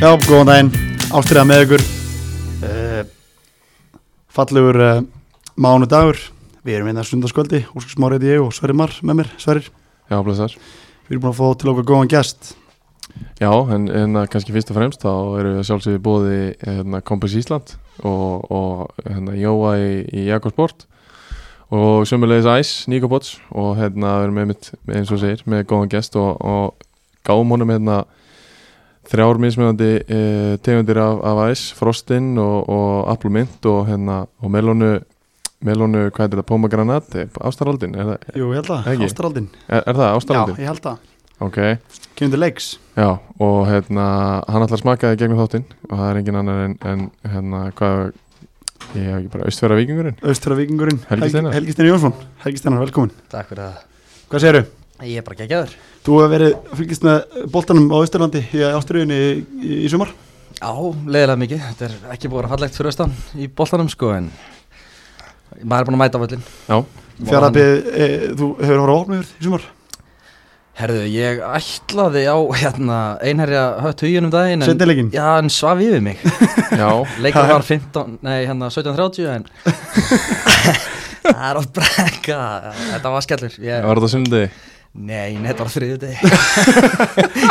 Já, góðan daginn, ástriða með ykkur Eh, uh, Fallegur uh, mánudagur Við erum hérna sundarskvöldi Óskar Smáriði ég og Sverrir Mar með mér Sverrir, Já, blessar. við erum búin að fá til okkar góðan gest Já, en, en að kannski fyrst og fremst þá eru við sjálfsögði bóði hérna, Kompis Ísland og, og hérna, Jóa í, í Jakobsport og sömulegis Æs, Nikopots og hérna við erum með mitt, eins og segir, með góðan gest og, og gáum honum hérna þrjár mismunandi e, tegundir af, af Æs, Frostinn og, og Applumint og hérna og melónu, melónu, hvað er þetta, Pomegranat, Ástaraldin, er, það- Jú, ég held það, Ekki. ástraldin er, er það Já, Ástaraldin? ég held það, Ok, kemur til leiks Já, og hérna, hann ætlar að smaka þig gegnum þáttinn og það er engin annar en, en hérna, hvað, ég hef ekki bara austfæra vikingurinn. Austra vikingurinn, Helgi Steinar. Helgi Steinar Jónsson Helgi Steinar, velkomin Takk fyrir það. Hvað segirðu? Ég er bara geggjaður. Þú hefur verið að fylgjast með boltanum á Austurlandi í Ástriðunni í, í, í sumar Já, leiðilega mikið. Þetta er ekki búið að vera fallegt fyrir austan í boltanum sko en maður er búin að mæta á völlin. Já, Fjarafið, e, þú hefur voru á opnur í sumar Herðu, ég ætlaði á hérna, einherja hött hugin um daginn en, Sendilegin, Já, en svaf yfir mig. já, Leikur var 15, nei hérna 17.30 en það er oft brekka. Þetta var skellur. Ég... var þetta sunnudegi? Nei, nei, þetta var þriðið.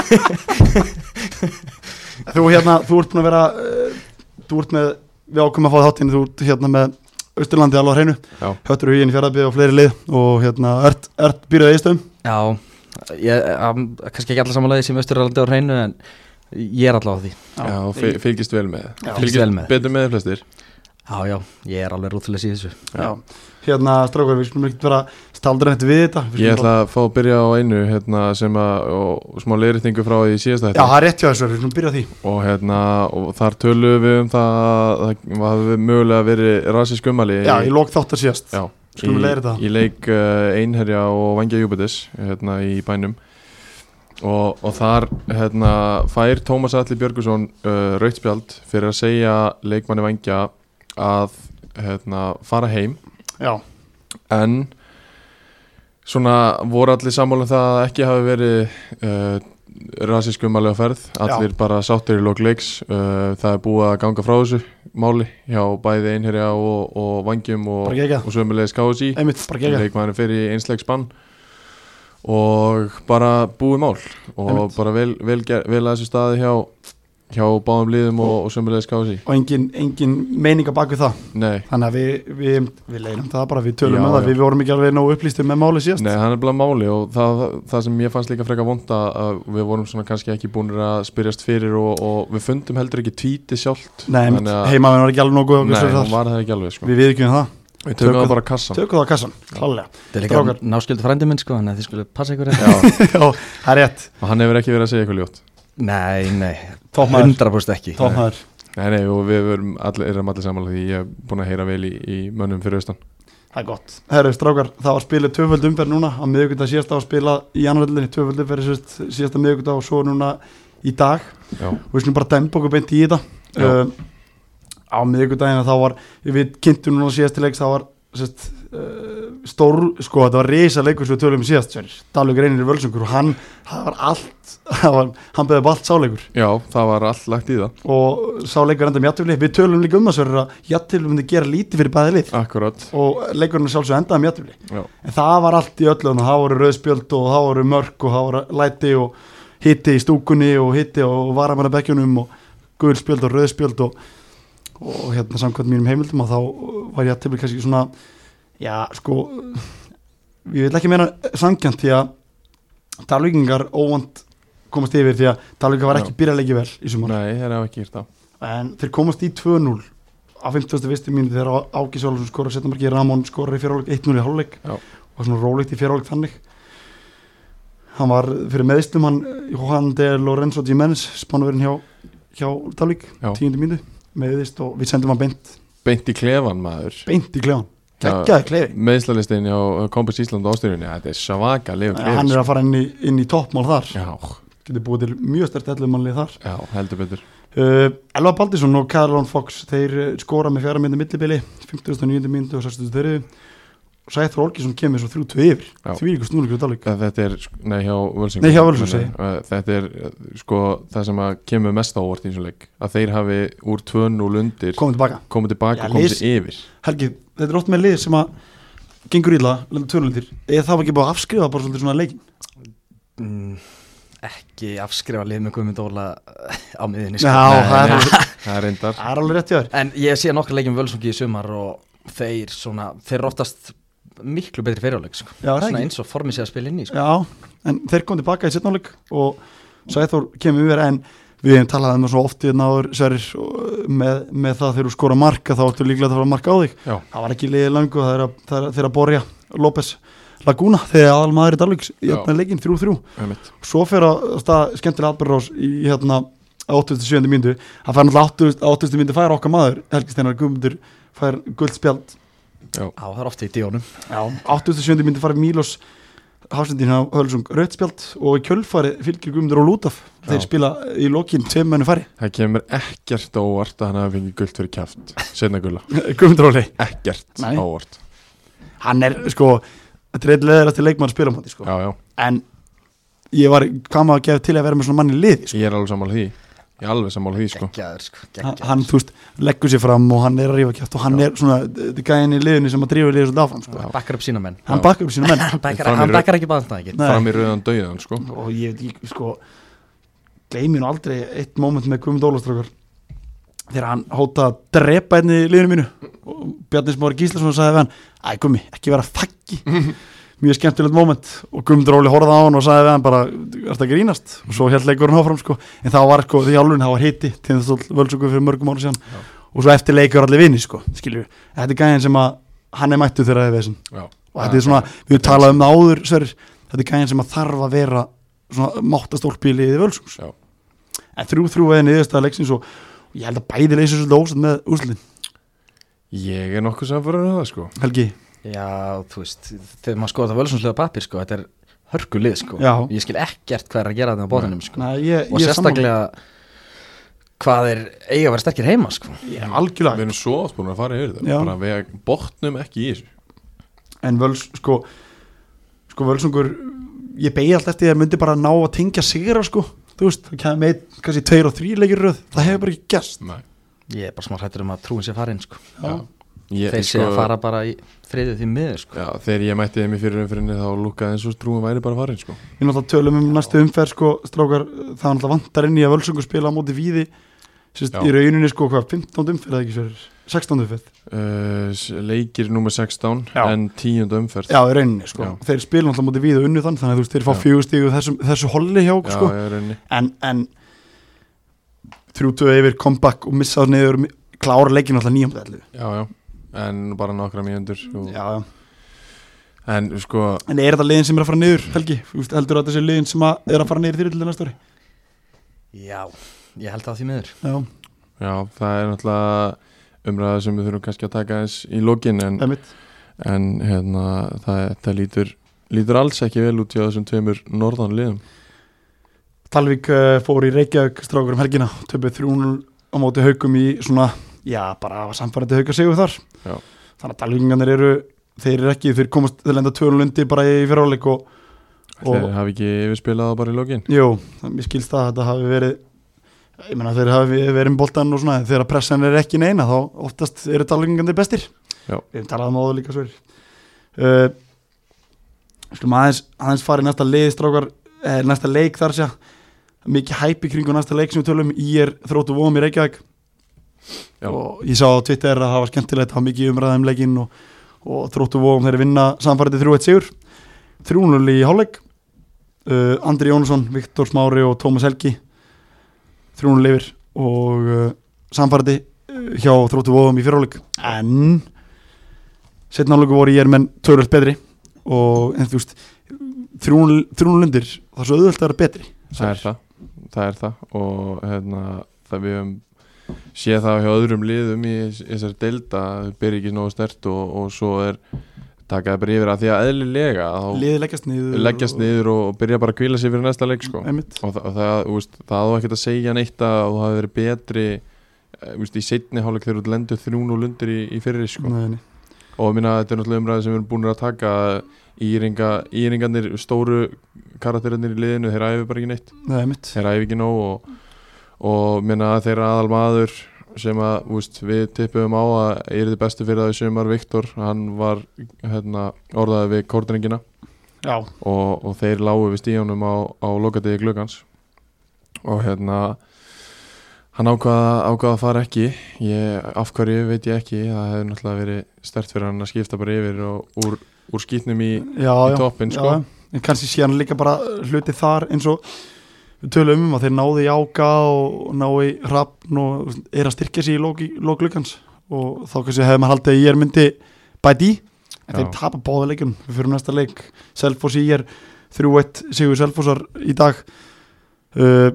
Þú hérna, þú ert búin að vera uh, Þú ert með, við ákveðum að fá þáttinn Þú ert hérna með Austurlandi alveg á hreinu Já. Höttur huginn fjaraðbið og fleiri lið Og hérna, ert, ert býrðið eistum Já, ég, um, kannski ekki allir samanlega sem Östurlandi á hreinu en ég er allavega á því. Já, já fyl, fylgist vel með. Já. Fylgist vel með. Betur með þeir flestir. Já, já, ég er alveg rúðfélags í þessu Já. Hérna, strákar, við skulum ekkert vera Staldra neitt við þetta Við Ég skulum ætla að fá að byrja á einu, hérna, sem að, og smá leiritingu frá því síðasta bara- Já, það er rétt hjá þessu, við skulum byrja á því og hérna, og þar töluðum við um það að það hafi mögulega verið rasísk ummæli. Já, ég lók þátt að síðast Já, Skulum leiðir þetta. Í leik uh, Einherja og Vangja Júbitis hérna í bænum og, og þar hérna, fær Tómas Alli Björgusson uh, rautspjald fyrir að segja leikmanni Vangja að hérna, fara heim Já, en svona voru allir sammála um það að ekki hafi verið uh, rasísku umalega ferð allir bara sáttir í lok leiks uh, það er búið að ganga frá þessu máli hjá bæði einherja og, og vangjum Bara og, geggjað. og sömulegis KSI einmitt, bara gegja leikmæðurinn fyrir einsleik spann og bara búið mál og Einmitt. bara vel, vel, ger, vel að þessu staði hjá hjá báðum liðum og, og sömulegis KSI Og engin, engin meininga bak við það nei, Þannig að við, við, við leirum það bara Við tölum Já, um það, já. við vorum ekki alveg nógu upplýstum með máli síðast Nei, það er bara máli og það, það sem ég fannst líka frekar vond að að við vorum svona kannski ekki búinir að spyrjast fyrir og, og við fundum heldur ekki tvíti sjálft Nei, einmitt, Þannig að- heimamenn var ekki alveg nógu góður Nei, okkur hún þar. var það ekki alveg sko. Við viðkjum það Við tökum tökum- það bara á kassan Tökum það á kassan, klálega Þetta er líka Strákar. náskjöldu frændi minn sko Þannig að þið skulle passa ykkur hérna. þetta Já, Já, það er rétt og hann hefur ekki verið að segja eitthvað ljótt Nei, nei, Tómaður 100% ekki Tómaður Nei, nei, og við erum allir, erum allir samanlega því ég er búin að heyra vel í, í mönnum fyrir austan Það er gott Herru, strákar, það var spilið tvöföld umferð núna á miðugundag síðasta var spilað í annaðöldinni tvöföld umferð síðast, síðasta miðugundag og svo núna í dag Já, og við slum bara dempa okkur beint í þetta Já. um, á miðugundagina þá var við kynntum núna síðast til leiks þá var sérst, uh, stór sko þetta var reysa leikur sem við tölum síðast sér, Dalvik reynir völsungur og hann það var allt það var, hann beðið upp allt sáleikur Já það var allt lagt í það og sáleikur enda með jættifli við tölum líka um það sér að jættifli myndi gera lítið fyrir bæði lið Akkurat, og leikurinn sjálfsög endaði með jættifli já en það var allt í öllu og það voru rauðspjöld og það voru mörk og það voru læti og hitti í stúkunni og hitti og varamannabekkjunum og guðspjöld og rauðspjöld og, og hérna samkvæmt mínum heimildum og þá var ég að tefla kannski svona já sko ég vil ekki meina sangjant því að Dalvíkingar óvand komast yfir því að Dalvíkingar var ekki byrjarleiki vel í sumar Nei, þeir hafa ekki gert það en þeir komast í 2-0 á 51. mínuti þegar Áki Sjólasson skorar setnamarki, Ramón skorar í fyrirháleik 1-0 í háluleik Já. og svona rólegt í fyrirháleik þannig hann var fyrir meðslum hann Johan de Lorenzo Jimenez spánuverinn hjá, hjá Dalvík Já. 10. mínuti meðist og við sendum hann beint, Beint í klefan maður beint í klefan Já. geggjaði klefi meðslalistin hjá uh, Kompis Ísland og ástyrjunni þetta er svaka liður hann er að fara inn í, inn í toppmál þar já, getur búið til mjög stert ellumannlið þar já, heldur betur uh, Elva Baldísson eh, og Karlón Fox þeir uh, skora með fjara myndi millibili 59. myndi og 63. Sæþór Olgísson kemur svo 3-2 yfir Já. því líka snúleikur dálik Eh, Þetta er, sk- nei hjá Völsingum Nei, hjá Völsung, segi ég. Eh, Þetta er eh, sko það sem að kemur mest á óvart í þessum leik Að þeir hafi úr 2-0 undir komið tilbaka komið tilbaka Já, og komið lis- sér yfir Helgi, þetta er oft með lið sem að gengur illa, lenda tölundir eða það var ekki búið að afskrifa bara svolítið svona leikin mm, ekki afskrifa lið með Guðmund Óla eh, á miðinni Já, það er, Nei, alveg- Það er reyndar það er alveg rétt hjá þér En ég sé nokkra leikjum völsungi í sumar og þeir svona, þeir eru oftast miklu betri fyriráleik sko. Já, er það svona ekki? eins og formið sé að spila inn í sko. Já, en þeir komið tilbaka í setnáleik og Sæþór kemur yfir en við hefum talað um það svo oft í náður sverir eh, með, með það þegar þú skora marka þá ertu líklega að fara að marka á þig Já. það var ekki liðið langu, það er að, það er að, þeir að borja López Laguna þegar aðal maður í Dalvíks í hérna Já. öfna leikin 3-3 einmitt. svo fer að stað skemmtilega atbyrðarás í hérna 87. myndu hann fær náttúrulega 80 80. myndu fær okkar maður Helgi Steinar Guðmundur fær guldspjald Á, það er ofta í díónum Já. 87. myndu fær Mílos Hafsendin á Hölsung rauðspjald og í kjölfari fylgir Guðmundur og Lútaf þeir Já. spila í lokin tveim mönnu fari Það kemur ekkert á óvart að hann hafi fengið gult fyrir kæft Setna gulla, Guðmundur Óli ekkert Nei. á óvart hann er sko þetta er eitt leðilegast til leikmann að spila á móti sko. Já, já, en ég var hvað maður að gefa til að vera með svona manni í liði sko. ég er alveg sammála því Ég er alveg sammála því sko Geggjaður sko, hann, geggjaður hann þú veist leggur sér fram og hann er að rífa kjátt og hann Já. er svona eh, þetta er gæðin í liðinu sem að drífa liðið svolítið áfram sko. Já. Bakkar upp sína menn hann Já. bakkar upp sína menn Hann bakkar, Fram í hann röð. bakkar ekki baðanstæðingin Nei. Fram í rauðan dauðan sko og ég veit ekki, sko gleymi nú aldrei eitt moment með Guðmund Ólafströkar þegar hann hóta að drepa einni í liðinu mínu og Bjarni Smári Gíslason sagði við hann Æ Guðmi, ekki vera faggi mjög skemmtilegt moment og Guðmundur Óli horfði á hann og sagði við hann bara, ertu að grínast og svo held leikurinn áfram sko en þá var sko, því álun, þá var hiti til þess að völsöku fyrir mörgum ára síðan Já. og svo eftir leikur allir vini sko, skiljum við þetta er gæðin sem að hann er mættu þegar það er vesen Já, og þetta er svona, við höfum talað um það áður sverir, þetta er gæðin sem að þarf að vera svona máttastólpi í liði völsums Já. en þrjú þrjú eða niðurstaða leiksins og og ég held að bæði leysir svolítið ósett með úslinn Ég er nokkuð samfæður að það sko Helgi, Já, þú veist, þegar maður skoða það völsunnslega pappir sko, þetta er hörgulið sko Já. Ég skil ekkert hvað er að gera þetta á bóðinum sko Næ, ég, Og ég er sérstaklega hvað er eiga að vera sterkir heima sko sammála. Ég er Við algjörlega, erum svo oft búin að fara yfir það Já. Bara við botnum ekki í þessu en völs sko, sko völsungur ég beigja allt eftir því að myndi bara ná að tengja sigra sko, þú veist, það kemur með kannski tveir og þrý leikir í röð, það hefur bara ekki gerst Nei Ég er bara smá hrættur um að trúin sé farin sko Já. Ég, sko, Þeir sé að fara bara í þriðið því miður sko Já, þegar ég mætti þeim í fyrir umfyrinni þá lúkaði eins og trúin væri bara farin sko Við náttúrulega tölum um næstu umferð sko, strákar, það er náttúrulega vantar inn í að völsungur spila á móti víði Sist, Já. í rauninni sko hvað, 15 umferð eða ekki sverir 16 umferð, uh, s- Leikir nummer 16 Já. en 10. umferð já í rauninni sko Já. þeir spila náttúrulega á móti víði og unnu þann þannig að þú veist þeir fá Já. fjögustígu þessu, þessu holli hjá okkur Já, sko ég er rauninni en, en 30 yfir comeback og missa það niður klára leikin alltaf nýjum já, Já, já, en bara nokkra mínundur og... já. En sko, en er þetta liðin sem er að fara niður Helgi, Þú veist, heldur þetta sé liðin sem að er að fara niður þýrið til næstu ári Já, ég held það því miður já, já, það er náttúrulega umræða sem við þurfum kannski að taka eins í lokin en, það er mitt en hérna, það, það lítur, lítur alls ekki vel út í þessum tveimur norðan liðum Talvík uh, fór í Reykjavík strákur um helgina, töpuð 3-0 á móti haukum í svona, já bara samfærandi hauka sigur þar Já. þannig að Talvíkingarnir eru, þeir eru ekki þeir komast, þeir lenda 2-0 undir bara í fyriráleik og Og- Þeir hafi ekki yfirspilað það bara í lokin jú, það- mér skilst það að þetta hafi verið ég meina þeir hafi verið um boltan og svona en þegar pressan er ekki neina þá oftast eru Talvíkingarnir bestir Já. við hefum talað um áður líka sver uh, slum aðeins aðeins fara í næsta leið strákar eh, næsta leik þar sé mikið hæpi kringu næsta leik sem við tölum um. í er þróttu vóum í Reykjavík Já. og ég sá á Twitter að það var skemmtilegt það var mikið umræða um leikinn og, og þróttu vóum þeir vinna samfærið 3-1 sigur 3-0 í hálfleik uh, Andri Jónsson, Viktor Smári og Tómas Helgi 3-0 yfir og uh, samfærið hjá þróttu vóum í fyrirháleik en setna hálfleiku voru ég er menn tölvöld betri og en þú veist 3-0 lundir, það er svo auðvöld að vera betri Það er það, það er það og hérna, það við höfum séð það hjá öðrum liðum í þess- þessari deilda, þau byrja ekki nógu stert og, og svo er takaði bara yfir að því að eðlilega þá liðið leggjast niður leggjast niður og, og byrja bara að kvíla sér fyrir næsta leik sko. Einmitt. og, þa og það, þú veist, það á ekkert að segja neitt að þú hafi verið betri eh, þú veist, í seinni hálfleik þegar þú lendur 3-0 undir í, í fyrri sko. Nei, nei. og ég minna þetta er náttúrulega umræði sem við erum búin að taka íringa, íringarnir, stóru karakterinnir í liðinu, þeir æfi bara ekki neitt Nei, mitt þeir æfi ekki nóg og, og minna þeir eru aðal maður sem að úst, við tippum á að er þið bestu fyrir það í sumar Viktor, hann var hérna, orðaði við kórtringina Já, og, og þeir lágu við stíðanum á, á lokadegi glugans og hérna hann ákvaða, ákvaða að fara ekki ég, af hverju veit ég ekki það hefði náttúrulega verið stert fyrir hann að skipta bara yfir og úr, úr skýtnum í, já, í já toppin sko. já, en kannski sé hann líka bara hluti þar eins og við tölum um að þeir náðu í áka og náðu í hrafn og er að styrkja sig í lok- í lok glukans og þá kannski hefði maður haldið að ég er myndi bæti í, en Já. þeir tapa báða leikjum við fyrir næsta leik, Selfoss í er 3-1 sigur Selfossar í dag uh,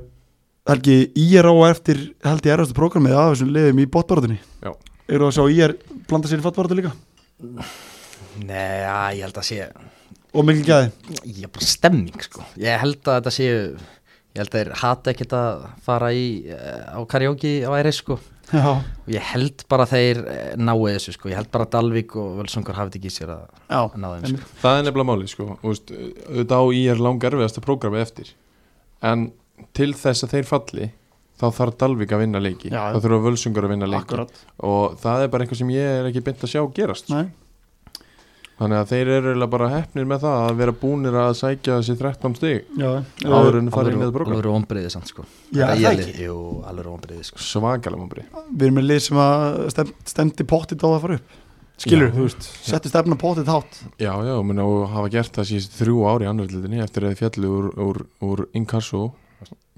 Helgi í er á eftir held ég erfastu prógramið af þessum liðum í botbarátunni Já. eru að sjá í er blanda sér í fattbarátu líka Nei, já, ég held að sé og mikil gæði Ég er bara stemming sko Ég held að þetta séu Ég held að þeir hata ekkert að fara í eh, á karaoke á RS sko Já, og ég held bara að þeir eh, náu þessu sko Ég held bara að Dalvik og Völsungur hafið ekki í sér að já, að ná þeim sko það er nefnilega máli sko. Úst, auðvitað á í er langarfiðasta prógrami eftir en til þess að þeir falli þá þarf Dalvik að vinna leiki Já, já. þá þurfa völsungur að vinna leiki akkurat og það er bara eitthvað sem ég er ekki beint að sjá gerast Nei. Þannig að þeir eru eiginlega bara hefnir með það að vera búnir að sækja þessi 13 stig Já, áður en að fara inn í þetta program. Alveg ombriðið samt sko Já, Þetta það ég ekki. lið- Jú, alveg ombriðið sko Svakalega múmbri. Við erum með lið sem að stem, stemdi pottið á að fara upp Skilur, Já. þú veist, settu stefna pottið hátt Já, já, og muni að hafa gert það síðust þrjú ári í annarslitinni eftir að þið fjallu úr, úr, úr Inkasso,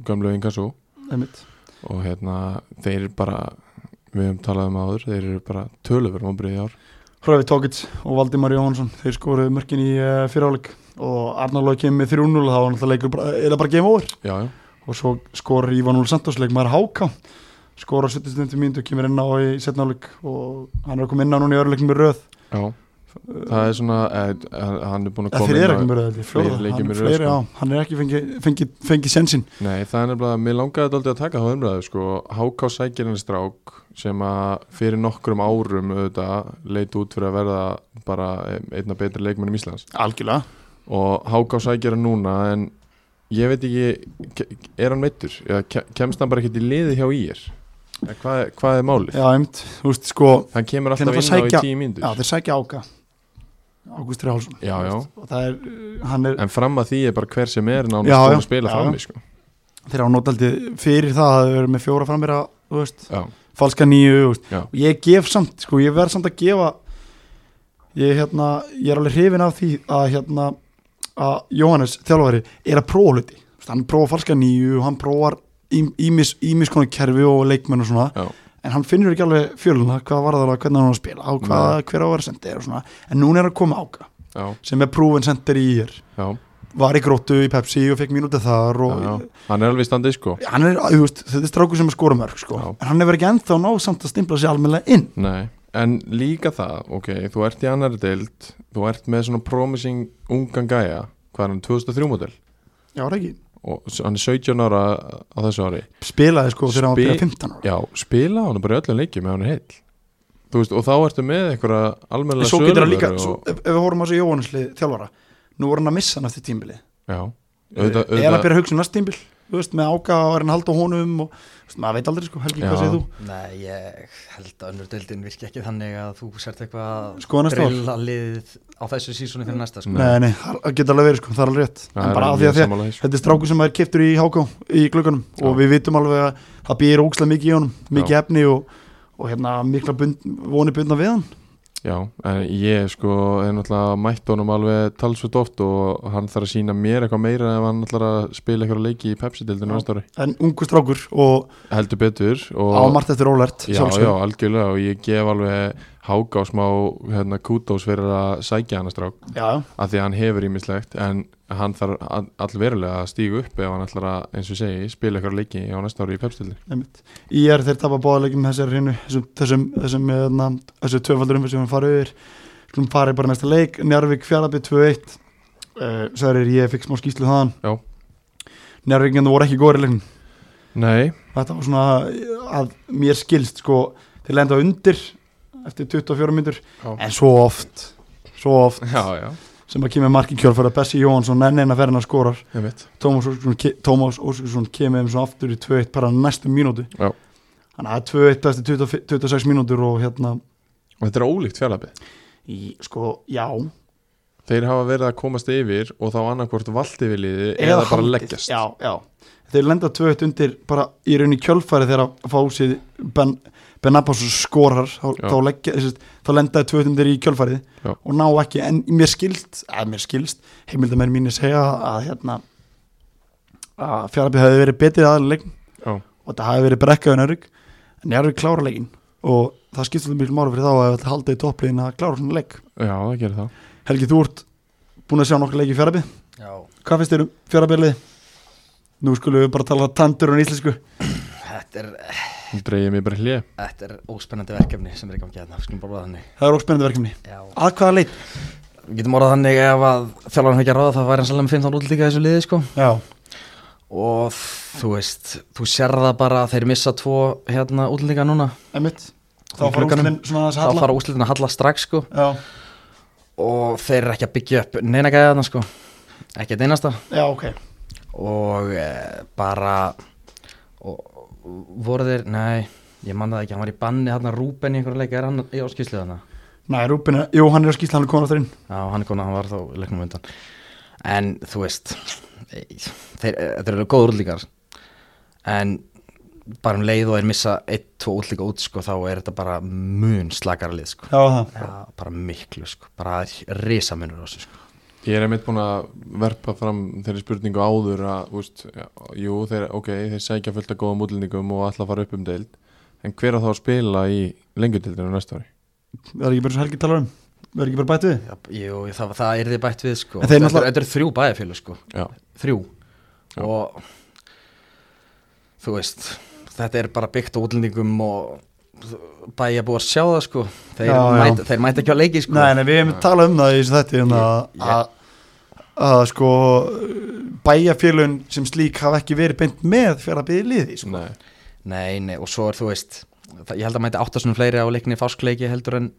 gömlu Inkasso einmitt. og hérna þeir bara, við höfum talað um það áður, þeir eru bara töluverð múmbri í ár. Hröfi Tókits og Valdimar Jóhansson Þeir skoruðu mörkin í uh, fyriráleik og Arnar Lói kemur með 3-0 þá var náttúrulega leikur bara, eða bara game over Já, já, og svo skorur Ívan Úl Santos leikmaður Háka skorar 70 mínútu og kemur inn á í setnáleik og hann er að koma inn á núna í öruleikum með röð já. Það er svona, eh, eh, hann er búin að eða koma þeir eru ekki inn á- með röð, þetta er fleiri fjórða leikir hann, með röð, fleiri, sko. á, hann er ekki fengið fengi, fengi sensin Nei, það er nefnilega, mér langaði þetta aldrei að taka þá umræðu sko, Háká sækir henni strák sem að fyrir nokkrum árum auðvitað leit út fyrir að verða bara einna betri leikmennum Íslands Algjörlega og Háká sækir hann núna en ég veit ekki, ke- er hann meittur eða ke- kemst hann bara ekkert í liði hjá ír eða hvað, er- hvað er málið? Já, einmitt, þú veist, sko Hann kemur Þeir alltaf inn á náttúrulega í sækja- tíu mínútur Já, þeir sækja áka Ágústur Hálsson Já, já. Og það er, uh, hann er, En fram að því er bara hver sem er nánast Já, búinn já. að spila Já, frammi sko. þeir hafa notaldið fyrir það að þau eru með fjóra framir að, þú veist, Já, falska nýju, þú veist Já. Og ég gef samt, sko, ég verð samt að gefa Ég, hérna, ég er alveg hrifin af því að, hérna, að Jóhannes, þjálfari, er að prófa hluti Þú veist, Hann prófa falska nýju, hann prófar ím- ímis, ímis konar kerfi og leikmenn og svona já, en hann finnur ekki alveg fjöluna hvað var það, hvernig hann á að spila á hvað, hver á að vera sendir og svona en núna er hann að koma áka já, sem er prúven sendir í ír já, var í gróttu í Pepsi og fekk mínútið þar og já, já. Hann er alveg standið sko hann er, þú veist, þetta er strákur sem er skora mörg sko. Já. en hann hefur ekki ennþá náð samt að stimpla sér almennilega inn Nei, en líka það, ok, þú ert í annari deild, þú ert með svona promising ungan gæja, hvað er hann, 2003 mótel já, er ekki, og s- hann er 17 ára á þessu ári. spilaði sko þegar hann var Spi- að byrja 15 ára Já, spila hann bara í öllum leikjum ef hann er heill. Þú veist, og þá ertu með einhverja en almennilega svo getur hann líka, söluveru svo, og, ef, ef við horfum á þessu Jóhanneslið þjálfara, nú er hann að missa hann eftir tímbili Já, Auða, auðvitað, er hann að auðvitað, byrja að hugsa um næst tímbil þú veist, með áka og er hann að halda á honum og þú veist, maður veit aldrei sko, Helgi, Já. hvað segir þú? Nei, ég held að önnur deildin virki ekki þannig að þú sért Skoða eitthvað að Sko, næsta ár? drilla liðið á þessu sísónu fyrir næsta sko. Nei. Nei, nei, það geta alveg verið sko, það er alveg rétt Það En er bara af alveg því að því sammála því, að sko. þetta er stráku sem er keftur í háká í glöggunum Já. og við vitum alveg að það býr ógslag mikið í honum, mikið efni og, og hérna mikla bund, voni bundna við hann já, en ég sko er náttúrulega mætt honum alveg talsvöld oft og hann þarf að sína mér eitthvað meira ef hann ætlar að spila einhverja leiki í Já. Pepsi-deildinu næsta ári. en ungu strákur og, Heldur betur. og- og á margt eftir ólert Já, já, algjörlega og ég gef alveg háká smá hérna, kútós fyrir að sækja hann að strák já, af því að hann hefur ímislegt en hann þarf all- allverulega að stígu upp ef hann ætlar að, eins og ég segi, spila ykkur leiki á næsta ári í pepstildi einmitt Í er þeir tapa bóðalegjum þessar hreinu þessum, þessum, þessum, hérna, þessum tvöfaldurum sem hann farið yfir, skulum farið bara í næsta leik Njárvík fjallabið 2-1 uh, Særir, ég fikk smá skýslu þaðan Já. Njarðvíkingarnir voru ekki góri leikn Nei, þetta var svona að mér skilst sko, þeir lenda undir eftir 24 myndur Já. en svo oft, svo oft já, já, sem að kemur marki kjölfæra Bessi Jóhansson enn eina ferðina skórar ég veit Tómas Óskarsson, ke Tómas Óskarsson kemur eins og aftur í 2-1 bara næstu mínútu Já. þannig að það er 2-1 eftir 20 26 mínútur og hérna og þetta er ólíkt fjarlabið í, sko, já þeir hafa verið að komast yfir og þá annarkvort valdi við liði eða, Eða bara haldið. leggjast já, já. þeir lenda 2-1 undir bara í rauninni kjölfæri þegar að fá sér Ben, ben Abbas skorar þá, Já. þá, leggja, sérst, þá lenda þeir 2-1 undir í kjölfærið Já. og ná ekki, en mér skilst að mér skilst, heimildamenn mínir segja að hérna að fjárabíð hefði verið betið aðleik Já. og það hefði verið brekkaðun örygg en ég er við klára leikin og það skipst alveg mjög mára fyrir þá að það halda í toppliðin að klára svona leik já, það gerir það Helgi, þú ert búin að sjá nokkuð leik í fjárabíð Já, Hvað finnst þér um fjárabjörlið? Nú skulum við bara tala tandur og íslensku þetta er, Hún dreigir mig bara í hlje þetta er óspennandi verkefni sem er í gangi hérna, við skulum bara orða það þannig. Það er okkur spennandi verkefni Já. Að hvaða leit? Við getum orðað þannig ef að þjálfarinn fækja ráða það væri hans alveg með 15 útlíka þessu liði sko Já, og þú veist, þú sér það bara að þeir missa tvo hérna útlíka núna emitt Þá Í fara glugganum. úrslinn svona aðeins að þá halla fara úslitin að halla strax sko Já, og þeir eru ekki að byggja upp neina gæða þarna sko ekki að einasta já, ok og e, bara og, voru þeir, nei ég man það ekki, hann var í banni hérna Rúben í einhverju leik, er hann í áskýslu þarna Næ, Rúbin, er- jú, hann er á skýsla, hann er komin aftur inn Já, hann er konar, hann var þá í leiknum á undan En þú veist e, þeir, Þetta eru góður útlíkar En bara um leið og þeir missa eitt, tvo útlíka út sko, þá er þetta bara mun slakara lið sko. Já, það Já, bara miklu, sko. bara risamunur á þessu sko. Ég er einmitt búin að verpa fram þeirri spurningu áður að, úst, já, jú, þeir, ok, þeir sækja fullt af góðum útlendingum og ætla að fara upp um deild, en hver á þá að spila í lengjudeildinu næsta ári? Það er ekki bara svo Helgi talar um Það er ekki bara bætt við Já, Jú, það, það er þið bætt við sko. En þeir Þetta náttúrulega- náttúrulega... eru þrjú bæjarfélag sko. Já, þrjú Já. og þú veist þetta er bara byggt á útlendingum og bæja búið að sjá það sko þeir, Já, já. mæta, þeir mæta ekki á leiki sko Nei, nei, við hefum talað um það í þessu þætti en að, Ég- ég- að, að sko bæjarfélun sem slík hafa ekki verið beint með fjárabjörlið í liði sko. nei, Nei, nei, og svo er þú veist það, ég held að mæta áttasunum fleiri á leikni fáskleiki heldur en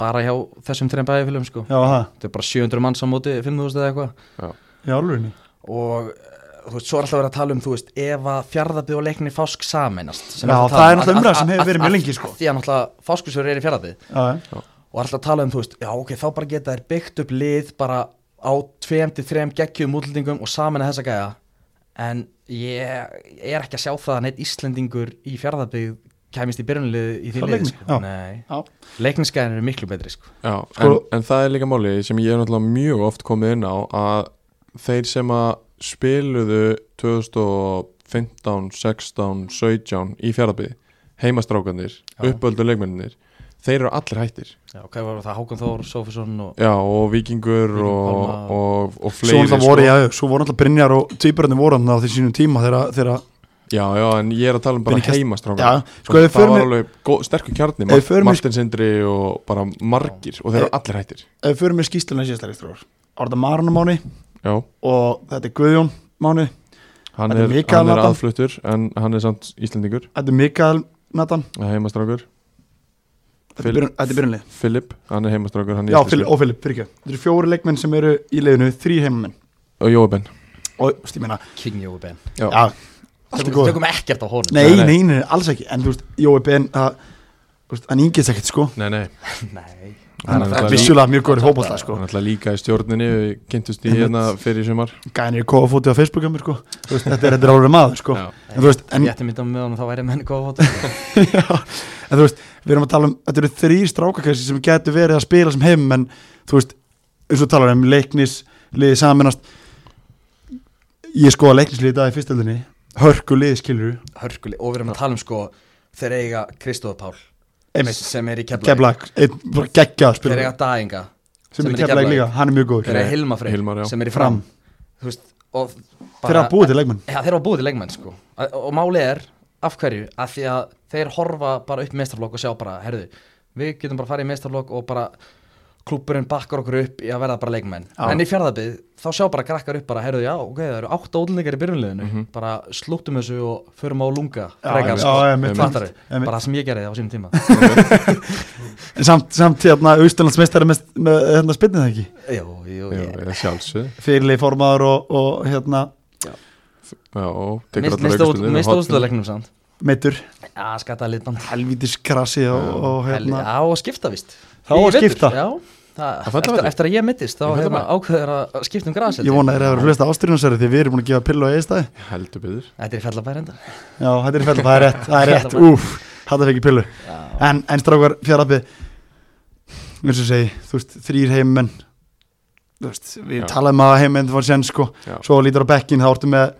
bara hjá þessum þreim bæjarfélum sko Já, það, þetta er bara 700 manns á móti 5.000 eða eitthvað já, já, alveg og eh, þú veist, svo er alltaf verið að tala um þú veist, ef að fjárðabíð og leikni fásk sameinast sem Já, alltaf það tala er um. náttúrulega Að- umræða sem hefur að- verið mjög að- lengi, sko. að því að náttúrulega fáskursjóður er í fjárðabíð Já, já. og alltaf að tala um, þú veist, já ok, þá bara geta þær byggt upp lið bara á 2-3 geggjum útlendingum og saman að þessa gæja en ég, ég er ekki að sjá það að neitt Íslendingur í fjárðarbyggð kæmist í byrjunlið í því Frá lið Leikni, sko. já. Nei, Já. leiknisgæðin eru miklu betri sko. já, en, Sko- en það er líka máli sem ég er náttúrulega mjög oft komið inn á að þeir sem að spiluðu 2015, 16, 17 í fjárðabíð, heimastrákandir, Já. uppöldu leikmenninir, þeir eru allir hættir. já, hvað var það, Hákon Þór, Sofusson og Já, og vikingur Víkingur, og, Pálma. og, og Svo fleiri sko. náttúrulega voru, já, svo voru náttúrulega Brynjar og týpurarnir voru hann á því sínum tíma þegar, þegar Já, já, en ég er að tala um bara Benny Kast- heimastrákar Já, sko ef við Það förum var í- alveg góð, sterkur kjarni Ef við förum í- Eh, Martin Sindri og bara margir Og þeir eru Ef- allir hættir ef við förum með skýstluna síðastlega stróður Orða Marunum mánu Já, og þetta er Guðjón mánu hann Þetta er er, Mikael hann er Adam. aðfluttur En hann er samt Íslendingur eh, Þetta er Mikael Nathan Heimastrákur Þetta Phil- er byrjun- þetta er byrjunlið Filip, hann er heimastrákur hann er Já, íslenskur. Filip, og Filip, fyrir ekki Þetta eru fjóri leikmenn sem eru í leiðinu, þrý heimamenn Og Jói Ben Og, þú veist, ég meina, King Jói Ben Já. já, allt er tökum, góð tökum ekkert á honum Nei, Nei, nei. nei, nei, alls ekki En þú veist, Jói Ben, það, þú veist, hann yngið ekkert, sko Nei, nei, Nei. Hann er Það náttúrulega- er vissulega mjög góður hópaðla, sko hann er alltaf líka í stjórninni Við kynntust í Einmitt. hérna fyrir sumar Gænir kóða fótið á Facebook um, sko Þú veist, Þetta er þetta er alveg maður, sko Já. En þú veist, en Ég ætti myndað með honum, þá væri menn góða fótum Já, en þú veist, við erum að tala um þetta eru þrýr strákakessi sem getur verið að spila sem heim, en þú veist eins og talar um leiknis, liði saminast ég skoða leiknisliði í dag í fyrstöldinni, hörku liði skilur Hörkuli, og við erum að tala um sko þeir eiga Kristóð Pál einmitt, sem er í Keflæk keflag geggjað þeir spilur, eiga Dæinga sem sem er er í keflag Keflavík. líka, hann er mjög góður Þeir eru Hilma Freyr Hilmar, já. sem er í fram, Fram. Þú veist, og fyrir að búið til leikmenn Já, þeir eru að búið til leikmenn sko og, og málið er, af hverju, að því að þeir horfa bara upp meistarflokk og sjá bara, herðu við getum bara farið í meistarflokk og bara klúburinn bakkar okkur upp í að verða bara leikmenn Já. en í fjárðabíð þá sjá bara krakkar upp bara herruðu já, ok, það eru átta ódlingar í byrjunleginu bara slúptum þessu og förum á lunga frekar, Mhm. já, sko. já, einmitt. Fattari, Einmitt. bara það sem ég gerði á sínum tíma En samt, samt hérna Ústinlandsmeistari með, með hérna spinnið það ekki jú, jú, Jú, ég ég sjálfsög fyrirlið formaður og, og hérna Já, og tekur allar aukastundir mist óstöðuleiknum samt meitur já, skata litband helvítis krasi og, Já. og hérna já, og skipta vist Þá á að skipta. já, það, falla eftir, vetur. eftir að ég mittist þá Í falla hérna, ákveður að skipta um gras held ég vona að þeir eru að hlusta ástyrjunarsæri því við erum búin að gefa pillu á eðistæði Heldur byggður þetta er fjallabæri enda já, þetta er fell, það er rétt, það er rétt, úf þetta fekk ég pillu já, en, en strákar fjárabbi eins og ég segi, þú veist, þrýr heimenn þú veist, við Já. talaðum um að heimenn það var sen sko, Já. svo lítur á bekkin þá ertu með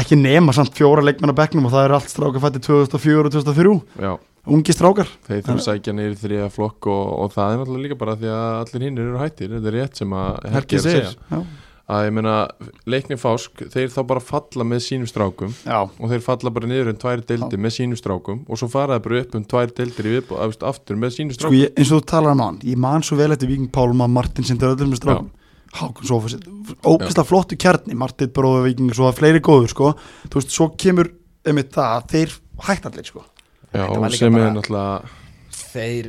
ekki nema samt fjóra leikmenn á bekknum og það eru allt strákar fætti 2004 og 2003, Já, ungi strákar þeir þurfum að sækja niður í þriða flokk og, og það er náttúrulega líka bara því að allir hinnir eru hættir Þetta er rétt sem að Helgi er að segja já, Að ég meina, leikni fásk, þeir þá bara falla með sínum strákum já. og þeir falla bara niður um tvær deildir með sínum strákum og svo fara þeir bara upp um tvær deildir í viðbú, afst, aftur með sínum Sko strákum ég, eins og þú talar um hann, ég man svo vel eftir Viking Pálma, Martin sindur öllum með strákum Hákon Sofa óbæslega flottu kjarni, Martin bróður Viking svo að fleiri góður sko, þú veist, svo kemur einmitt það að þeir hætt allir sko Já, Þetta var líka sem er bara- náttúrulega þeir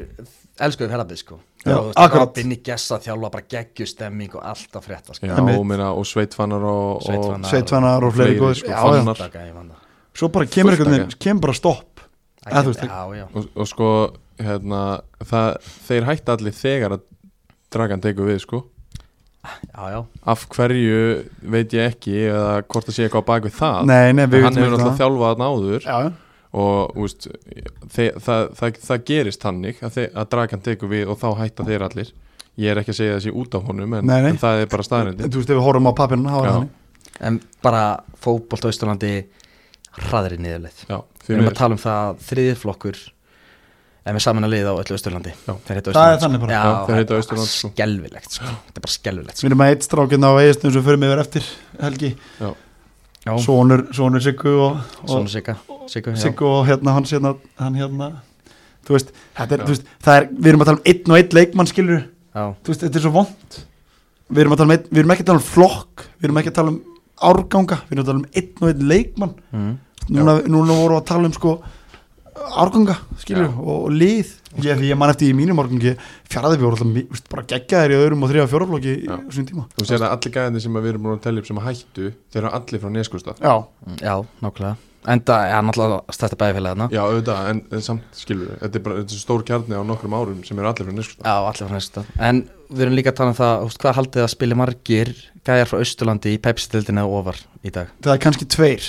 elskuðu fjallabæri sko Já, Og þú veist, akkurat. Robin í gessa þjálfa bara geggjustemming og allt að frétta sko Já, Einmitt. og, meina, og sveitfannar og, Sveitfannar. og Sveitvanar og fleiri Fleiri, góður sko, já, já. fannar. Alla gæja, ég man það. Svo bara kemur Fullt einhvern af veginn, kemur bara stopp Það þú kemur- veist, já, já. og, og sko hérna, það, þeir hætti allir þegar að dragan tekur við sko já, já, af hverju veit ég ekki eða hvort það sé eitthvað á bak við það Nei, nei, En við vitum hann hefur ekki náttúrulega það. þjálfað hann áður Já, já. og úst, þe það, það, það gerist þannig að, þe- að dragan tekur við og þá hætta þeir allir ég er ekki að segja þessi út af honum en, Nei, nei. en það er bara En staðrindin þú veist, ef við horfum á pappirinn, þá er Já. það þannig. en bara fótbolt á Ísturlandi hraðri niðurleið já, við því erum að miður tala um það þriðið flokkur en við saman að liða á öllu Ísturlandi Já. þeir heita Það er Austurland, þannig bara. já, Já, þeir heita það er Austurland, sko. skelfilegt sko. þetta er bara skelfilegt sko. Við erum að eitt strákinn hérna á eigistum sem fyrir mig verið eftir helgi, já, sonur, sonur Siggu og, og svona sigga sigga, já. Siggu og hérna hans hérna, hann hérna, þú veist, þetta er, Já. þú veist, það er, við erum að tala um einn og einn leikmann skilur, já, þú veist, þetta er svo vond. Við erum að tala um einn, við erum ekki að tala um flokk, við erum ekki að tala um árganga, við erum að tala um einn og einn leikmann. mm. Núna, núna vorum við að tala um sko árganga, skilur, Já. og, og lið ég, því ég man eftir í mínum árgangi fjaraðabjóður, bara geggjaðir í öðrum og þriða fjóraflokki í Já. þessum tíma þú sér að allir gæðinni sem að við erum búin að tellja upp sem að hættu þeir eru allir frá neskustaf Já, já, nákvæmlega enda, já, náttúrulega stætti bæðifélagina já, auðvitað, en, en samt skilur við þetta er bara þetta er stór kjarni á nokkrum árum sem eru allir frá neskustaf Já, allir frá næsta En við erum líka að tala um það, þú veist, hvað haldið þið að spili margir gæjar frá Austurlandi í Pepsi-dildinu og ofar í dag? það er kannski tveir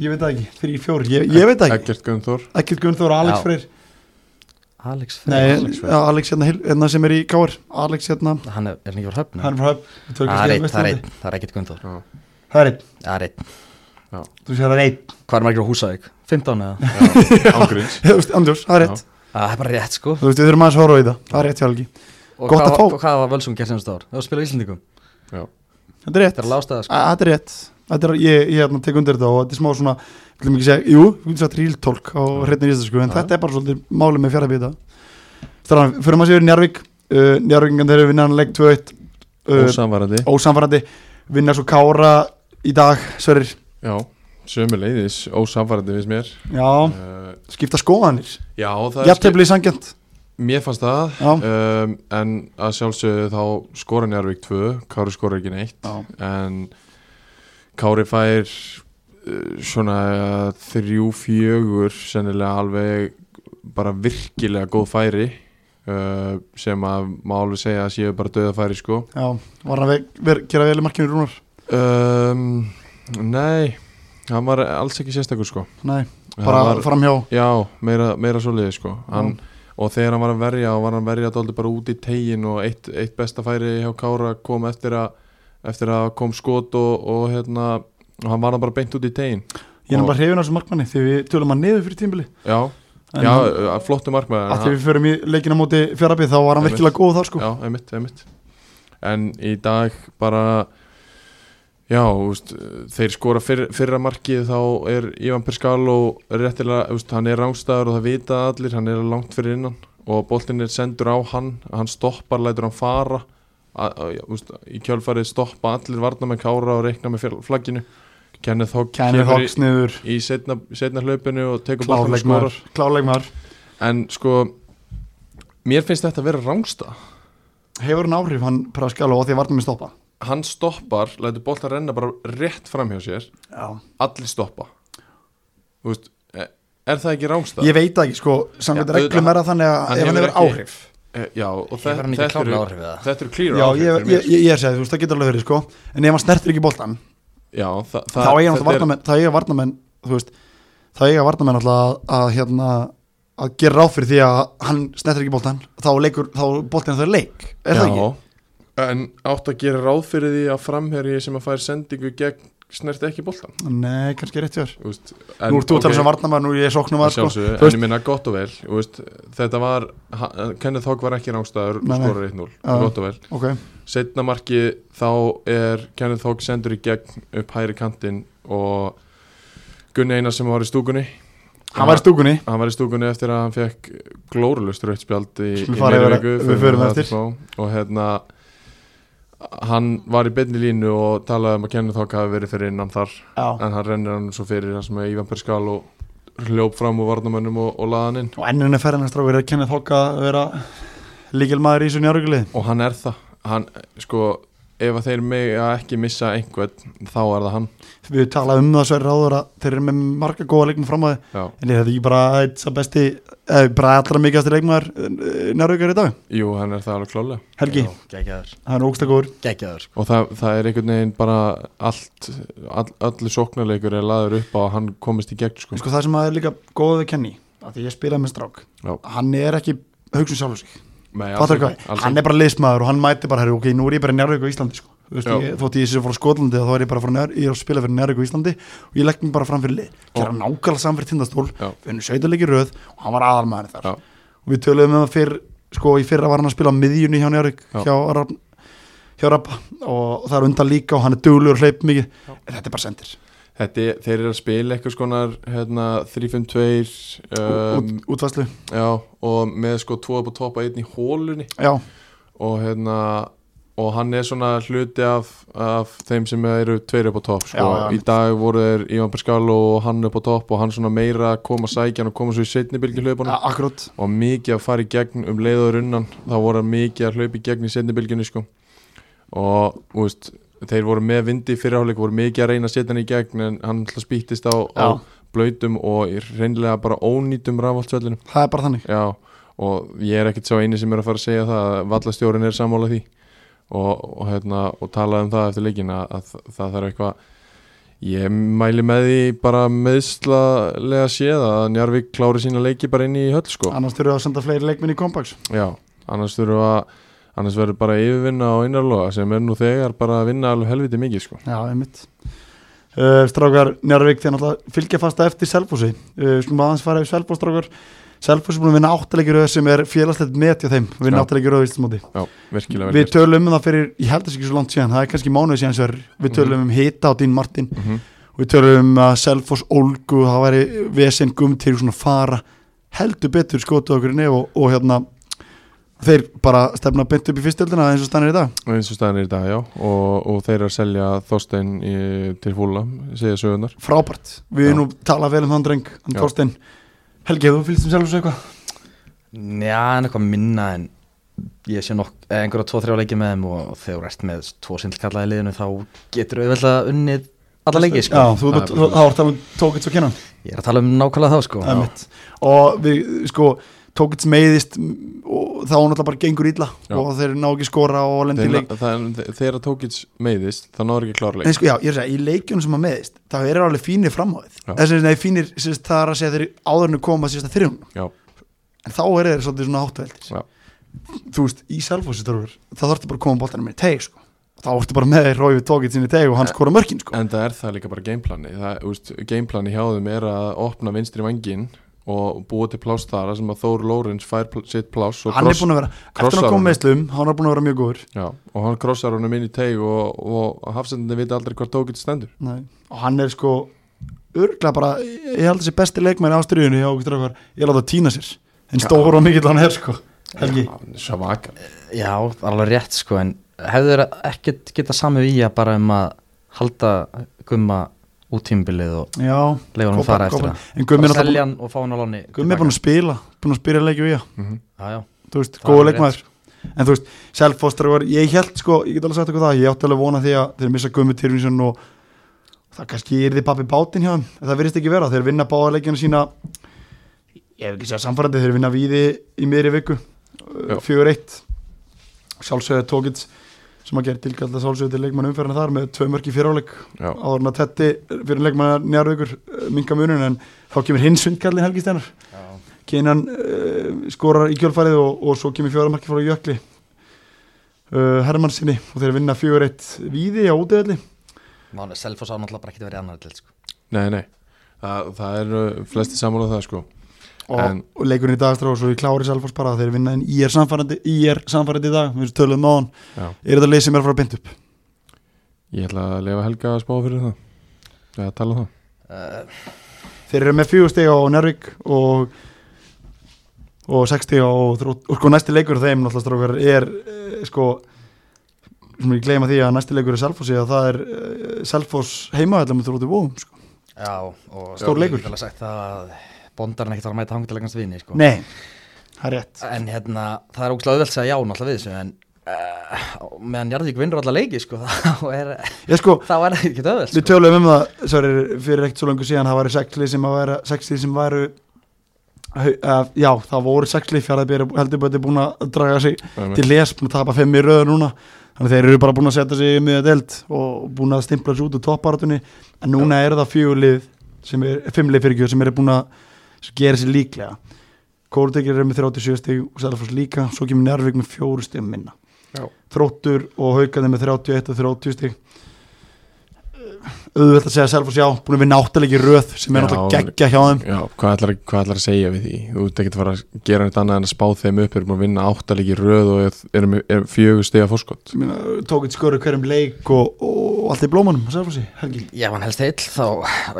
Ég veit það ekki, þrý, fjóri, ég, ég veit það ekki Ekkert Gunnþór Ekkert Gunnþór, Alex Já. Freyr Alex Nei, Freyr Alex, já, Alex hérna, hil- hérna sem er í Káar Alex hérna, Hann er, er hann ekki frá höfnum? hann er frá höfn við tökum Það er skeið á einn, það er Vesturlandi. einn, það er ekkert Gunndór já. Það er einn, Það er einn þú sér það er einn Hvað er margir á Húsavík? 15 eða? ángríns Þú veist, Andjós, það er einn Já. Að, Það er bara rétt sko Þú veist, við þurfum aðeins að horfa í það, það er rétt hjá Helgi Og Gott hvað, að var- fá. og Hvað var Völsung gert semst ár? Það var að spila í Íslandingum Já. Þetta er rétt Þetta er lástaða sko Að- Þetta er rétt Þetta er, ég, ég hérna, tek undir þetta og þetta er smá svona við viljum ekki segja, jú, við viljum segja tríltólk á hreitnir íslensku, en Já. þetta er bara svolítið máli með fjarlabíta Þannig, fyrir maður séu yfir Njarvík uh, Njarvíkingan þeir eru vinnan leik 2-1 uh, ósamvarandi ósamfærandi vinna svo Kára í dag Sverrir, já, sömuleiðis ósamvarandi finnst mér já, uh, skipta skoðanir já, það er Jafntefli í sangjant mér fannst það Já. um, en að sjálfsögðu þá skora Njarvík 2 Kári skora ekki neitt en Kári fær uh, svona uh, þrjú fjögur sennilega alveg bara virkilega góð færi uh, sem að má alveg segja að séu bara döða færi sko Já, var hann að ve- ver- gera vel í markinu Rúnar um, nei hann var alls ekki sérstakur sko Nei, bara Hann var, framhjá já, meira, meira svoleiði sko hann, og þegar hann var að verja og var hann að verja dálítið bara út í tegin og eitt, eitt besta færi hjá Kára kom eftir að eftir að kom skot og, og hérna og hann var hann bara beint út í tegin Ég er bara hrifin á þessu markmanni því við tölum hann niður fyrir tímbili Já, En já hann- hann, flottu markmaður að því en við förum í leikina á móti fjarafið þá var hann Einmitt. virkilega góð þá hann- sko Já, einmitt, einmitt En í dag bara Já, úst, þeir skora fyrr, fyrra markið þá er Ivan Perskalo réttilega, úst, hann er rángstæður og það vita allir, hann er langt fyrir innan og boltinn er sendur á hann hann stoppar, lætur hann fara að, að, já, úst, í kjölfarið stoppa allir varna með kára og reikna með fjall- flagginu Kenneth Hogg Kenneth kemur í- Hawks niður í setna, setna hlaupinu og tekur boltan og skorar klárleikmar klárleikmar en sko mér finnst þetta að vera rángsta hefur hann áhrif hann prask alveg á því að varnum er stoppa hann stoppar, lætur boltan renna bara rétt fram hjá sér já. allir stoppa Þú veist, e- er það ekki rángsta? ég veit það ekki sko samkvæmt Já, reglum er það þannig hann að ef hann hefur hefur ekki- áhrif E, já, og þe- Hefur hann ekki þetta eru klárlega áhrif eða? þetta eru clear já áhrif ég, fyrir mér. ég, ég, ég er segið þú veist það getur alveg verið sko en ef hann snertir ekki boltan já, þa þá það, eiga náttúrulega þetta varnamenn þá eiga varnamenn þú veist þá eiga varnamenn alltaf að, að hérna að gera ráð fyrir því að hann snertir ekki boltan þá leikur þá boltin það er leik er það ekki? Já, en átt að gera ráð fyrir því að framherji sem að fær sendingu gegn snert ekki boltan Nei, kannski rétt hjár Úst, Nú ert þú að tala um sem varnamenn og ég er sóknum að sko sjálfsög, Þú en veist- ég minna gott og vel þú veist, þetta var, ha- Kenneth Hogg var ekki rángstæður Nei, nei. skorar 1-0, Já. gott og vel Ok, setna marki þá er Kenneth Hogg sendur í gegn upp hæri kantinn og Gunni Einar sem var í stúkunni hann var í stúkunni hann var í stúkunni eftir að hann fekk glórulust rauðspjald í, í Skulum fara yfir- miðri viku, við förum förum það eftir. eftir smá. og hérna hann var í beinni línu og talaði um að Kenneth Hogg hafi verið fyrir innan þar Já en hann rennir hann svo fyrir hann sem er Ívan Perskal og hljóp fram úr varnamönnum og, og laði hann inn Og ennurinn er ferðan að strákur er að kenna þokka að vera líkilmaður í þessu njárugli og hann er það hann, sko, ef að þeir mega ekki missa einhvern, þá er það hann Við talaðum um það svo ráður að þeir eru með marga góða leiknum fram að Já. En ég hefði ekki bara eitt sá besti, eða bara allra mikilvægast leikmaður njáruglar í dag jú, hann er það alveg klálega Helgi, Gekkjaður hann er ógstakóður Gekkjaður og það, það er einhvern veginn bara allt, all, allir sóknarleikur er laður upp á að hann komist í gegn sko. Sko það sem að er líka góð við Kenny að Því ég spilaði með strák Já. Hann er ekki hugsun sjálf sig Nei, Fattar hvað? Hann er bara liðsmaður og hann mæti bara herri, ok, nú er ég bara njárvík á Íslandi sko. Þú veist, Já. ég, þótt ég sé frá Skotlandi þá er ég bara frá njár, ég er að spila fyrir njárvík á Íslandi og ég legg mig bara fram fyrir lið gera nákvæmlega samfyrir tindastól Já. við henni sveitulegi röð og hann var aðalmaður þar Já. og við töluðum um það fyrr sko í fyrra var hann að spila á miðjunni hjá njárvík Já. hjá, Rafn- hjá Rappa og það er undan líka og hann er duglegur og hleyp mikið en þetta er bara sendir Þetta, er- þeir eru að spila eitthvað skonar hérna, 3-5-2 um, um, út, útvæslu já, og með sko 2 upp og topa einn í hólunni Já, og, hérna, og hann er svona hluti af, af þeim sem eru 2 upp á topp sko. Já, já, í mitt. dag voru þeir Ivan Pascal og hann upp á topp og hann svona meira að koma að sækja hann og koma svo í setni bylgi hlaupunum akkurát og mikið að fara í gegn um leiður unnan þá voru hann mikið að hlaupa í gegn í setni bylginu sko. og þú veist, þeir voru með vindi í fyrirháleik voru mikið að reyna að setja hann í gegn en hann alltaf spýttist á, á Já. blöytum og í reynlega bara ónýtum rafaldsvöllinu Það er bara þannig Já, og ég er ekkert sá eini sem er að fara að segja það að vallastjórin er sammála því og, og, hérna, og talaði um það eftir leikin að, að það þarf eitthvað ég mæli með því bara meðslalega séð að Njarvík klári sína leiki bara inn í höll sko. Annars þurfum við að senda fleiri leikminni í kompaks Já, annars þurfum við að annars verður bara yfirvinna á innarloga sem er nú þegar bara að vinna alveg helviti mikið sko. Já, einmitt uh, Strákar, Njárvík, þeir náttúrulega fylgja fasta eftir Selfossi uh, Skulum aðeins fara yfir Selfoss, strákar Selfoss er búin að vinna áttalegiröð sem er félagslegt met hjá þeim Vinna Já. áttalegiröð viðstumóti Já, virkilega Sko. vel Við gert. tölum um það fyrir, ég held þess ekki svo langt síðan Það er kannski mánuði síðan sver Við tölum um Hita og Dín Martin Mhm. Við tölum um að Selfoss ólgu Það væri vesen gum til svona fara Heldur betur skotu okkur nef og, og hérna Þeir bara stefna beint upp í fyrstöldina eins og stannir í dag eins og staðan er í dag, já og, og þeir eru að selja Þorstein í, til fúla, segja sögunar frábært við Já. erum nú talað vel um þann dreng hann Já. Þorstein Helgi, hefur þú fylgst um sjálfsög eitthvað? Njá, en eitthvað minna en ég sé nokk eh, einhverja tvo, þrjá leiki með þeim og þegar þú rest með tvo sindlkallaði liðinu þá getur við vel að unnið alla leiki sko. Já, þú Það er ert þá ert bara talað um Tókits og Kenan svona. Ég er að tala um nákvæmlega þá sko. Það er mitt. og við, sko, Tókits meiðist mm, og þá náttúrulega bara gengur illa Já. og þeir ná ekki skora og lendi í Þeir, leik na- það, þe- þegar Tókits meiðist þá náður ekki klárleik Nei, sko, já, ég er að segja, í leikjunum sem að meiðist þá eru alveg fínir framháðið Já. þess að fínir, sérst, það er að segja þeir áðurinu koma sérst að þrjum Já, en þá eru þeir svolítið svona Já. háttuveldir þú veist, í selfhósi þarfur þá þarftu bara að koma bóttanum í teig sko. þá ertu bara með þeir rófið tókið sinni teig og hann skora mörkin sko. en það er það líka bara gameplani það, úst, Gameplani hjá þeim er að opna vinstri vangin og búa til pláss þar þar sem að Þór Lórens fær pl sitt pláss og, hann er búin að vera, eftir að krossar hann kom hann. meðslum hann er búin að vera mjög góður já, og hann krossar honum inn í teig og, og hafsendinni vita aldrei hvað Tókits stendur Nei. og hann er sko örgla bara, ég held þessi besti leikmæri ástriðinu hjá okkur strákar, ég láta týna sér en stóru og mikill hann er sko Helgi, Svaka Já, það er alveg rétt sko en hefur ekkert getað samið í að bara um að halda gumma út tímbilið og já, leifa hann að Kópa- fara eftir Kópa- það en Gummi er bara náttúrulega selja búinn- hann og fá hann á láni Gummi er búin að spila búin að spila leikju í að, Mhm. Já, já, þú veist, Það er góða alveg sko. leikmaður en þú veist, Selfoster var, ég held sko ég get alveg sagt eitthvað það, ég átti alveg að vona því að þeir missa Gummi Tyrfinsson og það kannski yrði pappi bátinn hjá þeim, en það virðist ekki vera þeir vinna báða leikjana sína ég hef ekki segjað samfærandi, þeir vinna víði í miðri viku, Já. 4-1 sjálfsögðu tókits sem að gera tilkalla sjálfsögðu til leikmann umferðina þar með tvö mörki fyriráleik Já, áður en að tetti fyrir leikmann njárvíkur minga munin eh, en þá kemur hinn svindkallin Helgi Steinar Kinan uh, skorar í kjölfarið og, og svo kemur fjóramarki frá Jökli uh, Hermann sinni og þeir vinna 4-1 víði á útöðli Mánu, Selfoss á náttúrulega bara ekki verið annar til sko. nei, nei Það, það eru uh, flesti saman á það sko og, En- og leikurinn í dagstrá og svo í klári Selfoss bara að þeir vinna en ég er samfærandi, ég er samfærandi í dag við töluðum á hann, Já. er þetta leið sem er að fara að binda upp Ég ætla að lefa Helga að spá fyrir það Eða tala um það uh, Þeir eru með fjögur stiga á Nervík og og sex stiga á þrótt og sko næsti leikur þeim náttúrulega strókar er eh, sko sem ég gleyma því að næsti leikur er Selfossi að það er uh, Selfoss heimaðallar með þróttu bóðum sko. Já, og Stór leikur. Ég vil alveg sagt að bondarinn ekkert var að mæta hangilegans vini sko. Nei, það er rétt En hérna, það er ógslag auðvelt að segja já náttúrulega við þessu En uh, meðan Jarðvík vinnur alla leiki sko, þá er Ég sko, þá er það ekkert auðvelt við sko. töluðum um það sorry, fyrir ekkert svo langur síðan það væri sexli sem að vera sexli sem væru hau- að- já, það voru sexli fjaraðbyrja heldur betur búin að draga sig Einmitt. til les, búin að tapa fimm í röðu núna þannig að þeir eru bara búin að setja sig í miða delt og búin að stimpla sig út úr topparatunni en núna eru það fjögulið sem er, fimmlið fyrir sem eru búin að sem gera sér líklega Kórutekir eru með 37 stig og Sælfoss líka, svo kemur Njárvík með fjóru stig minna Já. Þróttur og Haukarnir með 31 og 30 stig auðvitað að segja Sælfoss já, búin að vinna áttalegi röð sem er Já, náttúrulega geggja hjá þeim Já, hvað ætlar, hvað ætlar að segja við því? Þú ert ekki að fara að gera neitt annað en að spá þeim upp erum að vinna áttalegi röð og er- erum er fjögur stiga fórskott uh, tók eitt sköru hverjum leik og, og allt í blómanum, Sælfossi, Helgi Já, hann helst heil, þá,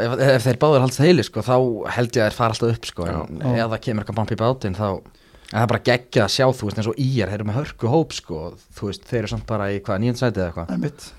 ef, ef þeir báður haldast heilir, sko, þá held ég að þeir fara alltaf upp, sko, en Já. ef það kemur eitthvað bampi í bátinn, þá, en það er bara geggja að sjá, þú veist, eins og íjar, þeir eru með hörku hóp, sko, þú veist, þeir eru samt bara í hvað, nýjum sætið eða eitthvað, Það er mitt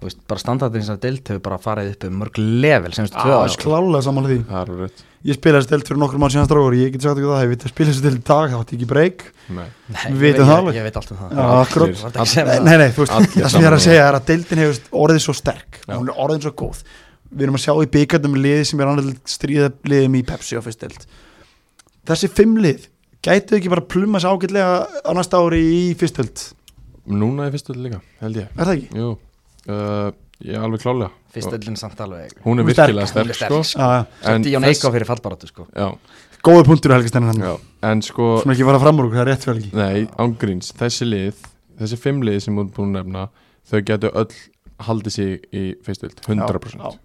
þú veist, bara standardin sem deilt hefur bara farið upp um mörg level, semstu tvö Já, ár, sko. klálega sammála því Það er alveg rétt Ég spilaði stelt fyrir nokkur mann síðan strákur Ég get sagt ekki það, ég veit að spila stelt í dag Það átti ekki breyk Nei. Nei, Við vitum ég veit- það alveg. Ég, ég veit allt um það. Já, akkurat. Þú ert ekki sem það. Nei, nei, þú veist, Allir það sem ég er sammála. að segja er að deildin hefur orðið svo sterk Já. Hún er orðin svo góð Við erum að sjá í byggjandum liði sem er annað stríða liðum í Pepsi og fyrst deild Þessi fimm lið Gætu ekki bara pluma sér ágætlega á næsta ári í fyrst deild Núna er fyrstu líka, held ég Er það ekki? Jú, uh, ég er alveg klálega Fyrst öllin samt alveg. Hún er Hún er sterk. virkilega Hún sterk, er sterk, sko Já, já. En Samt í Jón þess- Eikó fyrir fallbaratu, sko. Já, Góður punktur Helgi Stennan já En sko Svona ekki fara fram úr, okkur, það er rétt fyrir Helgi Nei, ángríns, þessi lið þessi fimm lið sem þú ert búin að nefna þau getur öll haldið sig í fyrstvild, 100% Já,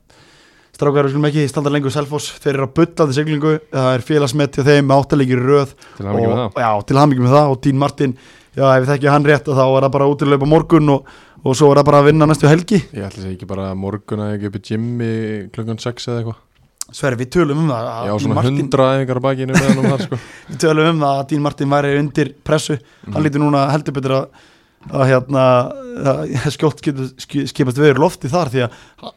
Strákar, við skulum ekki standa lengur Selfoss, þeir eru að butta þessi siglingu, það er félagsmet hjá þeim, áttalegir röð til það mikið með og, já, til hamingjum með það og Dín Martin, já, ef þekki hann rétt þá er það bara út í laupa morgun og, og svo er það bara að vinna næstu helgi það Ég ætla að segja ekki bara að morgun að ég upp í gymmi klukkan 6 eða eitthvað Sverri, við tölum um það að Já, Dean svona Martin, 100 æfingar á bakinu meðan um það, sko við tölum um það að Dín Martin væri undir pressu, Mhm. hann lítur núna heldur betur að, að hérna að skjótt getur ski- skipast veður lofti þar því að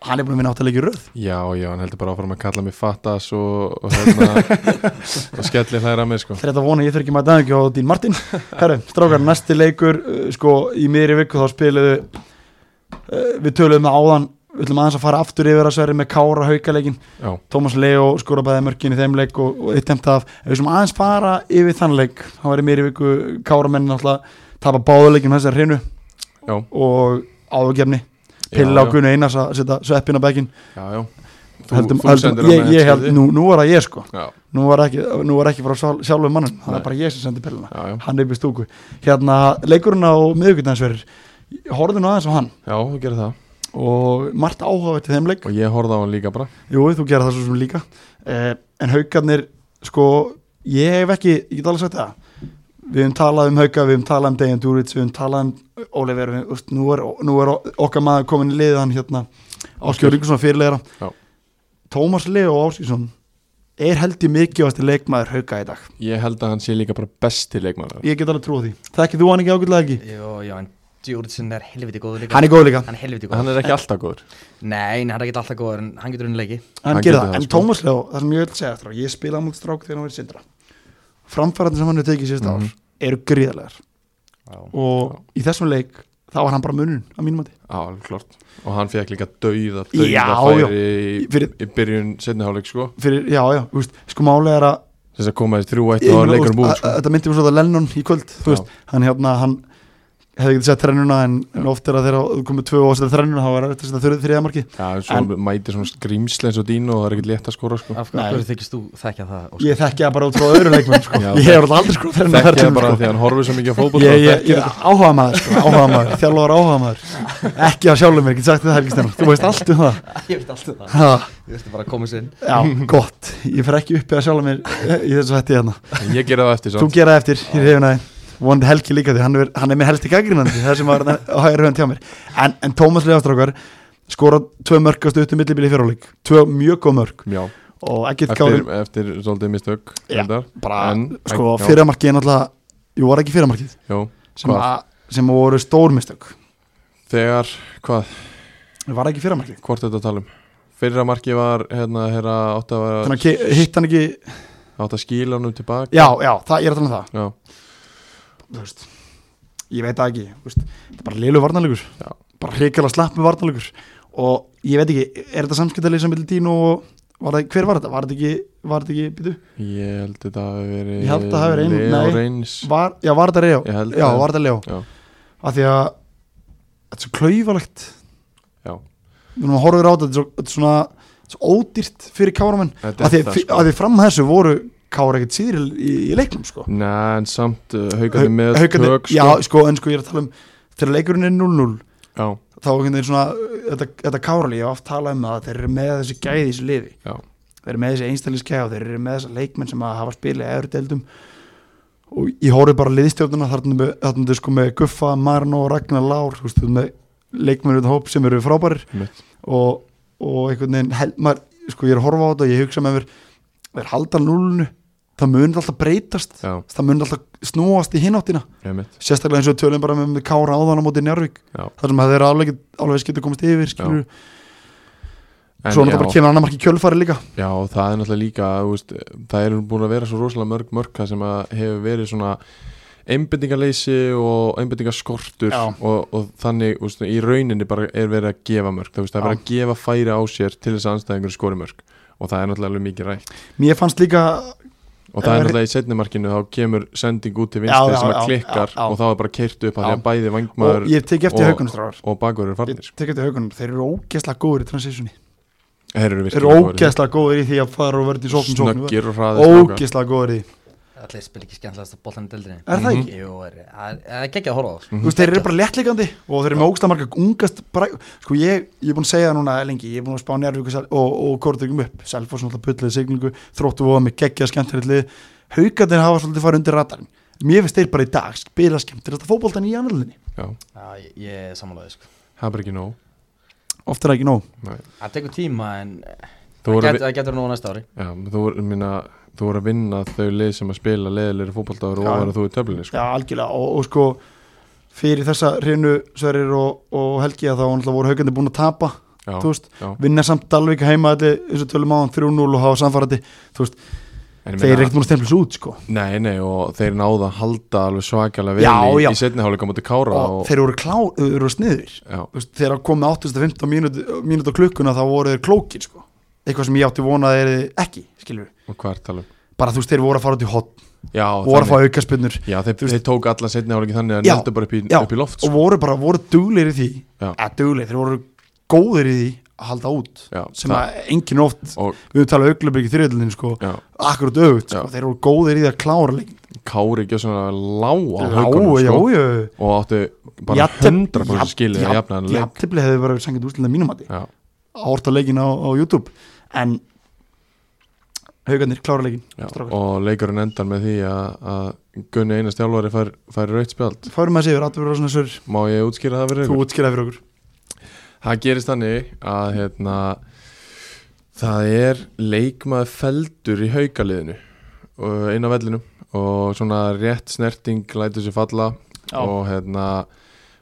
hann er búin að vinna áttalegir röð Já, já, hann heldur bara áfram að kalla mig fattas og, og hérna og skellir þær að mig, sko Þeir þetta vona að ég þurfi ekki að mæta aðeins á Dín Martin Herru, strákar, næsti leikur uh, sko, í miðri viku þá spiluðu uh, við töluðum að áðan við ætlum aðeins að fara aftur yfir að sverri með Kára haukaleikin, Já, Tómas Leo skora bæði mörkin í þeim leik og, og eitt emta af ef við sem aðeins fara yfir þann leik þá var í miðri viku Kára menn náttúrulega tapa báðuleikin þessar hreinu já, og áðurgefni Já, Pilla já. og Gunni Einars að setja sveppin á bekkin já, já Þú, heldum, þú heldum, sendir á ég, mig ég held, headsetið. nú, nú var það ég sko Já, nú var ekki, nú var ekki frá sjálf, sjálfum mannum það Nei. var bara ég sem sendi pilluna já, já hann er upp í stúku hérna leikurinn á miðugutæðansverður horfðu nú aðeins á hann Já, þú gerir það og margt áhuga til þeim leik Og ég horfði á hann líka bara jú þú gera það svo sem líka eh, en haugarnir sko ég hef ekki, ég get alveg sagt það við höfum talað um hauga, við höfum talað um Dejan Dúrits, við höfum talað um Oliver við, úst, nú, er, nú er okkar maður komin í liðan hérna Áskjör Ríkusson fyrirleira Já. Tómas Leo Áskjörsson er held ég mikilvægasti leikmaður hauka í dag Ég held að hann sé líka bara besti leikmann ég get alveg trúið því, þekkið þú hann ekki ágætlega ekki Jó, já, en Djúritsson er helviti góður líka hann er góð líka, Hann er helviti góður Hann er ekki alltaf góður Nei, nei, hann er ekki alltaf góður en hann getur unni leiki hann gerir Hann getur það, það, en sko. Tómas Leó það sem ég vil segja eftir á, ég spilaði mútið strák þegar hann var í sindra framfærandi sem hann hefur tekið síðust Mhm. ár eru gríðarlegar Já, og í þessum leik þá var hann bara munun að mínum mati Já, alveg klart Og hann fekk líka dauða, Já, já. dauða færi í, Fyrir- í byrjun setni hálfleik sko fyrir, já, já, þú veist, sko málega er að Þess að koma þér þrjú eitt Ég og meina, leikur um þú búin veist, sko að- þetta myndi mér svo að Lennon í kvöld þú Já. veist, hann hérna, hann hefði ekki sett þrennuna en, en oft er að þegar þú komið tvö og setja þrennuna þá er þetta setja þurrið þriða marki Já, en svo En- mætir svona skrýmsli eins og dínu og það er ekkert létt að skora sko Af af Nei. hverju þykist þú þekkja það Óskar? ég þekki það bara út frá öðru leikmenn sko. Já, ég hef alltaf aldrei sko þrennuna Þekki það ferlinum, bara sko. því að hann horfir svo mikið á fótboll ég, ég, ég er áhuga maður, sko, áhuga maður þjálfur áhuga maður, ekki af sjálfum mér get sagt þetta Helgi Stennar, þú veist allt um það Ég veist alltaf það ha, Ég veist bara að koma sér inn já, gott, ég fer ekki upp eða sjálfum mér í þessu hætti hérna En ég gera það eftir þú samt gera það eftir, ég hefði næði vonandi Helgi líka því, hann er, hann er með helsti gaggrinandi það sem var á hægri hönd hjá mér en, en Tómas Leifastrákar skora tvö mörg á stuttum millibili fyrráleik tvö mjög góð mörg Já, og ekkert eftir, káður eftir svolítið mistök Já, reyndar. bara, En- sko já, fyrramarkið er náttúrulega, jú var ekki fyrramarkið já, sem, Hvað? að- sem voru stór mistök Þegar, hvað, var ekki fyrramarkið hvort er þetta að tala um? Fyrra marki var, hérna, hérna, átt að, vera- þannig að ke- hitt hann ekki, átt að skíla honum tilbaka já, já, það, ég er að tala um það já, þú veist, ég veit það ekki þú veist, þetta er bara liðlu varnalegur Já. bara hrikalega slappur varnalegur og ég veit ekki, er þetta samskiptalið sem vildi tínu og var það, hver var þetta? Var þetta ekki, var þetta ekki, býtu? Ég held að þetta hafi verið Ég held að það hafi verið ein- Leó nei. Reynis Var, já, var þetta Leo? Ég held Já, það. var þetta Leo? Já. Af því að þetta er svo klaufalegt Já. Við erum að horfa á þetta, þetta er svo- þetta er svona svo ódýrt fyrir káramenn Þetta af því, er það, að sko. því fram að þessu voru kára ekkert síðir í, í leiknum sko. Nei, en samt uh, haugandi með Haukarnir- tök Já, sko. sko, en sko ég er að tala um þegar leikurinn er 0-0 já, þá einhvern veginn svona uh, þetta, þetta kárali, ég hef oft talað um það þeir eru með þessi gæði í þessu liði Já. þeir eru með þessi einstælisgæði og þeir eru með þessa leikmenn sem að hafa spilið eður deildum og ég horfði bara á liðstjórnuna þarna þarna þau sko með Guffa, Marno og Ragnar Lár þú veist, þú með leikmenn utan hóp sem eru frábærir mitt. og, og einhvern veginn held, maður, sko ég er að horfa á þetta og ég hugsa með mér þeir halda núlunu, það mun alltaf breytast já, það mun alltaf snúast í hináttina einmitt sérstaklega eins og við tölum bara með, með Kára áðan á móti Njárvík Já. þar sem að þeir eru alveg, alveg skiptu komast yfir skilur, En svo já, náttúrulega bara kemur annar marki kjölfari líka já, það er náttúrulega líka þú veist, það eru búin að vera svo rosalega mörg mörka sem að hefur verið svona einbendingarleysi og einbendingarskortur Já. og, og þannig úst, í rauninni bara er verið að gefa mörg það, úst, það er verið að gefa færi á sér til þess að anstæðingur skori mörg og það er náttúrulega alveg mikið rætt mér fannst líka og Eh, það er náttúrulega í setnimarkinu þá kemur sending út til Já, já, vinstri sem að já, klikkar já, já. og þá er bara keirt upp að Já. því að bæði og vangmaður ég tek eftir og- haugunustráðar og bakverður er ég farnir tek eftir haugunum, þeir eru ógeðslega góður í transitioni þeir eru þeir eru ógeðslega virkilega góðir. góður í því að fara og verða í sóknum sóknum snöggir og hraðir strákar. ógeðslega góður í því Allir spil ekki skemmtilegast að bollan í deildinni Er það ekki? Jú, er- það er ekki ekki að horfa á það sko. Þú veist, þeir eru bara léttlikandi og þeir eru með ógsta marga ungast bara, sko ég, ég er búin að segja það núna lengi ég er búin að spá njárvík og, Sel- og, og kortegum upp Selfoss náttúrulega pulluði siglingu þróttu voða með geggja skemmtilegt haugarnir hafa svolítið farið undir radarinn mér finnst þeir bara í dag spila skemmtilegt að fótboltan í annaðlinni, Já, Já, ég- ég er samanlega sko. það er bara ekki nóg oft er það ekki nóg Nei. Það tekur tíma en eh, þú það voru að, getur- það getur nú á næsta ári vi- já, þú voru, minna, þú voru að vinna þau lið sem að spila leðilegri fótballtáður og Já. ofar að þú í töflinni sko. já algjörlega og, og sko fyrir þessa hreinu sverir og, og helgi að þá náttúrulega voru haugarnir búin að tapa já, þú veist, já. vinna samt Dalvik heima allir eins og tölum á hann 3-0 og hafa samfarrandi En ég þeir eru meina- ekkert búin að stemplis út sko nei, nei, og þeir náða að halda alveg svakalega vel Já, í, já. í setniháleika mútið Kára og, og, þeir voru klá, þeir voru sniður já, Þú veist, þegar komið 8.15 mínútu, mínútu á klukkuna þá voru þeir klókir sko. eitthvað sem ég átti vona að þeir ekki skilur við, og hvað er talum bara þú veist þeir voru að fara út í hot já, voru að þannig. fá aukaspinnur já, þeir, þú veist- þeir tók alla setniháleiki þannig að Já, nöldu bara upp í, já, upp í loft sko. og voru bara, voru duglir í því Já. eða duglir, þeir voru góðir í því að halda út Já, sem það- að engin oft, og við höfum talað auglabrik í þriðlunni sko, já, akkurat auðvut sko, Já. þeir voru góðir í því að klára leikin Kári ekki svona lág á já, haugunum já, sko, já, og áttu bara 100% skilið að jafna hann leik jafntefli hefði bara verið sangið úrslinda mínum að já, áhorta leikin á, á YouTube en haugarnir klára leikin já, strákar. og leikurinn endar með því að að Gunni Einars þjálfari fær, fær rautt spjald fárum að segja við atbyrðurásuna sör má ég útskýra það fyrir þú ykkur? útskýraði fyrir okkur það gerist þannig að hérna Það er leikmaður feldur í haukaliðinu og inn á vellinum og svona rétt snerting lætur sér falla Já. og hérna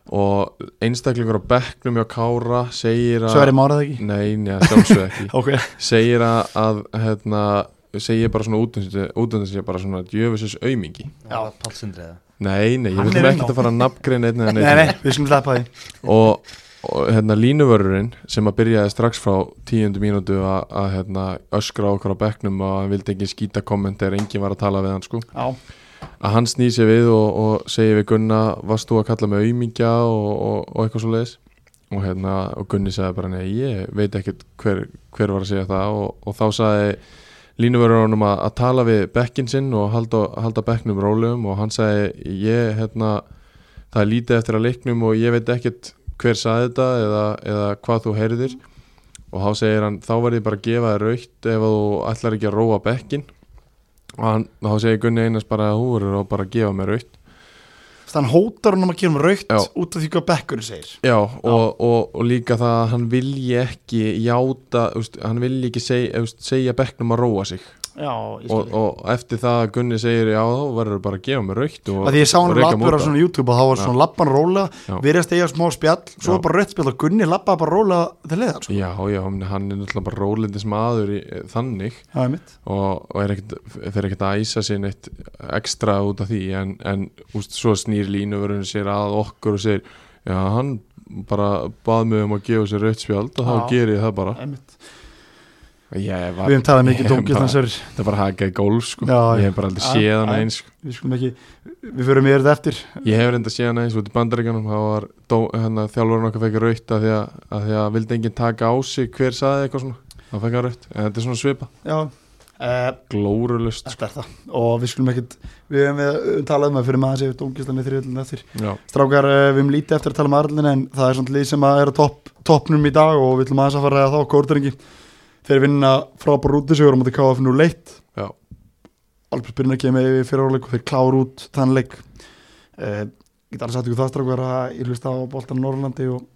og einstaklingur á bekknum hjá Kára segir að Svo er ég márað ekki Nei, njá, sjálfsög ekki Ok, segir að, að hérna, segir bara svona útöndan sér bara svona djöfisins aumingi Já. Pálsindri eða Nei, nei, ég Hann vil er ekki inn á. að fara að nafngreina einn nei, nei, við skulum sleppa því og, og hérna línuvörurinn sem að byrjaði strax frá tíundu mínútu að, að hérna, öskra á okkur á bekknum og hann vildi ekki skýta komment þegar enginn var að tala við hann sko Já, að hann snýr sér við og, og segir við Gunna varst þú að kalla mig auðmingja og, og, og eitthvað svo leiðis og, hérna, og Gunni sagði bara nei, ég veit ekkert hver, hver var að segja það og, og þá sagði línuvörður honum að, að tala við bekkin sinn og halda, halda bekknum rólegum og hann sagði ég, hérna, það er lítið eftir að leiknum og ég veit ekkert hver sagði þetta eða, eða hvað þú heyrðir og þá segir hann, þá verði bara að gefa þér raukt ef að þú ætlar ekki að róa bekkin og hann, þá segir Gunni Einars bara að hún verður og bara að gefa mér raukt þannig að hann hótar hún um að gera um raukt Já. út af því hvað bekkurinn segir já, og, og, og líka það að hann vilji ekki játa, úst, hann vilji ekki segja, úst, segja bekknum að róa sig Já, ég og, og eftir það að Gunni segir já, þá verður bara að gefa mér raukt og, að því ég sá hann og reka lappur á móta. svona YouTube og þá var svona lappan rólega Já. virðast eiga smá spjall, svo Já. var bara rautt spjall og Gunni lappaði bara rólega til leiðar sko. já, já, ég meina, hann er náttúrulega bara rólindis maður í, eh, þannig Já, einmitt. og, og er ekkert, fer ekkert að æsa sér neitt ekstra út af því en, en úst, svo snýr línuvörun sér að okkur og segir já, hann bara bað mig um að gefa sér rautt spjald og þá Já. ger ég það bara Einmitt. ég var, við höfum talað mikið ég dómgjöld bara- hans er það er bara hakað í gólf sko. Já, já. ég hef bara aldrei Já, séð hann já. eins sko. við skulum ekki, við förum yfir þetta eftir ég hef reynda séð hann eins út í bandaríkanum þá var dó, hana, þjálfurinn okkar fekk rautt af því að, að því að vildi enginn taka á sig hver saði eitthvað svona þá fekk hann rautt en þetta er svona sko. svipa já, uh, glórulust þetta er það og við skulum ekki, við höfum við höfum talað um að fyrir maður séu dómgjöldinni þriðlun eftir já, strákar, eh, við höfum lítið eftir að tala um aðrlun en það er svona lið sem að er á topp, toppnum í dag og við ætlum aðeins að fara að þá kórdrengi þeir vinna frábár útisögur á móti KF nú leitt já, Albert Brynna kemur yfir fyrir áleik og þeir kláru út þann leik uh, ég get alveg sagt ykkur það strákur að ég hlusta á boltan Norrlandi og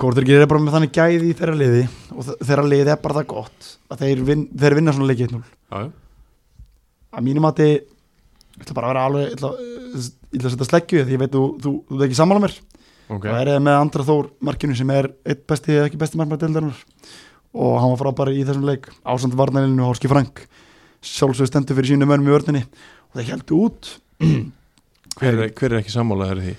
Kortrikir er bara með þannig gæði í þeirra liði og þe- þeirra liði er bara það gott að þeir, vin, þeir vinna svona leik 1-0 já, já. að mínum að þið ég ætla bara að vera alveg ég ætla, eh, ég ætla að setja sleggju því ég veit þú, þú, þú, þú er ekki sammála mér ok Það er með Andra Þór markinu sem er eitt besti eða ekki besti markmaður deildarinnar og hann var frábæri í þessum leik ásand varnarinu og Horski Frank sjálfsögur stendur fyrir sínum önum í vörninni og þeir heldur út hver, er- hver er ekki sammálaður því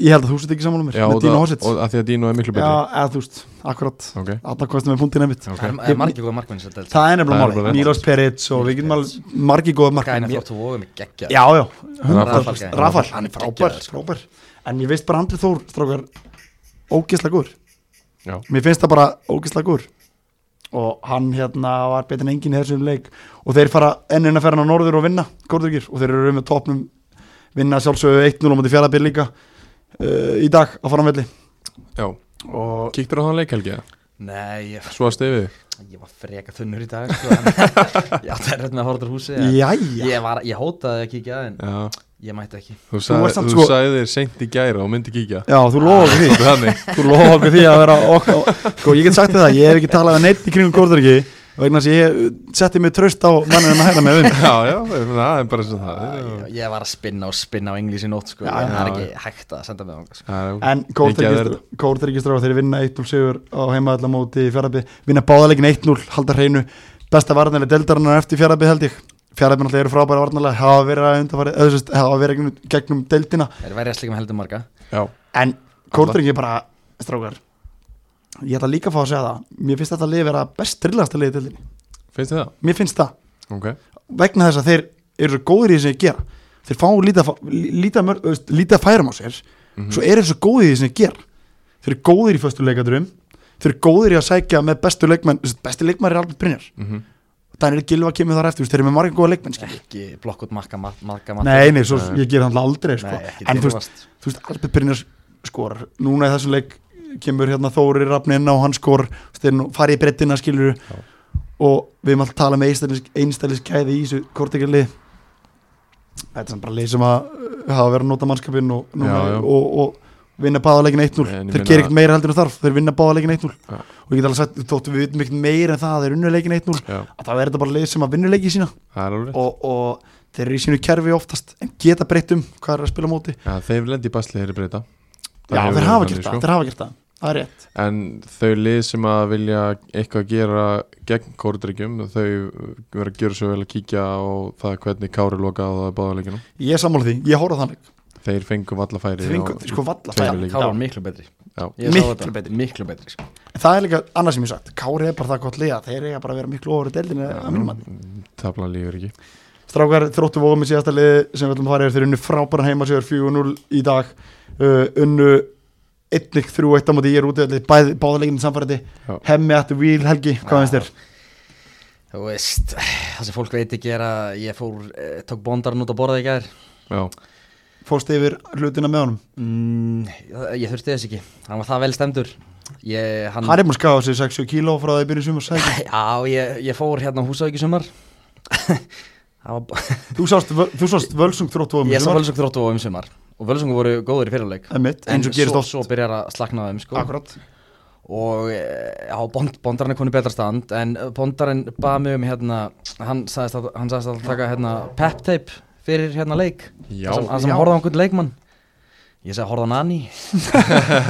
ég held að þú sett ekki sammála mér já, með og, Dino það- Hossits já, og að því að Dino er miklu betri eða þú veist, akkurat ok, alltaf kostum við punktinn einmitt ok Það er- það er margir góða markmenn sem það delt er Það er nefnilega bara máli, Milos Perits og við getum Milos alveg margi góða Gæna markmenn flott og vóðum í geggja já, já, Rafal gæði. Rafal, hann er frábær, Geggjaður, sko. frábær en ég veist bara Andri Þór, strákar ógeðslega góður já, mér finnst það bara ógeðslega góður og hann hérna var betur en enginn í þessum leik og þeir fara ennina ferðan á norður og vinna Kortugir og þeir eru með topnum vinna sjálfsögðu 1-0 á móti fjallabir líka uh, í dag á faranvelli já og kíktur á þann leikhelgi eða? Nei, ég, svo að stefið ég var freka þunnur í dag sko, en- Ég átti að reyna að horfa til húsi en jæja, Ég, var, ég hótaði að kíkja en já, ég mætti ekki þú varst sagði samt þú sko- sagði þér seint í gæra og myndi kíkja já þú lofa okkur því þannig, þú lofa okkur því að vera okkur sko ég get sagt þér það, ég hef ekki talað við neitt í kringum Kortugi vegna þess að ég eh, setti mig tröst á manninn að hæra með um já, já, það er bara sem það er, já. Ég, ég var að spinna og spinna á englísi nótt sko, Já, en það er já, ekki hægt að senda mig sko. á Það er- En Mikið að vera Kórþryggjastráð þeir vinna 1-0 sigur á heimaðallamóti í fjaraðby vinna báðalegin 1-0, halda hreinu besta varðanlega deildarinnar eftir fjaraðby held ég fjaraðby náttúrulega eru frábæra varðanlega hafa verið að undarfari, eða þess að hafa verið gegnum, gegnum deildina Það er verið að slíka með heldur marga já, en Kórþryggja bara strákar, ég ætla líka að fá að segja það mér finnst þetta lið vera best trillasta lið í deildinni, finnst þið það? mér finnst það ok, vegna þess að þeir eru svo góðir í því sem þeir gera þeir fá lítið að fá- lí- lítið af mörg- þú veist, lítið að færum á sér svo eru þeir svo góðir í því sem þeir gera þeir eru góðir í föstu leikadrum þeir eru góðir í að sækja með bestu leikmenn þú veist, besti leikmenn er Albert Brynjar mm Daniel Gilva kemur þar eftir, þú veist, þeir eru með marga góða leikmenn skilur. Ekki blokk út marga marga, marga nei, nei, svo, Nei. ég ger það aldrei sko. Nei, ekki en þú veist, dyrfast þú veist, Albert Brynjar skor núna í þessum leik kemur hérna Þóri Rafni inn á hann skor þú veist, þeir nú farið í brettina skilur Já. og við erum alltaf að tala með einstælis, einstælis kæði í þessu kortekalli þetta er samt bara leið sem að uh, hafa verið að nota mannskapin og, núna, Já, já. og, og, og, vinna báðalegin 1-0 En ég þeir meina- gerir ekkert meira heldur en þarf, þeir vinna báðalegin 1-0 Já. og ég get alveg sagt, þóttu við vitum ekkert meira en það að þeir unnulegin 1-0 Já, að það verður þetta bara leið sem að vinna leiki sína það er alveg rétt og, og þeir eru í sínu kerfi oftast en geta breytt um hvað er að spila á móti Já, þeir lendi í basli þeirri breyta Já, Það hefur þeir verið hafa þannig, gert sko. það, þeir hafa gert það Það er rétt En þau lið sem að vilja eitthvað gera gegn kórdryggjum þau verður að gera svo vel að kíkja á það hvernig Kári lokaði á það báðarleikinu. Ég er sammála því, ég horfði á þannig Þeir fengum alla færi Þeir fengu, sko, valla tveimur færi. leikjum. Já. Kára var miklu betri Já. Ég sá Miklu þetta. betri. Miklu betri sko. En Það er líka annað sem ég hef sagt Kári er bara það gott liða, þeir eiga bara að vera miklu ofur í deildinni að mínum mann Taflan lífur ekki Strákar þróttu vóðum í síðasta liði sem við ætlum að fara yfir þeir unnu frábæran heimasögur 4-0 í dag uh, unnu 1-3-1 á móti ég er út í báðaleginu samfærandi Já. Hemmi ættu Víl Helgi, hvað finnst þér? Þú veist, það sem fólk veit ekki er að ég fór, eh, tók bondarinn út að borða í gær Já, Fórst yfir hlutina með honum mm, Ég þurfti þess ekki, hann var það vel stemdur ég, Mm. hann, Hann er múin að skafa sig 60 kíló frá það í byrju sumar sæki. Já, ég, ég fór hérna á Húsavík í sumar Það var Þú sást, völ- þú sást völsung þróttu vóðum í Ég sá sumar Völsung þróttu og um sumar og Völsung voru góður í fyrirleik Einmitt, eins og gerist svo, oft. svo byrjar að slakna á þeim sko. Akkurat og e, já, bond, bondarinn er konið betra stand en bondarinn bað mig um hérna, hann sagðist að, hann sagðist að taka hérna, pep tape fyrir hérna leik Já. hann sem, hann sem Já. horfði á einhvern leikmann ég sagði horfði á Nani og,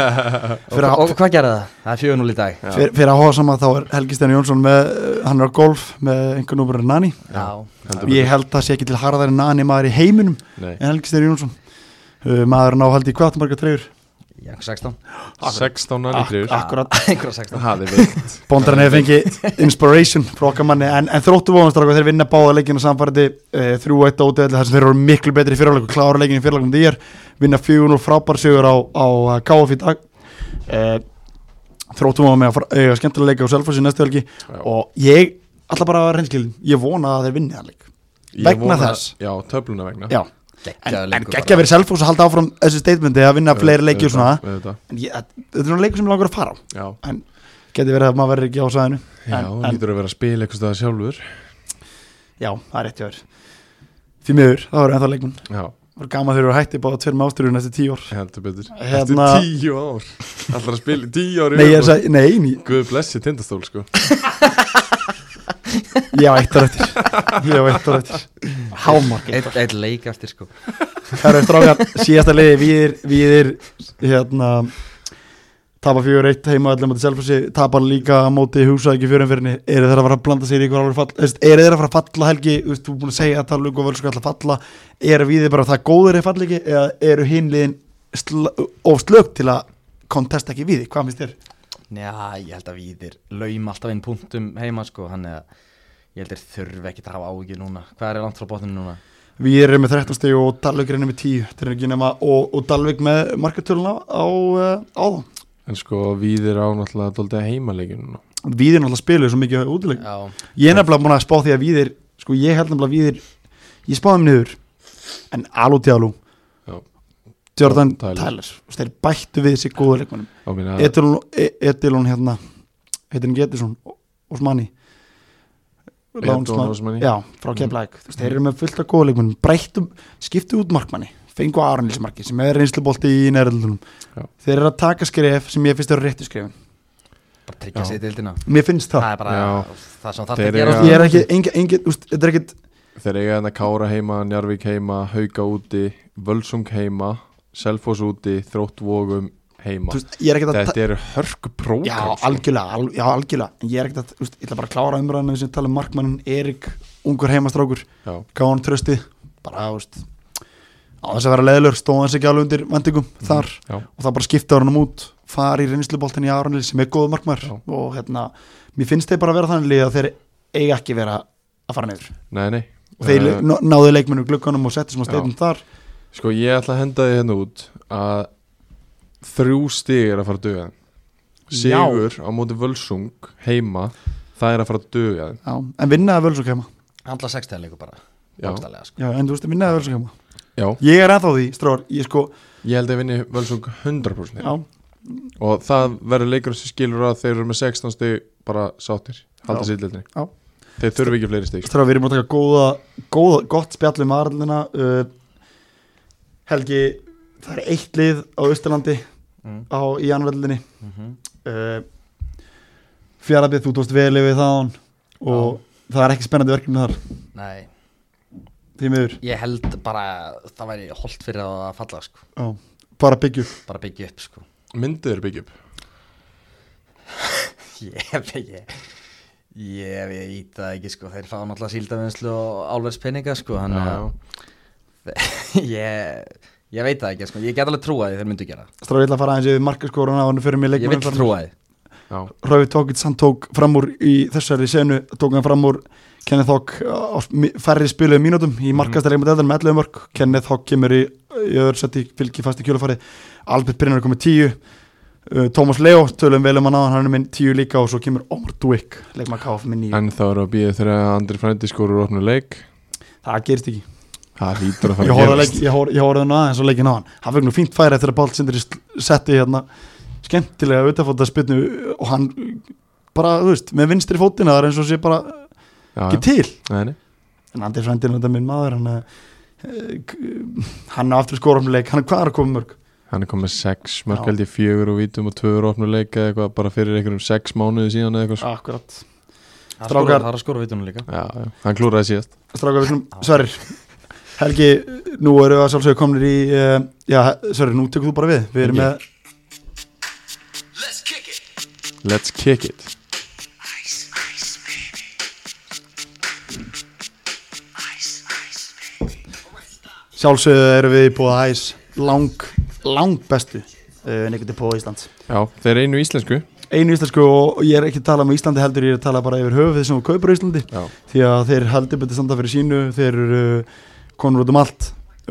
Fyrir að- og, og hvað gerði það? það er fjögunul í dag Já. Fyr- Fyrir að hóða saman þá er Helgi Steini Jónsson með, uh, hann er á golf með einhver númurinn Nani já. heldur Ég Ah, held það sé ekki til harðari Nani maður í heiminum betur. Nei, en Helgi Steini Jónsson uh, maður ná haldi í kvartmarga treyjur já, einhver 16 ah. 16 nanitrýr Akkurat, einhver 16 Það er veikt bóndarinn hefur fengið inspiration frá okkar manni en, en þróttu vóðanstrakku þeir vinna báða leikina samfærdi uh, 3-1 átöðli þar sem þeir eru miklu betri í fyrirleikum klára leikinu í fyrirleikum því er vinna 4-0 frábær sigur á, á uh, KF í dag uh, þróttu vóðan með að fara- eiga skemmtilega leika á Selfossi næstu helgi Já. og ég ætla bara að vera reynskilin ég vona að þeir vinni það leik Ég vegna vona- þess. Já, töfluna vegna já, en, Geggjaður en leikur geggja verið Selfoss að halda áfram þessu statementi að vinna fleiri leiki og svona Þetta, en ég, þetta er svona leikur sem ég langar að fara á já, en geti verið að maður verður ekki á sæðinu já En- en, en- lítur að vera að spila eitthvað staðar sjálfur já, það er rétt hjá þér því miður, það voru ennþá leikmenn Já, það voru gaman þegar þú hætti báða tveir með ástyrjun eftir tíu ár heldur betur Eftir Hérna- tíu ár Allra að spila í tíu ár í nei, ég er viðbót. að segja, nei, ný, Guð blessi tindastól sko ég á eitt ára eftir ég á eitt ára eftir hámark Einn- einn leik eftir sko það eru strákar, síðasta liði við, við er, hérna tapa 4-1 heima allir móti selfhúsi, tapa líka á móti húsa ekki fjörinfyrinni, eru þeir að fara að blanda sér í ykkur alveg fall, Þú veist, eru þeir að fara að falla helgi þú veist, þú er búin að segja að það lukku og völsku að falla eru við bara það góður eða fall ekki eða eru hinliðin of slögt til að kontesta ekki við þig? hvað finnst þér? Já, ég held að Víðir laum alltaf inn punktum heima sko, hann er ég held að þurfi ekki að hafa áhyggjur núna hvað er langt frá botninu núna? Við erum með 13 stíg og Dalvik er með 10 þetta er ekki nema, og, og Dalvik með markartöluna á, á, á þá En sko, við er á náttúrulega dóldi að heimaleikinu núna við erum alltaf spiluð svo mikið útileg Já, Ég er nefnilega búin að spá því að viðir Sko ég held nefnilega að viðir Ég spáði þeim niður En alú til alú Já. Jordan Tyler. Tyler og Þeir bættu við þessi góðu leikmannum Á minna, Edilon, E- Edilon hérna Heitin Getisson Osmani Lán Edilon Osmani. Osmani. Mhm. Já, frá Keflæk mm. Þeir eru með fullt af góðu leikmannum Breyttum, skiptu út markmanni Fengu Arnismarki sem er reynslubolti í næröldunum Já. Þeir eru að taka skref sem ég finnst eru réttu skrefin bara tryggja Já. sig í dildina Mér finnst Það það er bara Já. það sem þarf Þeir að gera sko. eiga- Ég er ekki, engin, engin, úst, þetta er ekkit Þeir eiga hérna Kára heima, Njarvík heima, Hauka úti, Völsung heima, Selfoss úti, Þróttvogum heima. þú veist, Ég er ekkit að Þetta eru hörku sko. prógram. Já, algjörlega, al, já, algjörlega En Ég er ekkert að, úst, ég ætla bara að klára umræðan sem tala um markmannin Erik, ungur heimastrákur Já, Gáðan trösti, bara, úst á þess að vera leðlur, stóða hans ekki alveg undir vendingum þar já. og það bara skipta honum út fara í reynsluboltin í Aronil sem er góð markmar Já. og hérna, mér finnst þeir bara vera þannig lið að þeir eiga ekki vera að fara niður Nei, nei. og þeir Eh, uh, náðu leikmennu glugganum og settu sem að stefnum þar Sko, ég ætla að henda þið hérna út að þrjú stig er að fara að duga þeim. Já. Sigur á móti Völsung heima, það er að fara að duga þeim. já, en vinnaði völsok heima Handla 60 leiku bara Já, bókstaflega, sko. já, en þú veist, vinnaði völsok heima já. ég er ennþá því, stráður, ég sko Ég held að vinni Völsung 100% já, og það verður leikur sem skilur að þeir eru með 16 stig bara sáttir, halda Já. sýtletinni. Já. Þeir þurfi ekki fleiri stig. Stráð, við erum að taka góða, góða, gott spjall um aðraldina uh, Helgi, það er eitt lið á Östurlandi mm. á, í anverðinni Mm uh, Fjarlabið, þú tókst vel yfir það án og það er ekki spennandi verkefni þar Nei, því miður, ég held bara að það væri holdt fyrir þá að falla sko, já, bara byggju bara byggja upp sko Myndu þér byggja upp Ég ég, ég, ég ít það ekki sko, þeir fá náttúrulega síldavinnslu og álverspenninga sko, þannig Já, að ég, ég veit það ekki sko, ég get alveg trúa því þeir myndu gera það. Stráði illa að fara aðeins yfir markaskórun á hann fyrir mig Ég vil trúa því já, Rauði Tókits, hann tók fram úr í þessari senu, tók hann fram úr Kenneth Hawk á mi- færri spiluðu mínútum Mhm. í markastalegum með eldan með 11 mörg Kenneth Hawk kemur í, í öðru seti fylgir fast í kjölufari, Albert Brynjar er komið 10 uh, Tómas Leo, tölum vel um hann á hann er minn 10 líka og svo kemur Omar Duik, leikmann KF með 9 en þá eru að býja þegar Andri Frændi skorur opnu leik það gerist ekki, Það hlýtur ég að fara horfði á leik- ég horf- ég horfði hann aðeins og leikin á hann, hann fekk nú fínt færi eftir að Páll Sindri sl- setti hérna skemmtilega auðvitafóta spilnu og hann bara, þú veist, með vinstri fótina það er eins og sé bara ekki Já, til já, nei, nei. en Andri Frændin er þetta minn maður hann, eh, k- hann á aftur skorumleik hann hvað er að koma mörg Hann er komið með sex Já. mörg held ég fjögur og vítum og tvöður opnu leik eða eitthvað bara fyrir einhverjum sex mánuði síðan eða eitthvað svo. akkurat Það er Strákar- skóra- það er að skóra vitunum líka Já, já, hann klúraði síðast stráka við svona Sverrir Helgi nú eru að sjálfsögur komnir í uh, já Sverrir nú tekur þú bara við við erum með Let's kick it sjálfsögur eru við búið að hæs lang lang bestu uh, neikundi på Íslands Já, þeir einu íslensku einu íslensku og ég er ekki að tala um Íslandi heldur ég er að tala bara yfir höfuð sem þú kaupur á Íslandi Já, því að þeir heldur betur standa fyrir sínu þeir eru uh, konur út um allt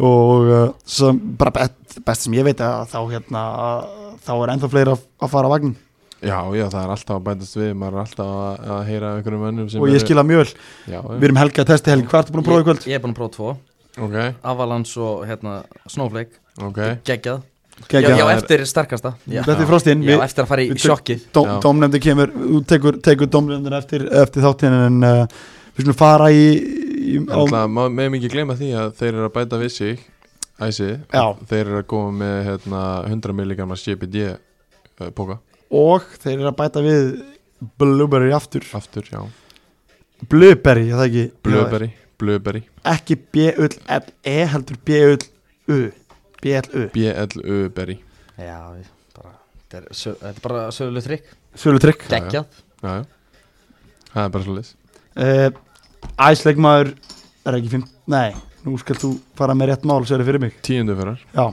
og uh, sem, bara best, best sem ég veit að þá hérna að þá er ennþá fleira að, að fara að vagn já, já, það er alltaf að bætast við maður er alltaf að, að heyra af einhverjum önnum sem og ég eru- skila mjög vel við Já, já, erum helgi að testi helgi, hvað ertu búin að prófa í kvöld? Ég, ég er búin að prófa tvo, ok, Avalanche og hérna, Snowflake, ok geggjað Kekja, Já, já, það er- eftir sterkasta Já, þetta er frostinn já eftir að fara í við- sjokkið dóm, Já. dómnefndi kemur, þú tekur, tekur dómnefndin eftir, eftir þáttinn en uh, við skulum fara í, í á, Þannig að maður meðum ekki gleyma því að þeir eru að bæta við sig æsi, Já. þeir eru að koma með hérna, 100 milligamma CBD uh, póka, og þeir eru að bæta við Blueberry aftur aftur, já Blueberry, er það ekki Blueberry, Blueberry, ekki B-U-L-E heldur B-U-L-U B-L-U BLU-berry Já, ég- bara, þetta er, sö- þetta er bara söguleg trikk Svölu trygg Já, já. Geggjað Já, já Það er bara svo leis uh, Æsleikmaður er ekki fimm Nei, nú skal þú fara með rétt mál sér fyrir mig Tíundu fyrir, Já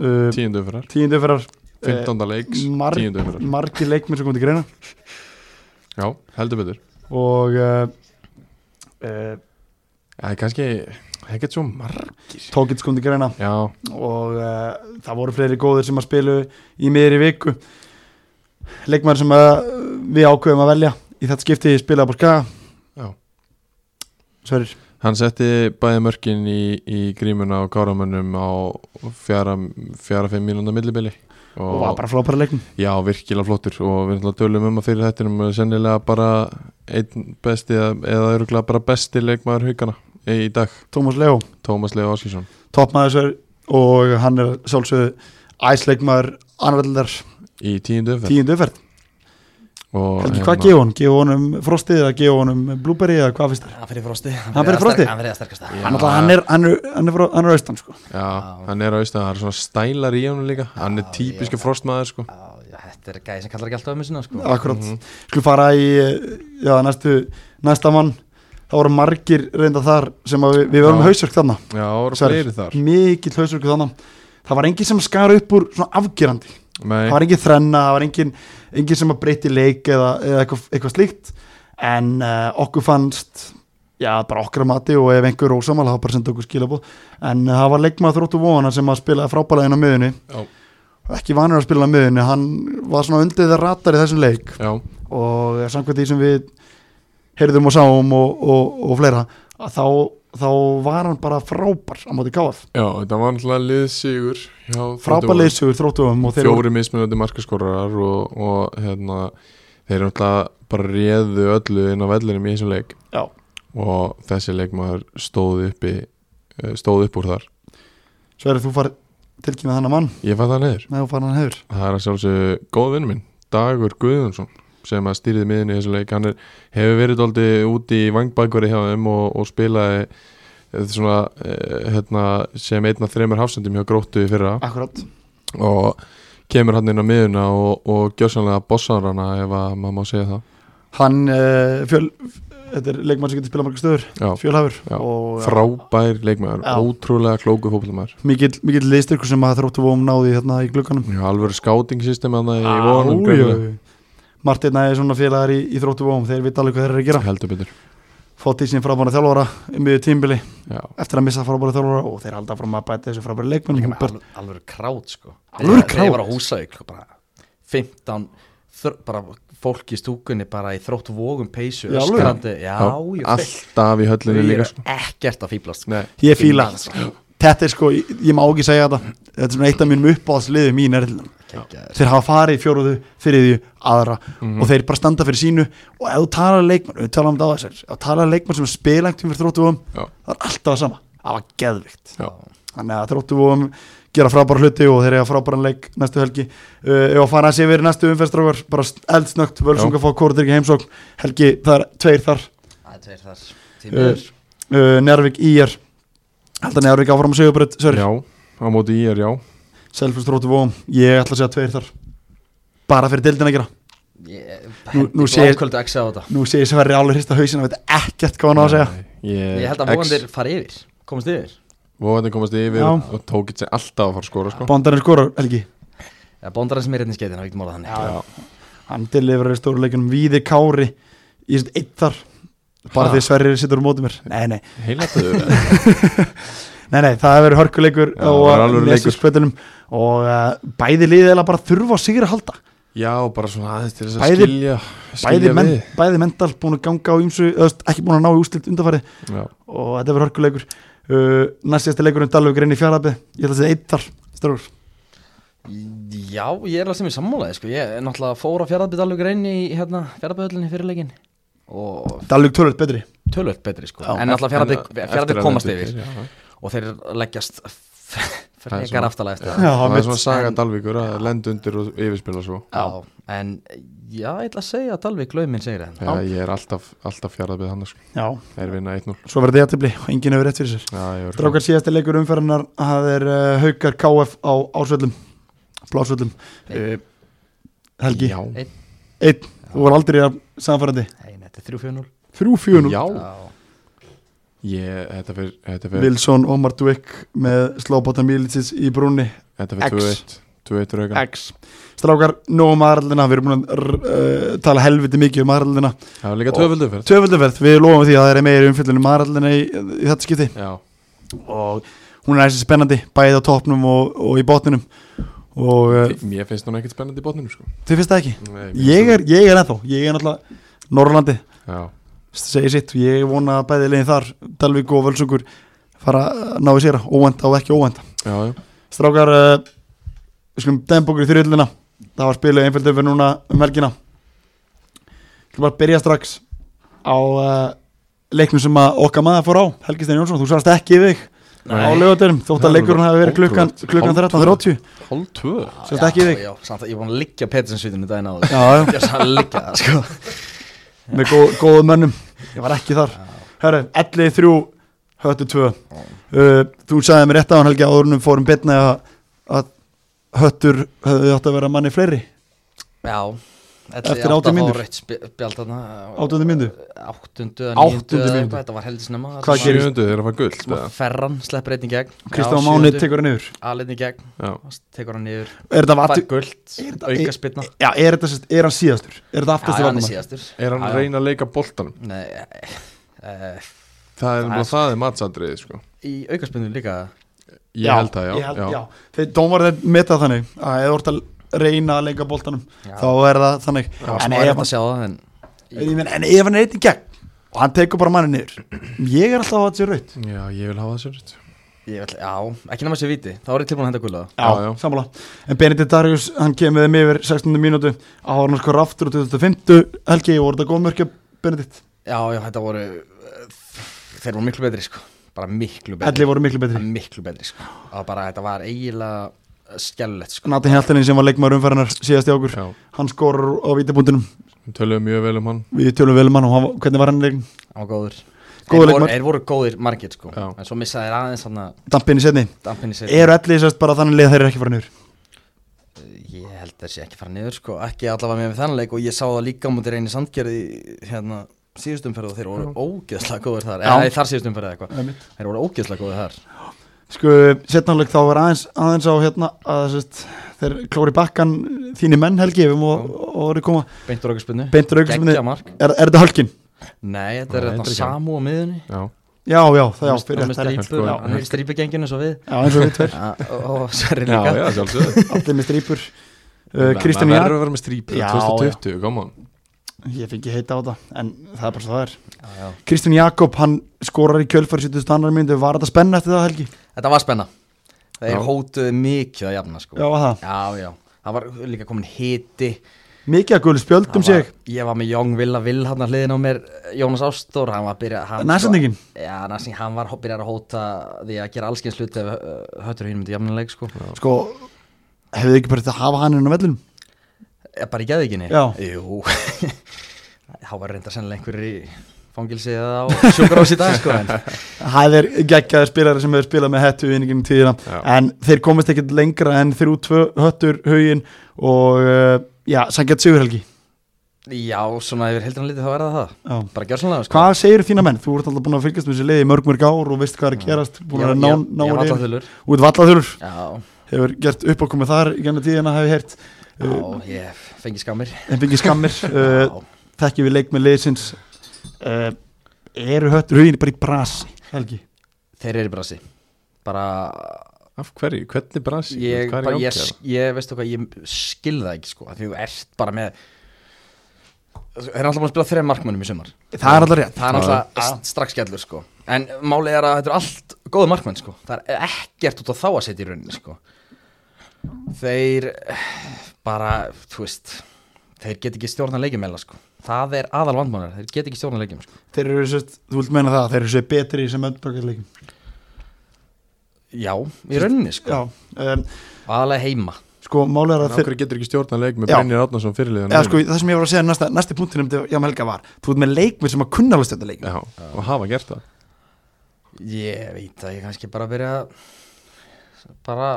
uh, tíundu fyrir Tíundu fyrir 15. leiks, mar tíundu fyrir Margi leikmið sem kom til greina Já, heldur betur Og uh, uh, Það er kannski, það er ekkert svo margir Tókits kom til greina Já, Og uh, það voru fleiri góðir sem að spilu Í miðri viku Leikmaður sem að, eh, við ákveðum að velja Í þetta skipti spilaði bara skaga já Sverir Hann setti bæði mörkin í, í grímuna og káramönnum á fjara, fjara fimm mínúnda millibili og var bara frábæra leiknum Já, virkilega flottur og við ætlum að tölum um að fyrir þættinum er sennilega bara einn besti eða, eða örgulega bara besti leikmaður haugana í dag, Tómas Leo, Tómas Leo Áskísson toppmaður sér og hann er sjálfsögðu æsleikmaður annaðar í tíundu umferð tíundu umferð og Helgi, hérna, hvað gefa honum? Gefa honum frostið eða gefa honum blueberry eða hvað finnst þér? Hann fyrir frosti Hann fer í frostið? Hann fyrir að sterkasta Já. Hann, alltaf- hann er, hann er, hann er, frá- hann er austan sko Já, hann er á auðvitað, það er svona stælar í honum líka hann er Já, típiski já. frostmaður sko Já, já, þetta er gæði sem kallar ekki alltaf um sinna sko Akkurat, Mhm. skulum fara í já, næstu, næsta mann það voru margir reynda þar sem að við, við varum Já. hausverk þarna Já, voru Sverrir. fleiri þar mikill hausverk þarna það var enginn sem skar upp úr svona afgerandi Nei, það var engin þrenna, það var engin, engin sem að breyti leik eða, eða eitthvað, eitthvað slíkt en uh, okkur fannst já, bara okkar að mati og ef einhver ósamal þá bara senda okkur skilabóð en uh, það var leikmaður þróttu vona sem að spilaði frábælega inn á miðunni Já. ekki vanur að spila á miðunni hann var svona undið það ratar í þessum leik já, og samkvæmt því sem við heyrðum og sáum og, og, og fleira að þá, þá var hann bara frábær á móti káð já, þetta var náttúrulega liðsigur hjá frábær Þrótti Vogum. leysjóður þróttuðum og þeir fjóri mismunandi markaskorarar og, og hérna, þeir eru alltaf bara réðu öllu inn á vellinum í þessum leik Já. og þessi leikmaður stóð uppi eh, stóð upp úr þar Sverri, þú farið tilkynna þennan mann Ég fann það neður með og fara hann hefur Það er að sjálfsögðu góð vinnu minn Dagur Guðjónsson sem að stýrið miðinu í þessu leik hann er, hefur verið daldið úti í vangbækveri hjá þeim og, og spilaði eh, svona, eh, hérna, sem einn af þreymur hafsendum hjá gróttu í fyrra Akkurat og kemur hann inn á miðuna og, og gjörsanlega bossar hana ef að maður má segja það Hann, uh, fjöl, þetta er leikmann sem getur spilað margar stöður, Já, fjölhafur Já. og eh, ja, frábær leikmaður, Já. ótrúlega klóku fókbalmaður mikill, mikill liðstyrkur sem að þróttu vóum náði hérna í glugganum alvöru skátingsystem hann í Á, vonum jú, greinilega. jú. Martin æði svona félagar í, í þróttu vóum þeir vita alveg hvað þeir eru að gera heldur betur fótt í sín frábæra þjálfara um miður tímbili Já. eftir að missa frábæra þjálfara og þeir halda fram að bæta þessu frábæra leikmann Líka með alveg, alveg krát sko Alvöru Þegar- Þegar ég var á krát? húsauk bara 15 þr, bara fólk í stúkunni bara í þrótt vógum peysu Í alvöru? öskrandi, já, já, alltaf í ég höllinni ég líka er sko. ekkert að sko. fýblast Nei, Ég fíla það Þetta er sko, ég, ég má ekki segja þetta Þetta er svona eitt af mínum uppáðsliðum í nærðilum Þeir hafa farið í fjóruðu, þriðju, aðra Og þeir bara standa fyrir sínu Og ef þú talar við leikmann, við talaðum þetta á þessar Ef þú talar við leikmann sem er spilangt fyrir þróttuvóðum Já. Það er alltaf það sama, það var geðvikt Já. Þannig að þróttuvóðum gera frábæra hluti Og þeir eiga frábæran leik næstu helgi uh, Ef að fara að sé verið næstu umferðstrákar Bara eldsnögt, völsunga fá kóruður ekki heimsókn Helgi, það er tveir þar Það er tveir þar miður. uh, Njárvík íjar Held að Njárvík áfram að segjubröð Sörri, já, á móti í er já Selfoss tróti vóum Ég ætla að segja tveir þar Bara fyrir dildin að gera Nú- nú Nú sé sér- ég Ákvöldu ekki segja á þetta Nú sé ég Sverri alveg hrista hausin að veit ekkert hvað hann á að segja Eh, ég, Ég held að mógandir fara yfir Komast yfir vóðandir komast yfir Já. og tók eitthvað alltaf að fara að skora sko. Bondarinn skorar, Helgi Já, Bóndarinn sem er hérna í skeitina, við getum orðað þannig Já. Hann tilifur í stóru leikunum Víði Kári Ég set eitt þar Bara Ha? því Sverri sittur á móti mér Nei, nei, heilatöður nei, nei það hefur verið hörkuleikur Já, og það er alvöru leikur. lesisplötunum og uh, bæði liðið eða bara þurfa á sigri að halda já, bara svona aðeins til þess að Bæði- skilja bæði, skilja men, bæði mental búin að ganga á ýmsu eða þú veist, ekki búin að ná í ústilt undarfæri við já. og þetta verður hörkuleikur uh, næst síðasta leikurinn Dalvik reynir fjárhafi ég ætla að segja eitt þar strókur Já, ég er alveg sem ég sammálaði sko. Ég er náttúrulega fór á fjárðarbyrð alveg grein í hérna, fjárðarbyrðöllinni fyrir leikin og Dalvik tölvöld betri tölvöld betri sko. Já, en náttúrulega En, uh, eftir að fjárðarbyrð komast þetta yfir er, já. og þeir leggjast Það er frekar svona- aftalega eftir Já, það það mitt. er svona saga En- Dalvíkur að lenda undir og yfirspila svo Já, en já, ég ætla að segja að Dalvik lögum minn segir það já, ég er alltaf, alltaf fjarað við hann sko. já er vinna 1-0 svo verður þetta jættibli og enginn hefur rétt fyrir sér Já, ég er sko. strákar síðasta leikur umferðinar það er uh, Haukar KF á ásvöllum blásvöllum uh, Helgi já, einn þú var aldrei að samfærandi Nei, þetta er 3-4-0 3-4 já. Já. Ég, þetta fyrir, þetta fyrir, Wilson Omar Dwick með Slobotan Milicic í brúnni þetta X. fyrir 2-1 2-1 raugan X strákar nóg um aðraldina við erum búin að uh, tala helviti mikið um aðraldina Það var líka tvöföldu fyrir Tvöföldaferð, við lofum því að það er meiri umfyllunum marallina í, í þetta skipti Já, og hún er þessi spennandi bæði á topnum og, og í botninum og uh, mér finnst hún ekkert spennandi í botninu sko. þið finnst það ekki Nei, mér ég finnst er, ég er ennþá, ég er náttúrulega Norrlandi, hún- Já, segir sitt og ég vona að bæði leginn þar, Dalvík og Völsungur fara að ná í sér óvenda og ekki óvenda já, já Strákar, uh, við skulum dæmbókur í þyrjöldina Það var spiluð einfjöldu fyrir núna um helgina Við skulum bara byrja strax á uh, leiknum sem að okkar maður fór á Helgi Steinn Jónsson, þú svarst ekki við þig á Nei. lögatörum Þótt Það að er leikurinn hafi verið klukkan, ótrúlegt. klukkan 13.30 Hálf tvö Sérst ekki í Já, þig? já, samt að Ég er búin að liggja Petersen-svitinu daginn á Já, já, Ég er samt að liggja það sko með góð, góðum mönnum Ég var ekki þar Herru, 11.3, höttu 2 uh, Þú sagði mér rétt á hann Helgi áðurinnum fórum betna að, að höttur höfðu átt að vera manni fleiri Já Eftir 18 mínútur? Áttundu 8 mínútur? Áttundu eða Áttundu níundu eða mínútur. eitthvað, Þetta var heldinsnema Hvað gerist? Sjöndu þeir að fara guld Smá ferran, sleppur einn í gegn Kristján Máni tekur hann yfir Alinn í gegn, Já, tekur hann niður Er þetta Fær aftur, guld, Er þetta- auka spilna Já, er, þetta, sérst- er hann síðastur? Er þetta Já, aftast í hann er varnamæð? síðastur er hann Já, að já. reyna að leika boltanum? Nei, eh, eh, Það er Það bara er- það er matsadriði sko í auka spilnu líka Ég held það, já, ég held, já. Þeir dómarið metað þannig að eða orðið að reyna að leika boltanum Já. þá er það þannig en, Smá er ef, þetta að sjá það en en, ég meina, en ef hann er einn í gegn og hann tekur bara manni niður ég er alltaf að þetta sé raut já ég vil hafa það sér rétt Ég ætla, já, ekki nema sér viti, þá er ég tilbúin að henda gulla Já, já. sammála en Benedikt Darius hann kemur þeim yfir 16. mínútu að hann skor aftur á 2005 helgi og orðið að góð mörkja Benedikt Já, já, þetta voru eh, Þeir voru miklu betri, sko bara miklu Elli betri voru miklu betri miklu betri sko. það var bara, þetta var eiginlega skellett sko. Nati Hjaltanin sem var leikmaður umferðarnar síðast í okkur Já, Hann skorur á vítabúndunum við töluðum mjög vel um hann Við tölum vel um hann og hann, var- hvernig var hann í leikin það var góður Góður Þeir voru, leikmaður. þeir voru góðir margir sko Já. en svo missaði þeir aðeins hann að Dampin í setni dampinni sér Eru elli sérst bara þannig leið að þeir eru ekki farin yfir ég held þessi ekki fara niður sko ekki allavega með þennan leik og ég sá það líka á múti reyni sandgerði hérna síðustumferð og þeir voru ógeðslega góðir þar eða Já. nei, þar síðustumferð eða eitthvað þeir voru ógeðslega góðir þar Sko, setnáleik þá var aðeins, aðeins á hérna að sérst Þeir klóri bakkan þínir menn helgi ef um og, og eru koma beintur okkur spennu Beintur aukusminni geggja mark Er, er þetta hölkin? nei þetta er Nei, þetta er hérna ekki Samu á miðunni Já, Já, já, það já, fyrir hann þetta er er rétt, strípur sko. hann er í strípugenginu svo við Já, eins og við tveir Ah, og Sverri já, já líka sjálfsögðu Allir með strýpur uh, Kristján Það verður Jár að vera með strípur Já, 2020, come on Ég fengi heita á það En það er bara svo það er Já, já. Kristján Jakob, hann skorar í kjölfæri 70 annar myndu Var þetta spenna eftir það Helgi? þetta var spenna Já. þeir hótuðu mikið að jafna sko Já, var það Já, já, það var líka komin hiti Mikið að guðlu Það spjöldum var, sig Ég var með Jón Villa Vill hann að hliðin á mér eh, Jónas Ástór, hann var að byrja hann- Næsendingin? Já, næsendingin, hann var byrjað að hóta því að gera allskeins hluti ef eh, höttur hinn myndi jafnileg sko Sko, hefðu ekki bara þetta að hafa hann inn á vellunum? Ég bara í geðvikinni Já. Jú Há var reynda sennilega einhverjir í fangilsi eða á sjúkrós í dag sko en, Það er geggjaður spilari sem hefur spilað með hettu í einingin tíðina Já. En þeir komist ekkit lengra en þrjú tvö höttur haugin Og uh, já, sangjart sigur Helgi Já, svona yfir heldur hann litið þá er það það Já Bara gjörsanlega sko Hvað segir þína menn? Þú ert alltaf búin að fylgjast með þessi liði í mörg mörg ár og veist hvað er að gerast Búin að Ég- ná, ég- ná Ég var henni. alltaf þullur út vallaþurur Já, hefur gert uppákomið þar í gennum tíðina hefur heyrt já, uh, ég fengi skammir en fengið skammir uh, Já. þekkjum við leik með liðsins uh, eru höttur hugin bara í brasi Helgi Þeir eru brasi Bara Af hverju, hvernig bransi, ég, hvað bara, er ég, ég ákjæða? sk- ég veistu hvað, ég skil það ekki sko, af því þú ert bara með þeir eru alltaf búin að spila þreja markmönnum í sumar það er alltaf rétt það er Já. alltaf st- strax skellur sko en málið er að þetta eru allt góðu markmenn sko það er ekkert út á þá að setja í rauninni sko þeir eh, bara, þú veist þeir get ekki stjórna leikjum eða sko það er aðal vandmánar, þeir get ekki stjórna leikjum sko. þeir eru sérst, þú vilt meina það, þeir eru sérst betri sem öndbökkarleikum já, í rauninni sko já, um, aðalega heima sko málið er Af að þeir hverju getur ekki stjórna leik með Já. Brynjar Átnarsson fyrirliðan eða sko, það sem ég var að segja næsta, næsti punktin um þetta hjá Helga var, þú ert með leikmið sem að kunna alveg stjönda leikum Já, og hafa gert það Ég veit að ég kannski bara byrja að- bara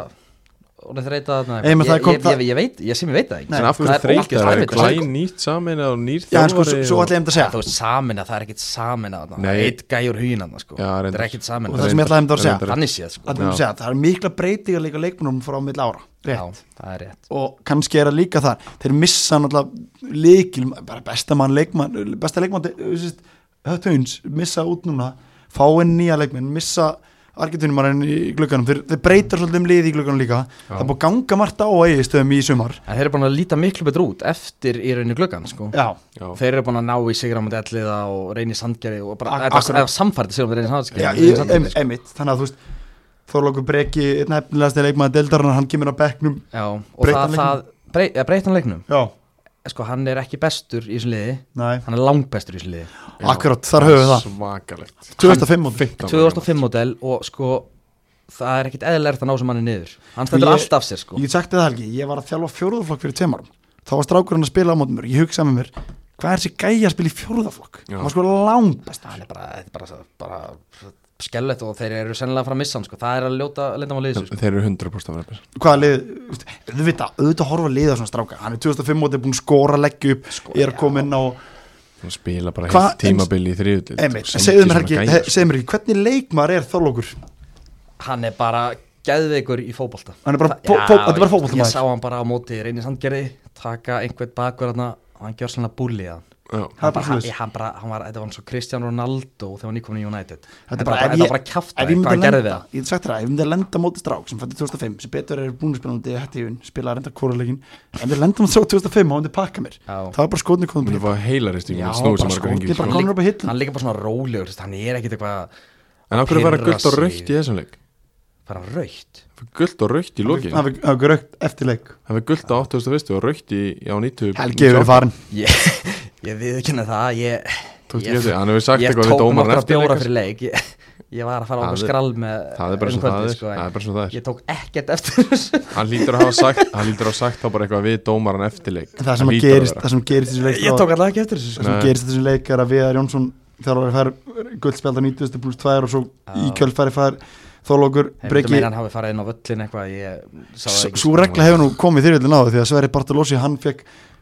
orðið þreita þarna Nei, menn ég, það kom- ég, ég, ég veit, ég sem ég veit það ekki Nei, En af það hverju er þreytir ógeðslega það er erfitt. glæn nýtt samin og nýr já, en sko, svo, þjálfari svo og- ætla ég um þetta að Það segja er samina, það er ekkit samina þarna Nei. Eitt gæ úr huginn þarna sko Já, Það reyndar. er ekkit samina Og það sem ég ætlaði um þetta að segja. Reyndar. Þannig séð sko Ætla ég um að segja, það er mikla breytingarleika leikmennum frá mill ára rétt. Já, það er rétt og kannski er það líka þar þeir missa náttúrulega leikil bara besta mann leikmann besta leikmann höttuins missa út núna fá inn nýja leikmenn missa argetunumarinn í glögganum þeir, þeir breytar svolítið um liði í glögganum líka það er búið að ganga margt á að eigi stöðum í sumar En þeir eru búin að líta miklu betur út eftir í rauninni gluggan sko já, Já. Þeir eru búin að ná í Sigramundi Elliða og reyni Sandgerði og bara Ak- eða- akkurat. eða samfærdi Sigramundi reyni Sandgerði já Reyni ég, Sandgerði, sko. em, emitt þannig að þú veist Þorlóku Breki, einn hefnilegasti leikmann deildarinnar, hann kemur á bekknum Já, og Breyttan það, það brey, eða breytan leiknum já, Sko, hann er ekki bestur í þessum liði næ, Hann er langbestur í þessum liði akkurat, þar höfum við það Svakalegt 2005 móti 2005 model og sko það er ekkit eðlert að ná sem hann er niður hann Sko, stendur ég- allt af sér sko Ég get sagt þið það helgi, ég var að þjálfa fjóruðaflokk fyrir tveim árum Þá var strákurinn að spila á mótum mér Ég hugsaði með mér, hvað er þessi gæja að spila í fjóruðaflokk? Já. Það var sko langbest hann er bara, þetta er bara, bara skellett og þeir eru sennilega að fara að missa hann sko það er að ljóta lindam á liðis sko. Þeir eru 100% að vera best Hvaða lið, þú veist, auðvitað, auðvitað horfa liða svona stráka Hann er 2005 mótið búin að skora, leggja upp Skora, Ég er að koma inn á, Hún spila bara Hva- heilt tímabili í þriðutild einmitt, segðu mér helgi sko. he- Segðu mér ekki, hvernig leikmar er þorlókur? hann er bara geðveikur í fótbolta Hann er bara Það- fó- Já, fó- þetta er bara ég- ég sá fótboltamaður. hann bara á móti reynir sandgerði taka einhvern bakur hann og hann gjör svona búlið hann Það Hann er bara bara, hann, svoleiðis. hann bara, hann var, þetta var hann svo Kristján Ronaldo þegar hann íkomin í United Þetta er Þetta bara- ef var ég- bara Ef kjafta, ég hvað myndi hann gerði við lenda, ég það get sagt þér það, ef ég myndi lenda á móti strák sem fætti 2005, sem betur er búin að spila móti hættífun, spila reyndar kóralegin, en við lendum á strák 2005 og hann myndi pakka mér, Já. það var bara skotni Hún komið er bara heilarist Já, Snúið sem bara margar skotið, hengið bara sko. kom- Hann er bara hitla. hann er líka bara svona rólegur þú veist, hann er ekkit eitthvað En af hverju var pirra gullt og sig. raukt í þessum leik? bara raukt Gullt og raukt í lokin Það var grögt eftir leik Það var gullt á 81. og raukt í á 90 Helgi hefur verið farin Ég, ég viðkynna það, ég, Tókstu ég, ekki eftir því? Hann hefur sagt ég eitthvað við tók dómarann nokkra eftir bjóra leik, fyrir leik, ég, ég var að fara á okkur Það er- skrall með það er bara svo um það kvöldið, er, sko, en það er bara svo það er ég tók ekkert eftir þessu hann lítur að hafa sagt, hann lítur að hafa sagt þá bara eitthvað við dómaran eftirleik það sem að gerist, það sem gerist í þessu leik ég tók allavega ekki eftir þessu það sko. sem Nei. gerist í þessum leik er að Viðar Jónsson þjálfari fær guldspjald á 90 pluss 2 og svo í Já. kjölfæri fær Þorlókur Breki... Breki meina hann hafi farið inn á völlin eitthvað ég sá það S- ekki sko. Sú regla hefur nú komið þyrjöldin á það því að Sverri Bartolossi hann fekk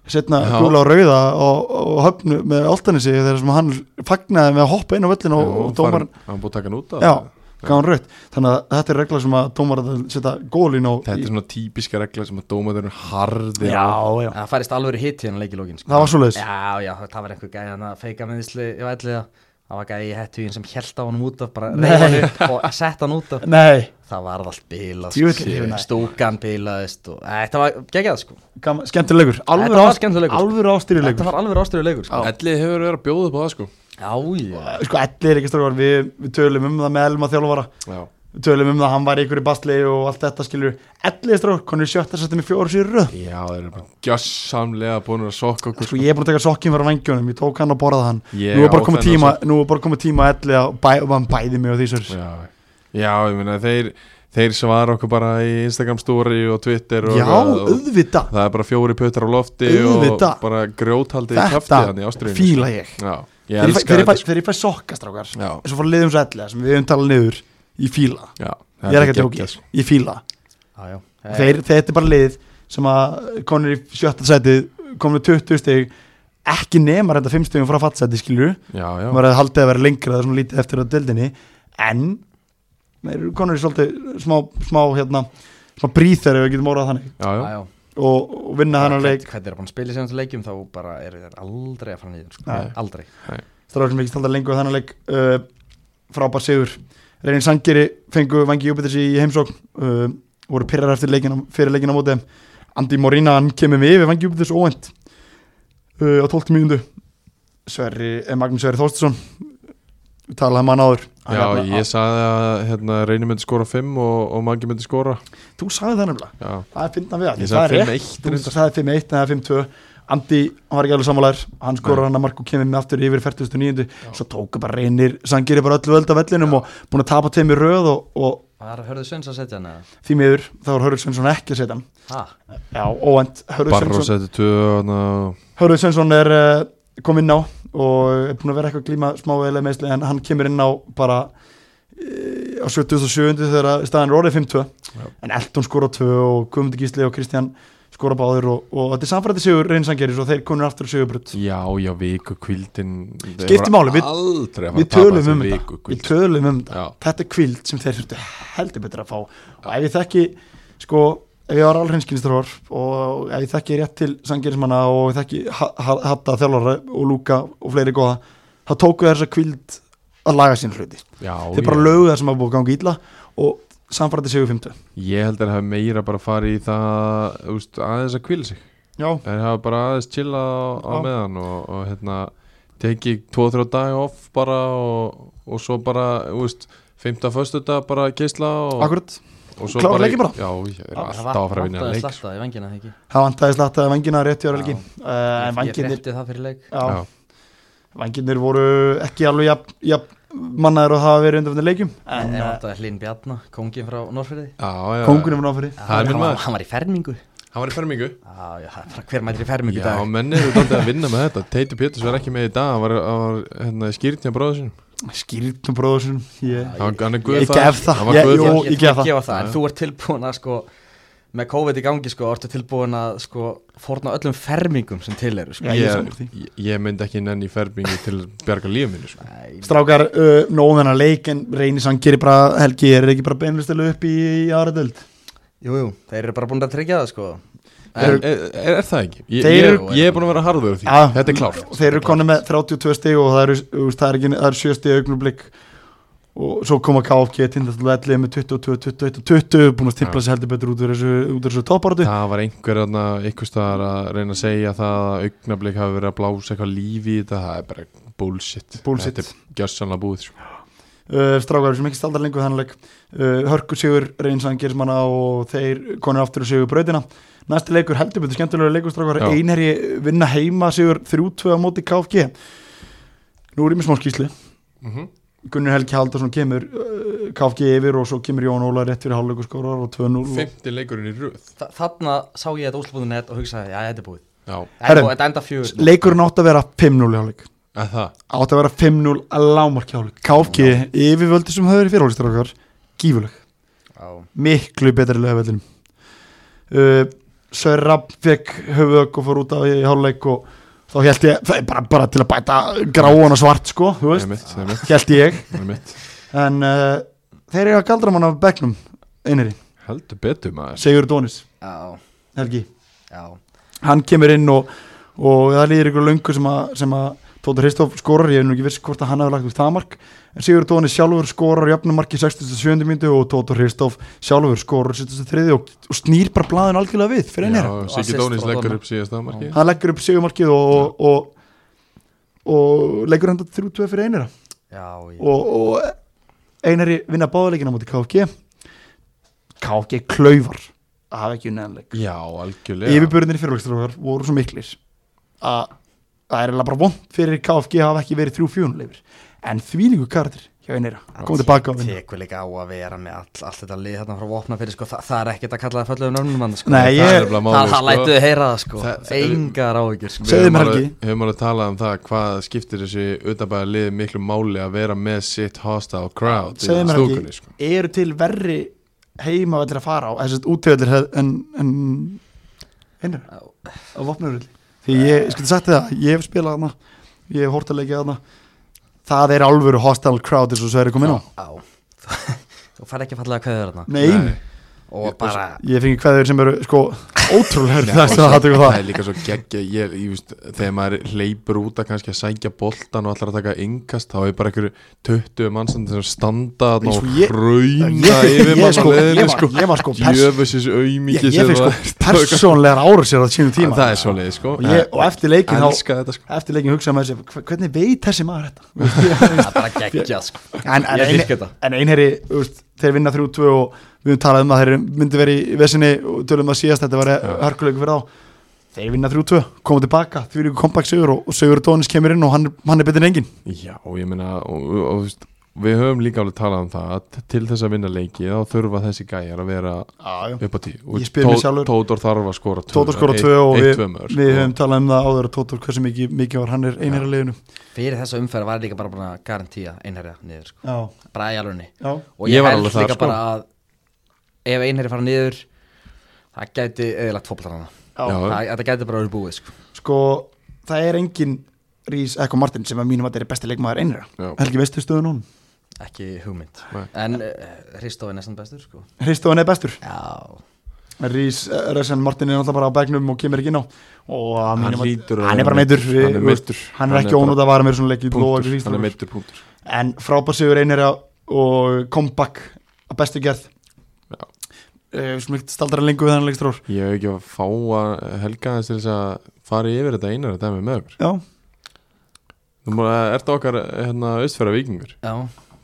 setna Já. gula og rauða og, og höfnu með áltanissi þegar sem hann fagnaði með að hoppa inn á völlin og, og dómar hann búið að taka hann út af já, það. gaf hann rautt þannig að þetta er regla sem að dómar að setja gólin á þetta er svona típiska regla sem að dómaður er harði já, já, en það færist alveg hitt hérna leikilógin sko. það var svoleiðis já, já, það var einhver gæði hann að feika meðisli í ætliða það var gæði í hettugin sem held á hann út af bara Nei. reyða hann upp og sett hann út af nei, það var allt bilað Djöfull er sko. hérna. stúkan bilaðist og Æ, þetta var geggjað sko gaman- skemmtilegur, Þetta var alveg skemmtilegur. þetta ástýrilegur var alveg rástyrðu leikur sko. Ellið hefur verið að bjóða upp á það sko já, já, sko, ellir er ekki strákar, við, við tölum um það með Elma þjálfara já. við tölum um það, hann var í ykkur í basli og allt þetta skilur, ellir strákar, konur sjötta settum í fjóru sér röð já, þeir eru bara gjössamlega búin að sokka okkur sko, ég er búin að taka sokkinn fyrir vangjónum, ég tók hann og borðað hann Ég nú er á bara komið þennan tíma, nú er bara komið tíma elli að bæ, og hann bæði mig og því sér já, já, ég meina þeir þeir svara okkur bara í Instagram story og Twitter og, já, og, og auðvita, það er bara fjóri pötar á lofti Auðvitað. og bara grjóthaldið í kafti hann í þetta ástriðinu fíla ég já, þegar ég fæ- ég elska þegar ég þetta fæ- þegar ég fæ sokka strákar sko. já, eins og fór liðum svo elli sem við höfum talað niður í fíla, já, ég er ekki að geggjað, tjóki sko. ég fíla, já. þeir, þetta er bara lið sem að konur í sjötta sæti komið 20 stig ekki nema þetta 5 stigum frá fattsæti skilur já, já, maður hefði haldið að vera lengra það er svona lítið eftir að deildinni en maður eru konur í svolítið smá, smá hérna smá bríð þegar við getum orðað þannig já, já. já, já. og, og vinna þennan leik hvernig er búin að spila í senast leikjum þá bara eru þeir aldrei að fara niður sko. Nei. aldrei stráður sem við ekki staldar lengur þennan leik uh, frábær sigur reynir Sangeri fengu vangi Júpiters í heimsókn uh, voru pyrrar eftir leikina fyrir leikina á móti þeim. Andi Morína hann kemur með yfir vangi Júpiters óvend uh, á 12. mínundu Sverri, eh, Magnús Sverri Þórstinsson við talaðum um hann áður Hann Já, hérna- ég sagði að hérna, Reynir myndi skora 5 og, og Maggi myndi skora þú sagði það nefnilega Já, Það er fyndan við það, Ég það sagði er 5-1 rétt Þú reyndar. sagði 5-1 en það er 5-2 Andi, hann var ekki alveg sammálaður Hann skorur Nei. hann að mark og kemur með aftur yfir í 49. Svo tóku bara reynir Sangeri bara öllu völd af vellinum og búin að tapa tveim í röð og, og var Hörður Svens að setja hann eða? því miður þá var Hörður Svensson ekki að setja hann Ha? Já, óvænt Hörður Barró Svensson, seti 2 og Hörður Svensson er uh, kom inn á og er búin að vera eitthvað glíma smá eða meðsli en hann kemur inn á bara eh, á 77. þegar að staðan er orðið 5-2 Já. en Elton skora 2 og Guðmundur Gísli og Kristján skora báðir og, og þetta er samfærætti sigur reynsangeri svo þeir konur aftur sigubrut Já, já, viku kvildin Skiptir máli, við- Aldrei að við fara að tölum um tapa þessum þetta við vikukvíld. tölum um þetta Já, þetta er kvild sem þeir þurftu heldur betur að fá og ef ég þekki sko ef ég var alhrenskinnstrafar og ef ég þekki rétt til sangerismanna og ég þekki Ha- Ha- Hatta þjálfara og Lúka og fleiri góða þá tóku þess að kvild að laga sín hluti já þeir bara já. lögu það sem að búið að ganga ítla og samfærætti sigur 50 Ég held að það hafi meira bara farið í það úst, aðeins að kvíla sig já, Þeir hafa bara aðeins chilla á, á Já. meðan og, og hérna tekið 2-3 dag off bara og, og svo bara úst, 15. föstu dag bara geisla og, akkurat og svo klára leikinn bara. Já, ég er Já, alltaf að fara að vinna leik sko. Það vantaði slatta í vangina ekki það vantaði slatt að vangina rétt í ára helgi Já. uh, en Ég vanginir frétti það fyrir leik já, vanginir voru ekki alveg jafn, jafn mannaður og hafa verið undan fyrir leikjum En en það eh, uh, vantaði Hlinn Bjarna, kongin frá Norfriði Já, já, kóngurinn var náfyrir Það er minn Hann var- maður. Hann var í fermingu Hann var í fermingu Já, já, það er bara hver mætir í fermingu í Já, dag menn eru daldið að vinna með þetta Teiti Péturs var ekki með í dag Hann var, hann var hérna, skýrt hjá bróður sinum skýrtum bróðsum ég, Hann, hann er ég guðfaðir gef það Hann var ég, jú, guðfaðir Ég- ég gef það gefa það, en þú ert tilbúin að sko Með COVID í gangi sko, ertu tilbúin að sko Fórna öllum fermingum sem til eru sko Já, ég er sammála ég, því. ég, ég myndi ekki nenni í fermingu til að bjarga lífið minni sko. Nei, strákar, uh, nóðum hennar leik en reynir sann gerir bara helgi er ekki bara beinlustilu upp í, í aðra döld Jú, jú, þeir eru bara búin að tryggja það sko er, er, er, er það ekki? Ég, Þeir ég, eru- ég er búin að vera harður á því Já. Þetta er klárt þeir eru konið með 32 stig og það eru, þú veist, það er, ekki, það eru 7 stig augnublik og svo koma KFG tindastallu 11 með 22, 21 og 20 búin að stimpla sér heldur betur út úr þessu, út úr þessu toppartu Það var einhver þarna, einhver staðar að reyna að segja það að augnablik hafi verið að blása eitthvað lífi í þetta, það er bara bullshit Bullshit. Þetta er gjörsanlega búið sko. uh, strákar sem ekki staldar lengur þannleik uh, Hörku sigur reynsan gerismanna og þeir konur aftur og sigur brautina næsti leikur heldur betur skemmtilega leikur strákar Já. einherji vinna heima sigur 3-2 á móti KFG nú er ég með smá skýsli mm -hmm. Gunnar Helgi Haldarsson kemur uh, KFG yfir og svo kemur Jón Óla rétt fyrir hálfleiku skórar og 2-0 og- Fymti leikurinn í röð Þa- Þarna sá ég þetta úslupúðin og hugsaði, já, þetta er búið Já, Herru, Herru, Þetta enda fjögur leikurinn átt að vera 5-0 í hálfleik að það átt að vera 5-0 að lámarki hálfleik KFG yfirvöldi sem höfður fyrir hálfleik okkar gífuleg, Já. miklu betri lega vellinum uh, Sörra fekk höfðök og fór út af í hálfleik og þá held ég það er bara, bara til að bæta gráan og svart sko, þú Það er veist, mitt, það er mitt, held ég það er mitt en uh, þeir eru að galdra mann af begnum einari, Heldur betur maður Sigur Dónis Já, Helgi, já hann kemur inn og, og það líður ykkur löngu sem að, sem að Tóta Hristof skorar, ég er nú ekki viss hvort að hann hafi lagt út það mark, en Sigur Dónis sjálfur skorar jöfnumarki 67. myndu og Tóta Hristof sjálfur skorar 73. og, og snýr bara blaðin algjörlega við fyrir einari, Já, Og assist Siggi Dónis frá leggur Dóna. upp síðast aðmarki hann leggur upp Sigurmarkið og, og, og, og leggur enda 3-2 fyrir einara Já, ég, og, og einari vinna báðuleikina mútið KFG KFG klauvar að hafa ekki unnæðanleik Já, algjörlega yfirbörðinir fyrirvægstrókar voru svo miklir að það er eiginlega bara vond fyrir KFG að hafa ekki verið þrjú fjónuleifir en þvílingu kardir hjá einara komið tilbaka á vinna tekur líka á að vera með all, allt þetta lið þarna frá vopna fyrir sko, Þa, það er ekkert að kalla það fölluðum nörnum hann sko. Nei, Það ég- er nefnilega það, málið, það sko. lætuðu heyra það sko Það- það- engar áhyggjur sko. Segðu Við höfum mér, alveg- Helgi. Við höfum alveg talað um það hvað skiptir þessi utanbæða lið miklu máli að vera með sitt hostile crowd í Segðu mér, Helgi. stúkunni sko. eru til verri heima að fara á þess að útveðlir en, en einara á vopnuröld því ég, ég skuti sagt þér það, ég hef spilað hana ég hef hórt að leikja hana það er alvöru hostile crowd eins og svo er að koma inn á Á, þú fær ekki fallega kveður þarna Nei, og bara ég fengi hverður sem eru sko ótrúlega þess að það það það er líka svo geggja ég, ég veist, þegar maður hleypur út að kannski að sækja boltan og allar að taka yngast þá er bara einhverju 20 mannsandi sem standa þarna Eins og og sko, ég- hrauna Ég- yfir ég mann sko- og ég leðinu var- sko ég var sko pers- jöfusins Ég, aumingi ég fekk sko persónlegar árasir á sínum tíma það er svo leið sko og, ég, og eftir leikin þá elska þetta sko eftir leikin hugsaði maður sér hvernig veit þessi maður þetta það er bara geggja sko en, en, Ég ein, dyrka þetta. en einherri þú veist, þeir vinna 3-2 og við höfum talað um að þeir myndi verið í vesinni og tölum að síðast þetta var hörkuleiku fyrir þá þeir vinna 3-2, koma tilbaka því líka kompakt Sigur og, og Sigur Tónis kemur inn og hann, hann er betur en engin Já, ég meina og, og, og, þú veist, við höfum líka alveg talað um það að til þess að vinna leiki þá þurfa þessi gæjar að vera upp á tíu Og Ég spyr mig Tó- sjálfur. Tótor þarf að skora tvö Tóta skora Eitt- 2 og eitt, við, tvö mörk. við höfum talað um það áður og Tóta hversu mikið, mikið var hann er einherri leiðinu fyrir þessa umferð var ég líka bara búin að garantía einherja niður sko já, bara í alvegni já, og ég, Ég var held alveg þar, líka sko. bara að ef einherja fara niður það gæti eðilagt fókbaltar hana Já. það, þetta gæti bara að vera búið sko sko það er engin Rís Ekko Martin sem að mínum að þetta er besti leikmaður einherra Já. Helgi veistu stöðun hún? ekki hugmynd Nei. en uh, Hristof er næstan bestur sko Hristoðan er bestur já Rís Resen Martin er náttúrulega bara á begnum og kemur ekki inn á og að Hann mínum að- hlýtur að hann er vera bara meittur meiddur. Hann er meiddur. hann er Hann ekki er bara- ónútt að vara mér svona leik í lofa Punktur, hann er meittur punktur en frábær sigur einherja og comeback að bestu gerð Já. Eh, sem ekki staldra lengur við hann leikstrór Ég hef ekki að fá að helga þess til þess að fara yfir þetta einar þetta með okkur já, Þú múið að ertu okkar hérna austfæra vikingur já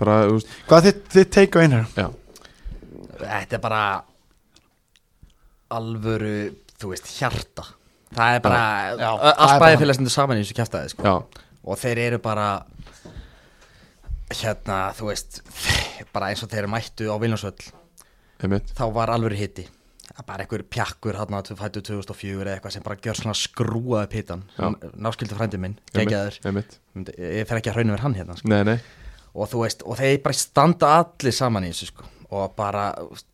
bara, þú veist, hvað er þitt, þitt teik á einherja? já, Þetta er bara alvöru, þú veist, hjarta Það er bara, Já, ö- það er bara allt hann. bæði félagsnir saman í þessu kjæftæði sko. já Og þeir eru bara, hérna, þú veist, bara eins og þeir mættu á Viljónsvöll einmitt, Þá var alvöru hitti Það er bara einhver pjakkur hérna, fættu 2004 eða eitthvað sem bara gjör svona skrúaði pittan Já. Náskildi frændi minn, geggjaður einmitt, einmitt Myndi- Ég fer ekki að hrauna verið hann hérna sko Nei, nei, og þú veist, og þeir bara standa allir saman í þessu sko og bara,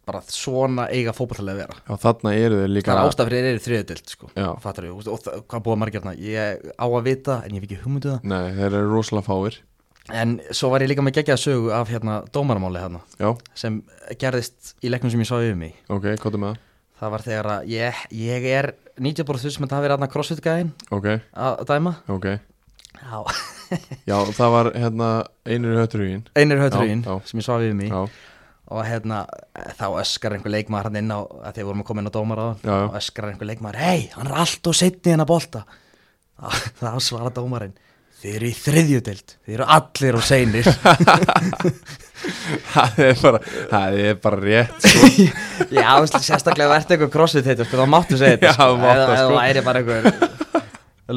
bara svona eiga fótballtalega að vera já, þarna eru þeir líka það er ástaf fyrir þeir eru þriðutild sko Já. fattar við, og það- hvað búa margirna ég á að vita, en ég hef ekki hugmyndu það Nei, þeir eru rosalega fáir en svo var ég líka með geggjaða sögu af hérna dómaramáli hérna, Já, sem gerðist í leiknum sem ég sá yfir mig ok, hvað er með það var þegar að ég, ég er 90% sem um þetta hafi verið aðna crossfit gæðin það? Ok, að dæma ok Já. Já, það var hérna einur í hötturugin einir hötrugin Já, já. sem ég sá yfir mig Já, og hérna þá öskar einhver leikmaður hann inn á að því vorum að koma inn á dómar á Já, já. og öskar einhver leikmaður, hei, hann er allt og setni hennar bolta þá, þá svarar dómarinn þið eru í þriðjudeld, þið eru allir og seinir það er bara, það er bara rétt sko. já, þú veist, sérstaklega verði einhver crossfit heitur, sko, þá máttu segja þetta Já, þú mátt það, eða sko. það væri bara einhver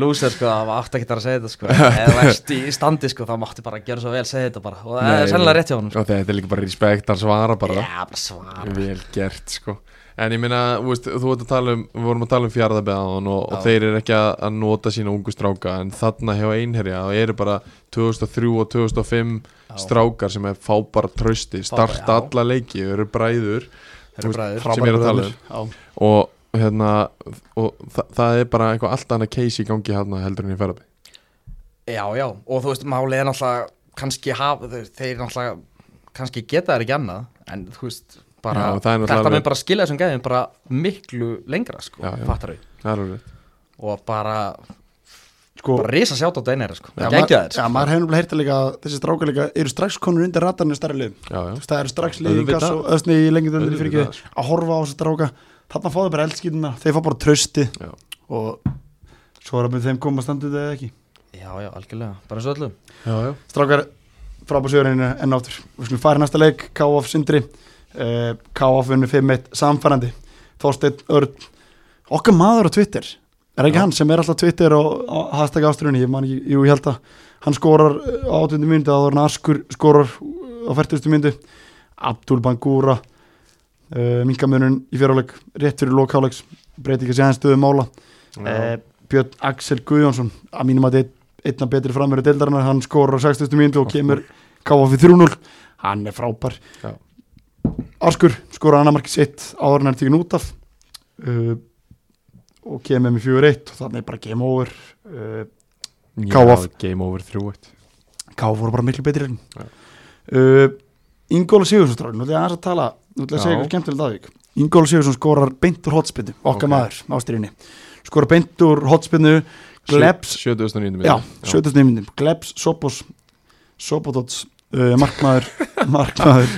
Lúser sko, það var átt ekki að segja þetta sko Eða verst í standi sko, þá mátti bara gera svo vel segja þetta bara Og það er Nei, sennilega rétt hjá honum sko og þetta er líka bara respekt að svara bara Já, bara svara vel gert sko en ég meina, þú veist, þú ert að tala um við vorum að tala um fjaraðabeðan og, og Já. þeir eru ekki að, að nota sína ungu stráka en þarna hjá einherja það eru bara 2003 og 2005 Já. strákar sem er fá bara trösti Fá bara, starta já. alla leiki, eru bræður Þeir eru Þú veist, bræður Sem ég er að tala um. Já. og hérna og þa það er bara eitthvað allt annað case í gangi hérna heldur en í fjaraðabe Já, já, og þú veist, málið er náttúrulega Kannski hafa, þeir, þeir náttúrulega Kannski geta þeir ekki annað En þú veist, bara Já, það er náttúrulega Þetta alveg- mun bara skilja þessum gæðum bara miklu lengra sko Já, já. Fattar við það er alveg rétt. Og bara, Sko, bara risa sjátt á dænæri sko já, Það gengja maður- Já, maður hefur nefnilega heyrta líka að þessi strákar líka eru strax konur undir ratarnir stærri lið já, já. Þú veist, það eru strax lið í Auðvitað. gass og öðsni í lengi döndir fyrir Auðvitað, ekki að horfa á þessi stráka þarna fá þau bara eldskýtuna, þeir fá bara trösti Já. og svo er að með þeim koma standið eða ekki Já, já, algjörlega, bara eins og öllum Já, já. Strákar, frábærsjöðurinn enn áttur Við skulum fara í næsta leik, K.O.F. Sindri uh, K.O.F. unni 5-1 samfærandi Þorsteinn Örn Okkar maður á Twitter Er ekki Já. hann sem er alltaf Twitter og, og hashtag ástrunni Ég man ekki, jú ég held að Hann skorar eh, á 18. myndu Það er Askur skorar á 40. myndu Abdul Bangura uh, Minkamunun í fjöruleik Rétt fyrir lokáleiks Breyti ekki séðan stöðu mála Já. Eh, Björn Axel Guðjónsson að mínum að þetta einna betri framöru deildarinnar, hann skorur á 60. mínútu og kemur KF 3-0, hann er frábær Já. Askur skorur annar markið sitt áður en hann tíkin út af uh, og kemur með 4-1 og þannig er bara game over uh, Já, KF. game over 3-1 KF voru bara miklu betri en Já. uh, Ingóla Sigursson stráður, nú ætla ég aðeins að tala nú ætla ég að segja Já. eitthvað skemmtilegt aðvík Ingóla Sigursson skorar beint úr hotspinnu okkar Ok. maður, ástriðinni skorar beint úr hotspinnu Glebs 79. Já, 70. myndin Glebs, Sopos Sopotots uh, Markmaður Markmaður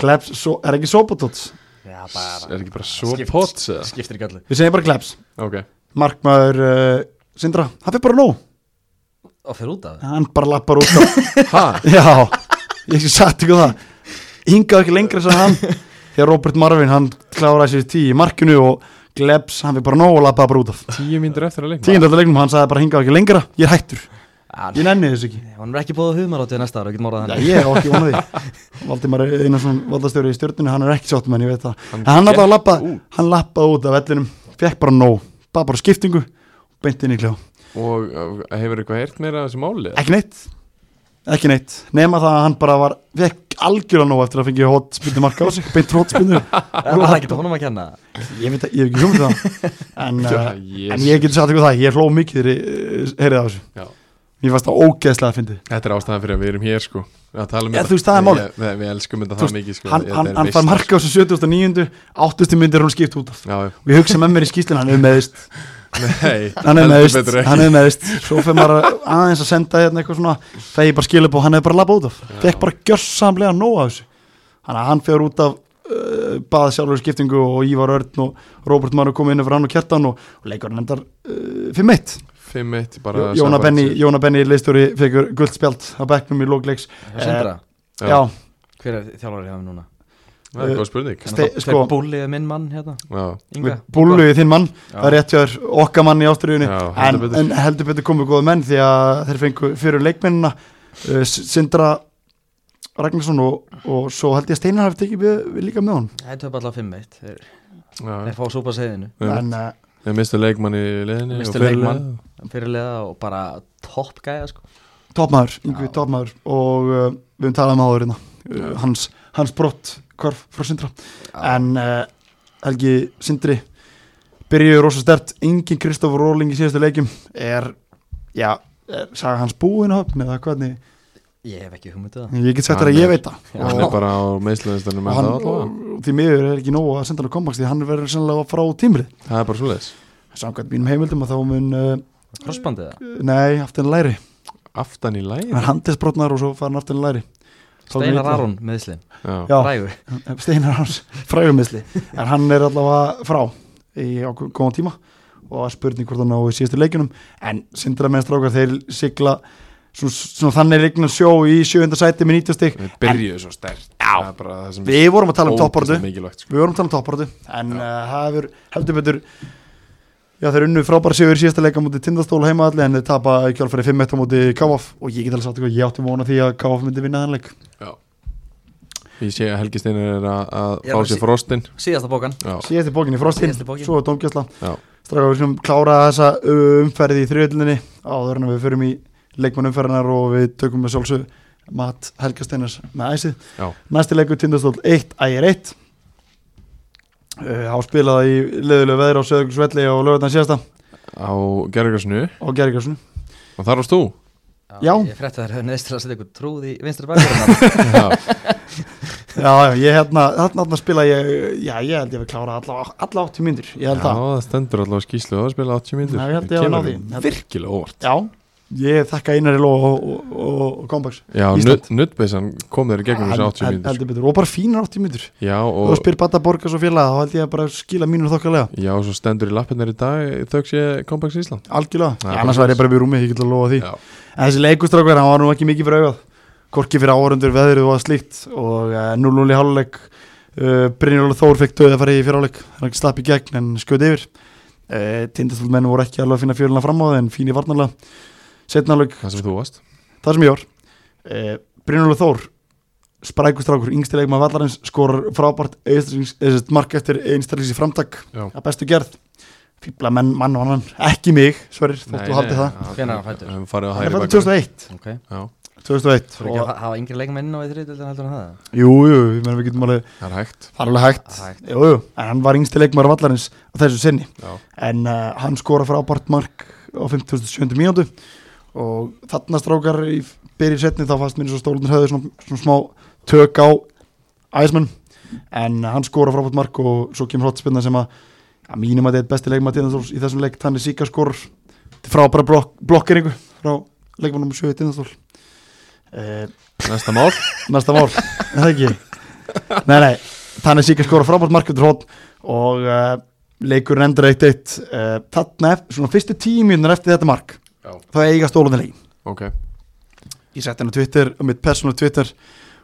Glebs, so, er ekki Sopotots Já, er ekki bara svo Skipt- pots eða? Skiptir ekki öllu Við segjum bara Glebs ok, Markmaður uh, Sindra, hann fyrir bara nóg Og fyrir út af það Hann bara lappar út af hæ? Já, ég sé satt ykkur það Hingað ekki lengra sem hann Þegar Robert Marvin, hann kláraði sér tíu í markinu og Glebs, hann fyrir bara nóg og lappaði bara út af Tíu mínútur eftir að leikma Tíundallegnum, hann sagði bara hingað ekki lengra Ég er hættur, ég nenni þess ekki Nei, Honum er ekki búið humarátið næsta ára, við getum orðað Já, þannig ég á ekki vona því Valdimar Einarsson, valdastjóri í stjórninu hann er ekki sáttum en ég veit það Hann En hann gekk náttúrulega lappa, út. hann lappa út af vellinum fekk bara nóg, bara bara skiptingu og beint inn í kljá, Og uh, hefur eitthvað heyrt meira af þessu máli? ekki neitt ekki neitt, nema það að hann bara var fekk algjörlega nóg eftir að fengi hotspindu marka á sig, beint hotspindu Það er ekki honum að kenna ég veit að, ég hef ekki hjómið það en, Já, uh, en Jesus. ég geti sagt ykkur það, ég hló mikið þegar ég uh, heyrið á þessu, Já. mér fannst það ógeðslega að fyndi Þetta er ástæðan fyrir að við erum hér sko Að tala um Já, þú veist, það er málið. Ég- Við, við elskum þetta Þú það mikið sko hann, Þetta hann, er hann veist. fann marka á þessu 79. 8. myndir hún skipt út af Já, já. og ég hugsa með mér í skýslinu, hann er meðist nei hann er heldur meðist, betur ekki. hann er meðist svo fyrir maður að- aðeins að senda hérna eitthvað svona þegar ég bara skilja upp og hann hefði bara labbað út af fekk bara gjörsamlega nóg af þessu þannig að hann fer út af uh, baða sjálfur í skiptingu og Ívar Örn og Róbert Mánu komið inn yfir hann og kjartan og, og leikur hann endar uh, fyrir mitt 5-1 bara Jóna samkvæmt Benny, sér. Jóna Benny leistjóri fekur guld spjald á bekknum í lókleiks Eh, Sindra, Já. já, hver er þjálfari hjá þeim núna? Það er góð spurning Ste- sko- Ste sko Búlið minn mann hérna, Já, við Inga búluði þinn mann Já. það er rétt hjá þér okkar mann í ástriðunni Já, en, heldur betur. en heldur betur komið góða menn því að þeir fengu fyrir leikmennina uh, S- Sindra Ragnarsson og, og svo held ég að Steinar hafi tekið við, við líka með honum Það er töpa allavega 5-1 Þeir- já Þeir fá súpa segðinu Við en uh, mistu leikmann í leðinni Misstu leikmann. Fyrirlega og bara topp gæja sko topmaður, Já. yngvi topmaður og uh, við höfum talað um áðurina uh, hans, hans brott hvarf frá Sindra Já. en uh, Helgi Sindri byrjuði rosa stert engin Kristofur Róling í síðastu leikum er, já, er saga hans búin á höfn eða hvernig, Ég hef ekki hugmyndið það ég get sagt Hann þér að er- ég veit það Hann er bara á meðsliðistanum og hann, og því miður er ekki nóg að senda hann að kompaks því hann verður sennilega frá tímrið Það er bara svoleiðis samkvæmt mínum heimildum að þá mun uh, Krossbandið það nei, aftur en læri Aftan í læg hann er handisbrotnar og svo fær hann aftur en læri Þá veit Steinar ég- Aron meðslin Já, já, Rægu Steinar Arons frægumisli en hann er allavega frá í ákveð- góðan tíma og að spurning hvort hann á í síðustu leikunum en sindra með strákar þeir sigla svona, svona þannig leikna sjó í sjönda sæti með 90 stig við byrjuðu svo stert Það er bara það sem við vorum að tala um ógeðslega topportu mikilvægt, sko. eh, við vorum að tala um topparötu en uh, það hefur heldur betur Já, þeir unnu frábæra sigur í síðasta leika mútið tindastól heima allir en þeir tapa kjálfæri 5-1 á mútið KF og ég get alveg sagt eitthvað, ég átti móna því að KF myndi vinna þannleik. Ég sé að Helgi Steinar er að, að Ég er fá að sér sí- frostin síðasta bókan Já, Síðasti bókin í frostinn, Síðasti bókin. svo domgjastla. já, Stráka, við skulum klára þessa umferði í þriðöldinni áður en við förum í leikmannumferðinar og við tökum með sjálfsög Matt Helgasteinas með æsið. já, Næsti leikur tindastól 1, ægir 1 uh, Áspilaði í leðilegu veðri á Söðuglisvelli og lögutan síðasta á Gergarsnu og Gergarssonu og þar varst þú Já. ég frétti að þær höfðu neðist til að setja ykkur trúð í vinstri bakverðina Já, Já, já, ég hérna, þarna, þarna spila ég, já, ég held ég að klára alla, alla 80 myndir, ég já held það. það stendur allavega skýslu og það spila 80 mínútur Já, ég held ég hafi náð því. Kemur Virkilega óvart Já, ég þakka Einari Ló og, og, og, og Kompaks. Já, Ísland. Nuttbeysan kom þeir í gegnum þessu 80 mínútur Heldur betur, og bara fínar 80 myndir. Já, Og, og og spyr Bata Borgas og félaga, þá held ég að bara skila mínur þokkalega. já, svo stendur í lappinnar í dag þauks ég Kompaks Ísland Algjörlega, Já, já, bara annars væri ég bara við rúmi, ég get að lofa því. Já, En þessi leikustrákar, hann var nú ekki mikið fyrir augað. Korki fyrir áhörundur, veðrið og að slíkt og eh, 0-0 í háluleik. Uh, Brynjóla Þór fekk döðið að fara í fyráleik, hann slapp í gegn en skjöð yfir. Uh, Tindastólmenn voru ekki alveg að finna fjöluna fram á það en fín í varnarlega. Setna alveg það sem þú varst það sem ég var eh, Brynjólu Þór sprækustrákur, yngstilegum að vallarins skorar frábært einstaklings- eða sem sagt mark eftir einstælings í framtak Já. að bestu gerð fýbla menn, mann og annan, ekki mig Sverrir, þóttu að haldi það Hvenær er hann fæddur? Hann farið á hann er hægri fættur bakvörð. 2001 ok 2001 Þú er ekki og, að hafa yngri leikmenn á í þriðdöldin heldur en það? jú, jú, ég menn við getum alveg Það er hægt það er alveg hægt, Hægt. jú, jú, en hann var yngstilegum að vallarins á þessu sinni Já, en uh, hann skora frábært mark á 57. mínútu og þarna strákar í byrjir setni þá fannst mér svo stólunir höfðu svona, svona smá tök á æsmann en hann skora frábært mark og svo kemur hotspinna sem að að mínum að þetta er besti leikmaður Tindastóls í þessum leik þannig síka skor til frábæra blokk, blokkeringu frá leikmannum 7 Tindastól uh, næsta mál næsta mál, er það ekki nei, nei, þannig sík að skora frábært markvöldur hótt og uh, leikur endur eitt eitt uh, þarna, eft- svona fyrstu tíminunar eftir þetta mark Já. þá eiga stóluðin leik Ok, ég setti henni á Twitter, á mitt persónu Twitter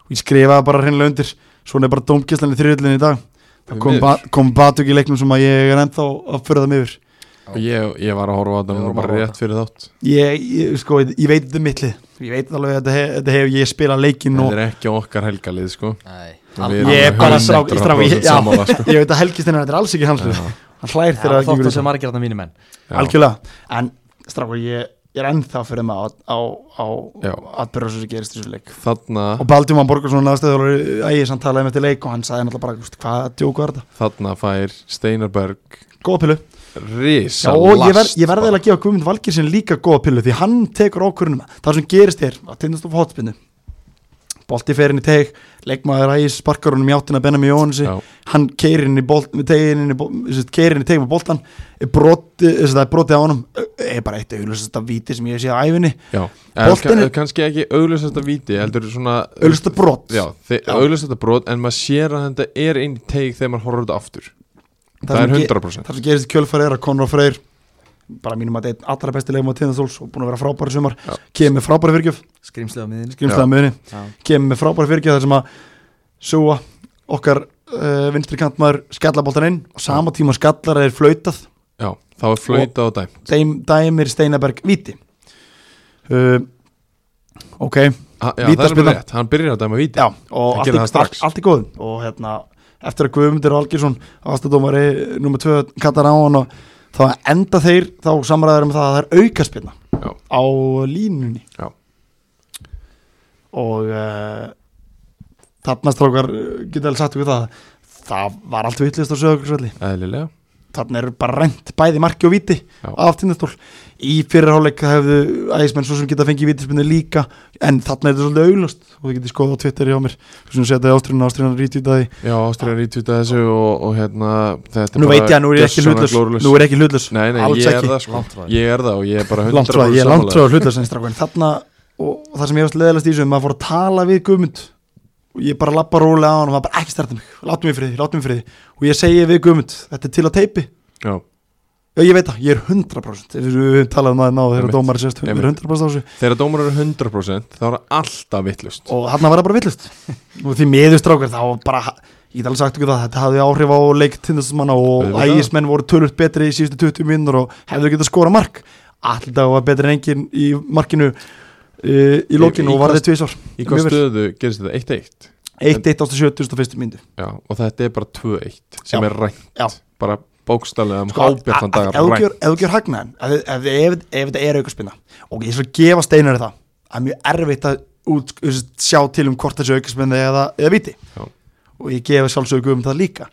og ég skrifaði bara hreinlega undir svona er bara dómkjæslan í þriðullin í dag Því það kom, miður. ba kom batuk í leiknum sem að ég er ennþá að fyrra þeim yfir ég, ég var að horfa á þetta Við núna vorum að bara horfa á rétt fyrir þátt ég, ég, sko, ég, ég veit þetta mittlið ég veit alveg að þetta hef, þetta hef ég spilað leikinn og Þetta er ekki okkar helgalið sko Nei Við Ég er alveg bara strák- 100% strák- ég- já. sammála, sko. ég veit að helgistinn þetta er alls ekki hans lið. hann hlær þegar Það það gengur þóttu út. sem margir þarna mínir menn Já. algjörlega, en strákur ég, ég er ennþá fyrir maður á, á, á Já. atbyrður sem gerist í þessu leik Þarna, og Baldjúman Borgarsson aðstöðjólari ægis, hann talaði um þetta leik og hann sagði náttúrulega bara, "Veistu, hvað djóku er þetta? þarna fær Steinarberg Góða pilu, Já, risa og ég, ver, ég verði eða að gefa Guðmund Valgirsen líka góða pilu því hann tekur ákvörunum það sem gerist er, að tindast á hotspinnu bolti fer inn í teig leikmaður ægis, sparkar honum í áttina Benami Jóhansi, Já. hann keirir inn í bolt með tegin inn í, bol- sem sagt, keyrir inn í tegin með boltan broti, þess að það er brotið á honum er bara eitt auðvitað víti sem ég sé á æfinni Já, en Boltinn er- kann- kannski ekki augljósasta víti heldur svona auðvitað brot Já, Já. augljósasta brot en maður sér að þetta er einn teig þegar maður horfður þetta aftur Það, sem er ge- 100% það sem gerist í kjölfari er að Conor Freyr bara mínum að þetta er einn allra besti leikmaður Tindastóls og búin að vera frábæri sumar Já. kemur með frábæri fyrirgjöf, Skrimslega á miðinu skrimslega möðinni Já. kemur með frábæri fyrirgjöf þar sem að Súa, okkar uh, vinstri kantmaður skallaboltan inn og sama tíma skallar er flautað Já, þá er flöyta og dæm dæm, dæmir Steinaberg viti uh, ok, Ha- Já, það er Vítaspyrna. bara rétt, hann byrjar að dæma víti já og allt Hann gerir í, það strax. allt, allt í góðum og hérna, eftir að Guðmundur Algjörsson aðstæðdómari nummer 2 kattar á hann og þá enda þeir þá samræður um það að það er aukaspilna Já. á línunni Já. og uh, þarna strákar eh, geta alveg sagt okkur það það var allt vitlist á sögurkvæli Eðlilega þarna eru bara rent bæði marki og viti Já. af tindastól í fyrirháleik hefðu ægismenn svo sem geta fengið vítispinni líka en þarna er þetta svolítið auglust og þið getið skoða á Twitter hjá mér svo sem setja ástrýna ástrýna rítjútaði Já, Ástriðan ítvíta þessu og, og hérna þetta nú veit ég að nú er ég ekki gjörsamlega hlutlaus glórulaust. nú er ég ekki hlutlaus Nei, nei, alls ég er ekki það sko Langt frá því. Ég er það og ég er bara 100% landtráð, ég er sammála þér. landtráð hlutlaus en strákun þarna og, og það sem ég varst leðilegast í þessu maður fór að tala við Guðmund og ég bara lappa rólega á hann og maður bara ekki starta mig látum mig friði, látum mig friði og ég segi við Guðmund, þetta er til að teipi Já, Já, ég veit það, ég er 100% Ef við höfum talað um það náðu þegar Einmitt. dómar sérst Við erum Einmitt. 100% á þessu þegar dómar eru 100% þá er það alltaf vittlust og hann var það bara villust og því miður strákar þá bara ég get alveg sagt ykkur það, þetta hafði áhrif á leik tindasmanna og Auðvitað. ægismenn voru tölvöld betri í síðustu 20 minnur og hefðu getað skora mark alltaf var betri en engin í markinu uh, í Í- í lokinu og varði hvað- tvisvar Í hvað Mjög vel. stöðu gerist þetta? 1-1 1-1 ástu 71. myndu Já, og þetta er bara 2-1 sem Já. er rænt Já. bara bókstallega um Sko, hábjartan að- að- dagar ef þú rænt gjör- ef þú gjör hagnaðin ef, ef, ef, ef þetta er aukarspinna og ég svo gefa steinar það það er mjög erfitt að út, þú veist, sjá til um hvort þessi aukarspinna eða, eða viti Já. og ég gefa sjálfsögum um það líka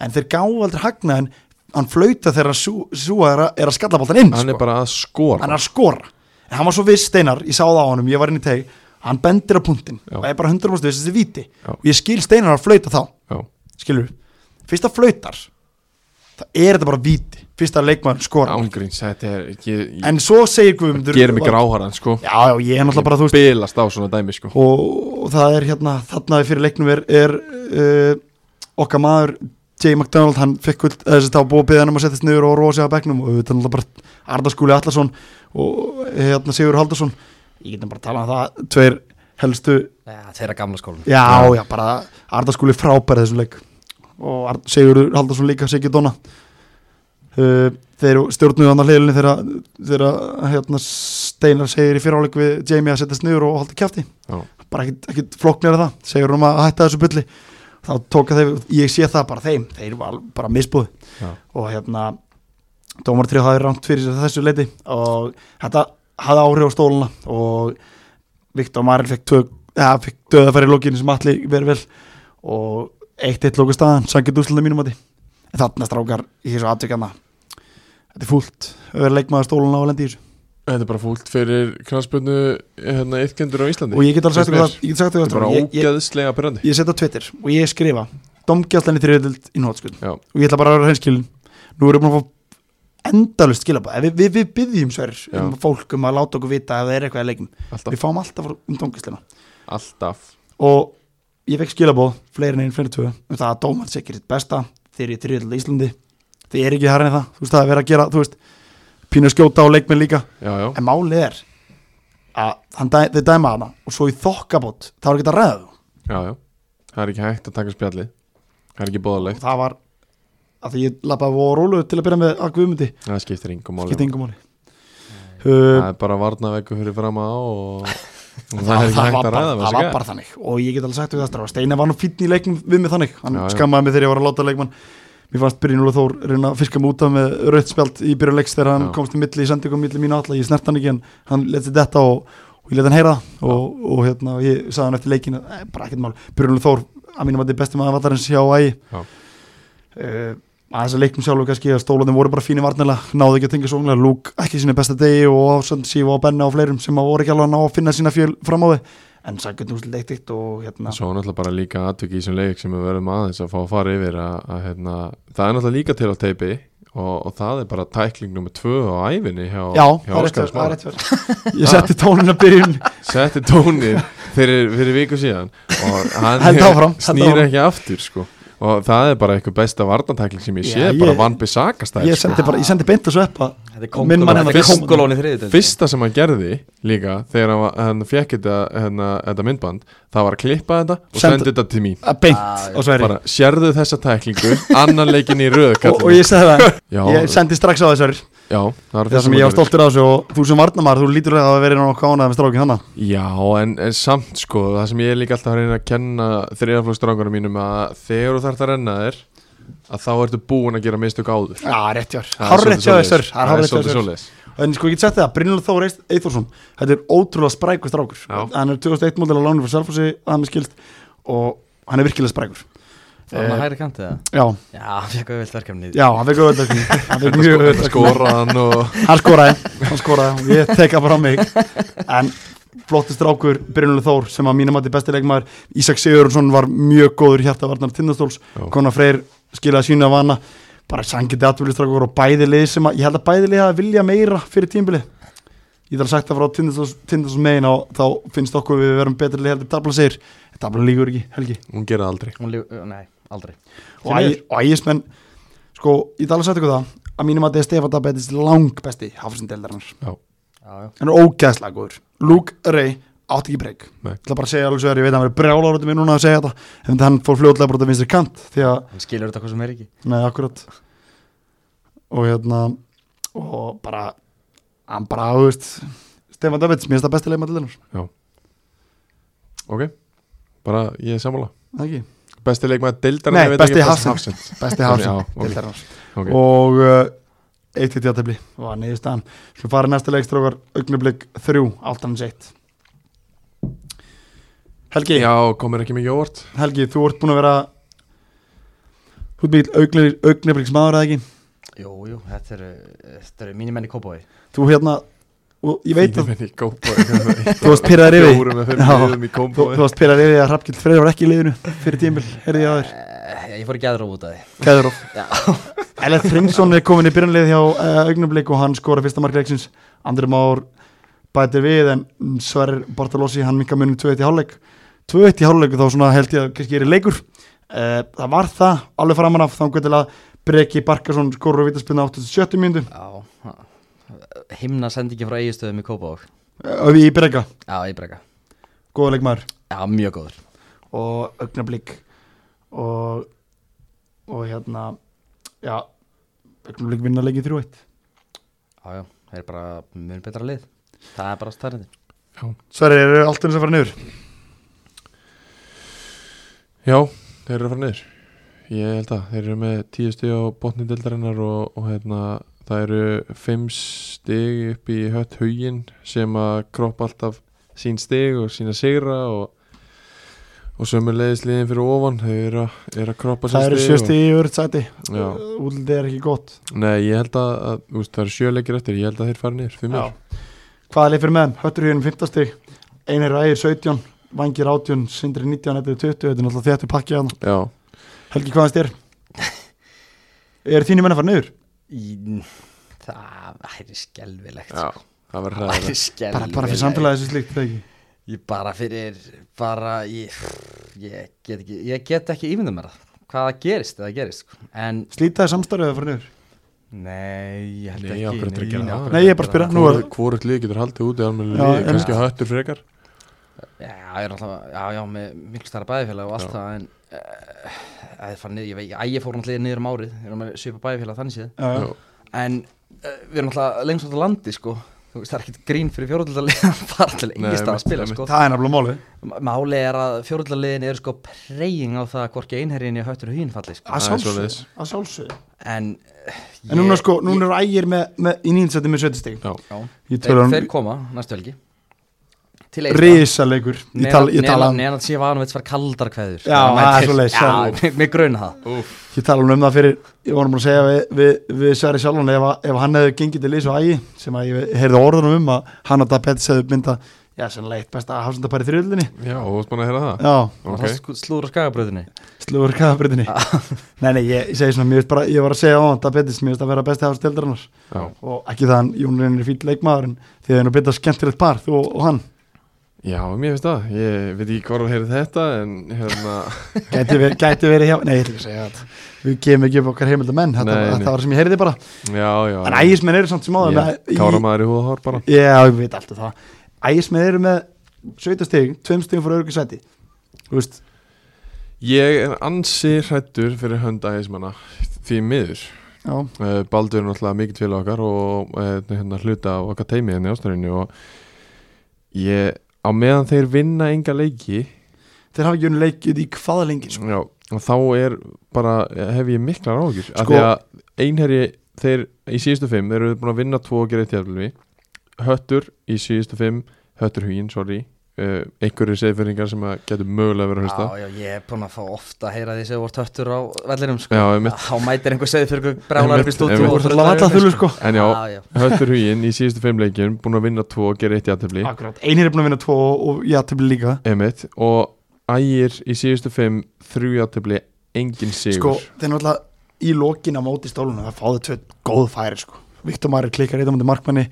en þeir gáðu aldrei hagnaðin hann flauta þegar hann sú, súa er, að- er að skalla boltan inn hann sko. er bara að skora hann er að skora en hann var svo viss steinar, ég sáði á honum, ég var inn í teg hann bendir á punktinn Já. og ég er bara 100% viss þessi viti Já. og ég skil steinar að flauta þá Já, skilur, fyrst að flautar það er þetta bara víti fyrst að leikmann skora ángríns, þetta er ég, ég en svo segir Guðmundur gerir mig gráharðan sko já, já, ég er náttúrulega bara þú veist bilast á svona dæmi sko og, og það er hérna, þarna fyrir leiknum er, er uh, okkar maður J. McDonald, hann fekk kvöld þess að þá búið að byggja hann um að setjast niður og rosa á bekknum og þetta er náttúrulega bara Arda Skúli Allarsson og hérna Sigur Haldarsson ég getum bara að tala um það, tveir helstu ja, þeirra gamla skólan Já, já, bara Arda skúli frábæri þessum leik og Ar- Sigurður Haldarsson líka, Sigur Donna uh, þeir stjórnuðu hann að hliðinni þegar þegar, hérna, Steinar segir í fyriráleik við Jamie að setjast niður og halda kjafti Já. bara ekkit, ekkit flóknir að það segir hann um að hætta þessu bylli þá tóka þeir, ég sé það bara þeim þeir var bara misbúði Já. og hérna, Dómartrið hafði rámt fyrir sér að þessu leiti og þetta hafði áhrif á stóluna og Viktor Maril fekk, tök, ja, fekk döðafæri í lokinu sem allir verið vel og eitt eitt lóka staðan, sangið úrslutin mínum að því en þarna strákar í þessu aðtökjana þetta er fúlt að vera leikmaður stóluna og lendi í þessu Þetta er bara fúlt fyrir knarspönnu hérna, ytkendur á Íslandi og ég get alveg sagt Finnst ykkur mér. það, ég get sagt Þetta er ykkur bara það ég, ég, ógeðslega pyrrandi ég setja á Twitter og ég skrifa domgjaldinni þriðild í nótskjöld Já. og ég ætla bara að vera hreinskilin nú erum við að fá endalust skilabæð við, við, við byggjum sver Já. um fólk um að láta okkur vita ef það er eitthvað að leikum Alltaf, við fáum alltaf um domgjaldina alltaf og ég fekk skilabóð fleiri en einn, fleiri en tvö um það að dómar segir þitt besta þegar ég þriðild í Íslandi þið er ekki hærni það, þú veist það er verið að gera þú veist, pínu að skjóta á leikminn líka Já, já, en málið er að hann dæ, þau dæma hana og svo í þokkabót þá er ekki að ræða þú já, já Það er ekki hægt að taka spjallið Það er ekki og bóðalegt, það var að því ég lappaði og róluðu til að byrja með að guðmundi það skiptir yngum máli skipt engum máli uh, Það er bara varnaveggu fyrir fram á og, og það er það, ekki það, var hægt að bara, ræða það var bara þannig og ég get alveg sagt við það strafa Steinar var nú fínn í leiknum við mig þannig hann Já, já. skammaði mig þegar ég var að láta leikmann mér fannst Brynjúlu Þór reyna að fiska mig út af með rautt spjald í byrjuleiks þegar hann Já. komst í milli í sendingum milli mínu alla ég snert hann ekki en hann leti þetta og, og ég leti hann heyra það og, og hérna, ég sagði hann eftir leikinu "Eh, bara ekkert mál, Brynjúlu Þór að mínum að þetta er besti maður vallarins hjá ægi Já. uh, að þess að leiknum sjálfur kannski að stólanum voru bara fínir varnilega náðu ekki að tengja svonglega, Lúk ekki í sína besta degi og Ásand Sýfa og Benna og fleirum sem að voru ekki alveg að ná að finna sína fjöl fram á þau en sækjönd úrslit eitt eitt og hérna Svo er náttúrulega bara líka atviki í þessum leik sem við verðum aðeins að fá að fara yfir að, að hérna, það er náttúrulega líka til á teipi og, og það er bara tækling nummer tvö á æfinni hjá, já, hjá það er rétt Óskari verð, það er Smára. rétt verð ég setti tónin að byrjun setti tónið fyrir, fyrir viku síðan og hann Held áfram, held snýr áfram. ekki aftur sko. og það er bara eitthvað besta varnatækling sem ég sé, Já, ég- bara Van Bissaka stæl sko. ég sendi bara, ég sendi beint þessu upp að þetta er Minn mann er kongulón þetta er fyrst- kongulón í þriðið fyrsta sem hann gerði líka þegar hann, var- hann fekk þetta, hérna, þetta myndband það var að klippa þetta og Senda- senda þetta til mín að Ah, beint Já, já. og sverri bara sérðu þessa tæklingu annan leikin í röð og, kallinn og ég segi það, já, ég sendi strax á þessu já, það var það sem ég var stoltur á þessu og þú sem varnamar, þú lítur að það verið nokkuð ánæða með strákin þannig Já, en, en samt sko, það sem ég er líka alltaf að reyna að kenna þriðaflókstrangunum mínum að þegar þú þarft að renna þér að þá ertu búin að gera mistök áður já, rétt hjá Það er hárrétt hjá þessu svolítið svoleiðis. Það er svolítið svoleiðis. En sko ég get sagt það, Brynjólf Þór Eithorsson Þetta er ótrúlega sprækur strákur Já. Hann er 2001 mótil á lánu fyrir Selfossi að hann er skilt og hann er virkilega sprækur var hann að hægri kanti eða? Já, eh, já, hann fekk auðvilt verkefni já, hann fekk auðvitað Hann fekk mjög auðvitað Skoraðan sko- og Hann skoraði, hann skoraði og ég teka bara á mig En flottist strákur Brynjólf Þór sem að mínum að besti leikmaður Ísak Sigurðsson var mjög góður hjartavarnar tindastóls Já. Kona Freyr skilaði sína vana bara sangiði atbyrðistrákur og bæði lið sem að, ég held að bæði lið að vilja meira fyrir tímbili ég þarf að sagt það frá Tindastóls megin og þá finnst okkur við verum betri lið heldur tabla segir, en tabla líkur ekki helgi hún gera það aldrei hún líf, nei, aldrei og, æ, og ægismenn, sko, ég þarf að sagt ykkur það að mínum að þetta er Stefán Dabettis lang besti hafsindeldarinnar, Já, já, já. hann er ógæðslega góður Luke Ray átti ekki breyk Nei. ég ætla bara að segja alveg svo er ég veit að hann verið brjálar út í mér núna að segja þetta en hann fór fljótlega bara út af vinstri kant því að hann skilur þetta hvað sem er ekki Nei, akkurat og hérna og bara hann bara, þú veist Stefán Davids, mér finnst það besti leikmann til þennar ok, bara ég er sammála ekki, besti leikmaður deildar Nei, besti Hafsend. besti hafsend til okay. þennar ok. og uh, eitt í tjáttefli var niðurstaðan, svo farið næsta leikstrókar augnablik þrjú, áltanins eitt Helgi já, komir ekki mikið óvart Helgi, þú ert búin að vera þú ert mikil augnabliks maður eða ekki, jú, jú, þetta eru, þetta eru mínimenni kópói þú hérna og ég veit að Fínir menn í Kópavogi. þú varst pyrraðar yfir því. fjórum með fimm Já. liðum í Þú, kombo þú varst pyrrað yfir því að Hrafngild Freyr var ekki í liðinu fyrir tímil, heyrði ég að þér Eh, ég fór í gæðróf út af því Kæðurof Já. Ellert Hringsson er komin í byrjanlið hjá uh, Augnumleik og hann skora fyrsta markleiksins Andri Már bætir við en Sverrir Bartolossi hann minka munum 2-1 í hálfleik 2-1 í hálfleik og þá svona held ég að kannski er í leikur uh, það var það alveg framan af þá til að Breki Barkarsson skorur og vítaspinna 87 mínútu já, himna sendingi frá eigistöðum í kópói Eh, og við í Breka, já, ég brega góða leikmaður já, mjög góður og augnablík og og hérna já, augnablík vinna leikið 3-1 já, já, það er bara mjög betra lið það er bara starrindi Sverri, eru allt eins að fara niður? já, þeir eru að fara niður ég held að þeir eru með tíu stig á botni deildarinnar og, og hérna það eru fimm stig upp í hött hugin sem að kroppa alltaf sín stig og sína sigra og og sömulegis liðin fyrir ofan þau eru að, eru að kroppa sín Það eru stig og- sjösti í öðru sæti Já. útlitið er ekki gott Nei, ég held að, að úst, það eru sjöleikir eftir, ég held að þeir fara niður fyrir mér. Hvaða leið fyrir meðan? Höttur hérna 15 stig Einir ægir 17, Vangir 18 Sindri 19, þetta er 20, þetta er náttúrulega þetta pakkið hann Já, Helgi, hvaðan styr? Er þínir menn að fara niður? Í- það væri skelvilegt já, það verður það væri hræðilegt. skelvilegt Bara, bara fyrir samfélagið sem slíkt, það ekki ég bara fyrir bara ég, ég get ekki ég get ekki ímyndum mér það hvað það gerist eða gerist sko. en Slítaði samstarfið að fara niður? nei ég held Nei, ekki af hverju ættirðu að gera af það? hverju Nei, ég er bara að spyrja. ættirðu Nú er- Hvorugt lið getur haldið úti almenni Já, liði, en- kannski höttur frekar. Já, ég er alltaf, já, já, með miklu starra bæðifélag og allt Já. það, en uh, að ég fann niður, ég veit, að ég fór náttúrulega niður um árið, ég er með svipa bæðifélag þannig séð, Já, já. Já. en uh, við erum alltaf lengst átt á landi, sko, þú veist, það er ekkert grín fyrir fjórhundarlega að fara til Nei, engin stað að einmitt, spila, einmitt. sko. Það er nefnilega málið M- Málið er að fjórhundarlegiðin eru sko preying á það að hvorki einherjinn í höttur og hýn falli, sko, Að Það er svoleiðis. sjálfsögðu, að sjálfsögðu en uh, ég... En núna sko, núna eru ægir með, með í nýjinsætti með 70 stig Já, Já, Ég þeir, tala um þeir koma næstu helgi til Egilsstaða. risaleikur Ég tala, ég tala, um- Nenad Sivanovic var kaldar kveður Já, það er svoleiðis, það er- Já, mig- mig gruna það ég tala um það fyrir Ég vorum búin að segja við, við, við Sverri sjálfan ef, að- ef hann hefði gengið til Lís og ægi sem að ég heyrði orðunum um að hann og Dabetis hefði mynda Já, sennilega eitt besta hafsendapæri þriðlinni já, og þú varst búin að heyra það. Já, Var Ok, það sku- slúður á skagabröðinni slúður kafabritinni Nei, nei, ég, ég segi svona, mér finnst bara, ég var að segja á hann Dabetis, mér finnst að vera besti hafsendapæri já. og ekki það hann, Jón Reynir er fýll leikmaður en þið er nú byrjað skemmtilegt par, þú og, og hann Já, mér finnst það. Ég veit ekki hvað að heyra þetta, en hérna, gæti, ver, gæti verið hjá, nei, ég ætla ekki að segja þetta við gefum ekki upp okkar heimildar menn þetta, Nei, nei. þetta var sem ég heyrði bara, já, já. en ægismenn eru samt sem áður með- í- Kára maður í húða hár bara. já, ég veit alltaf það, ægismenn eru með 17 stig, 2 stig fyrir örgisæti þú veist, Ég er ansi hrættur fyrir hönd ægismanna, því miður. já, Eh, Baldur er náttúrulega mikill félag okkar og eh, hérna, hluta á okkar teimið henni ástæðinu og ég, á meðan þeir vinna enga leiki þeir hafa ekki unni leikið í hvaða lengi sko. já, og þá er bara, hef ég miklar áhugjur sko, Sko- af því að einherji þeir í síðustu fimm, þeir eru búin að vinna tvo og gera eitt jafnvel höttur í síðustu fimm, höttur hugin, sorry uh, einhverju seðfyrringar sem að getur mögulega verið að hlusta Já, já, ég er búinn að fá ofta að heyra því sem voru töttur á vellinum sko. já, einmitt Þá mætir einhver segði fyrir ykkur brálar Einmitt, upp í stúdíu einmitt. þú og veist, drullar alltaf alltaf yfir, þulur sko en já, Já, já. höttur hugin í síðustu fimm leikjum búin að vinna tvo og gera eitt jafnvel Akkurat, einir er búin að vinna 2 og já, til líka Einmitt, og ægir í síðustu fimm þrjújáttefli engin sigur sko, þeir náttúrulega í lokin á móti stólunum, það fáðu tvö góð færi sko Viktor Mari klikkar eitthvað mútið markmanni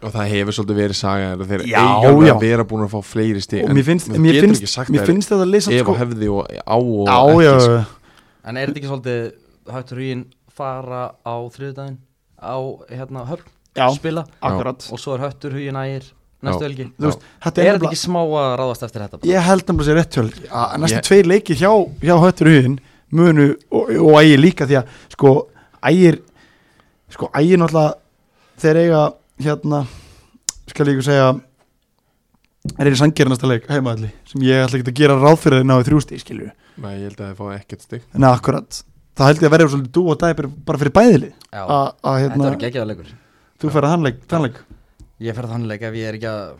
og það hefur svolítið verið saga þeirra, þeir Já, eiga alveg já. að vera búin að fá fleiri stig og mér finnst, maður mér getur finnst, ekki sagt mér þær finnst þetta leysa ef sko, og hefði og á og já, ekki já, sko. já, En er þetta ekki svolítið höttur huginn fara á þriðudaginn á hérna höfn, já, spila akkurat og svo er höttur huginn ægir næstu Já. helgi Þú veist, þetta Er er þetta nefnilega ekki smá að ráðast eftir þetta? bara? Ég held nefnilega sér rétt hjá þér. að næstu Ég- tveir leikir hjá, hjá höttur huginn munu og, og ægir líka því að sko ægir sko ægir náttúrulega þeir eiga hérna skal ég ykkur segja er einu sangjarnasta leik heimaðalli sem ég ætla ekki að gera ráð fyrir þeir náðu þrjústi skilju Nei, ég held að það fá ekkert stig en akkurat það held ég að verða svolítið dú og dæpir bara fyrir bæðili Já, að að, þetta hérna verður geggjaða leikur þú færði þannleik þannleik Ég fer þannleik ef ég er ekki að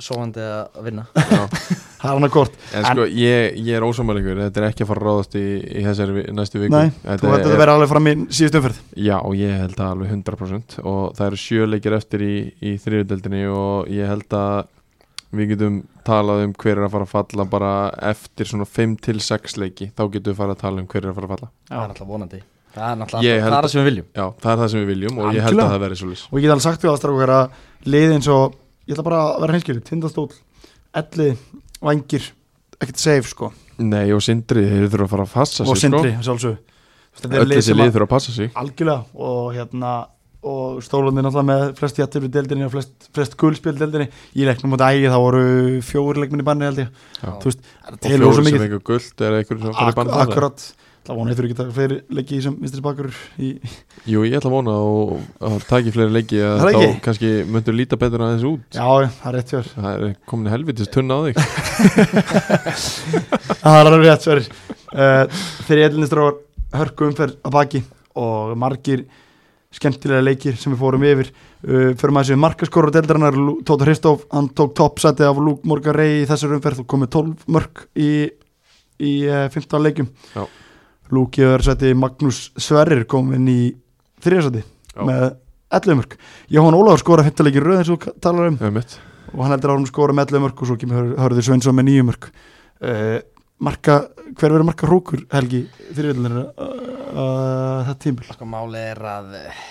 sofandi að vinna Já. það er hann að kort En sko, ég, ég er ósámælingur, þetta er ekki að fara að ráðast í, í þessari vi- næstu viku nei þetta þú heldur er- að vera alveg fram í síðust umferð Já, ég held að alveg 100% og það eru sjö leikir eftir í, í þriðudeldinni og ég held að við getum talað um hver er að fara að falla bara eftir svona 5-6 leiki, þá getum við fara að tala um hver er að fara að falla. Það er náttúrulega vonandi Það er Ég náttúrulega held- það er það sem við viljum Já, það er það sem við viljum og ég held Algjörlega. að það verði svo lýs. og ég get alveg sagt við aðstrakku hver að liðin svo, ég ætla bara að vera hinskilur tindastóll, elli, vangir ekkert safe sko Nei, og Sindri, þeir þurfa að fara að passa sig, og sindri, sjálfsög sko. Öll sko. þessi lið þurfa að passa sig. algjörlega og hérna og stólandi náttúrulega með flest jættur í deildinni og flest, flest gulspil í deildinni í leiknum á ægi þá voru fjóri leikminni banni held ég Já. þú veist, það Og telur fjóri svo sem mikið eitthvað guld er eitthvað sem fara í Ak bann þarna. akkurat, það vona eitthvað ekki að fleiri leiki í sem vinstri bakur í, Jú, ég ætla að vona og, og taki fleiri leiki að Það er þá ekki. kannski myndur líta betur aðeins út. já, það er rétt fjör Það er komin helvitist tunna á þig. Það er alveg rétt, sverri uh, Þeir elinistráar hörku umferð að baki og margir skemmtilega leikir sem við fórum yfir uh, fyrir maður þessu markaskorur deildarinnar Lú- Tóta Hristóf, hann tók toppsæti af Lúk Morgan Rey í þessar umferð og komið 12 mörg í, í uh, 15 leikjum Já. Lúk í öðru sæti Magnús Sverrir kom inn í þriðasæti Já. með 11 mörg Jóhann Ólafur skora 15 leikin röð eins og þú talar um Ömmitt. og hann heldur árum skora með 11 mörg og svo kemur Hör- Hörður Sveinsson með 9 mörg uh, marka, hver verður marka hrókur Helgi þriðvildinir uh, uh, þetta tímul Sko máli er að uh,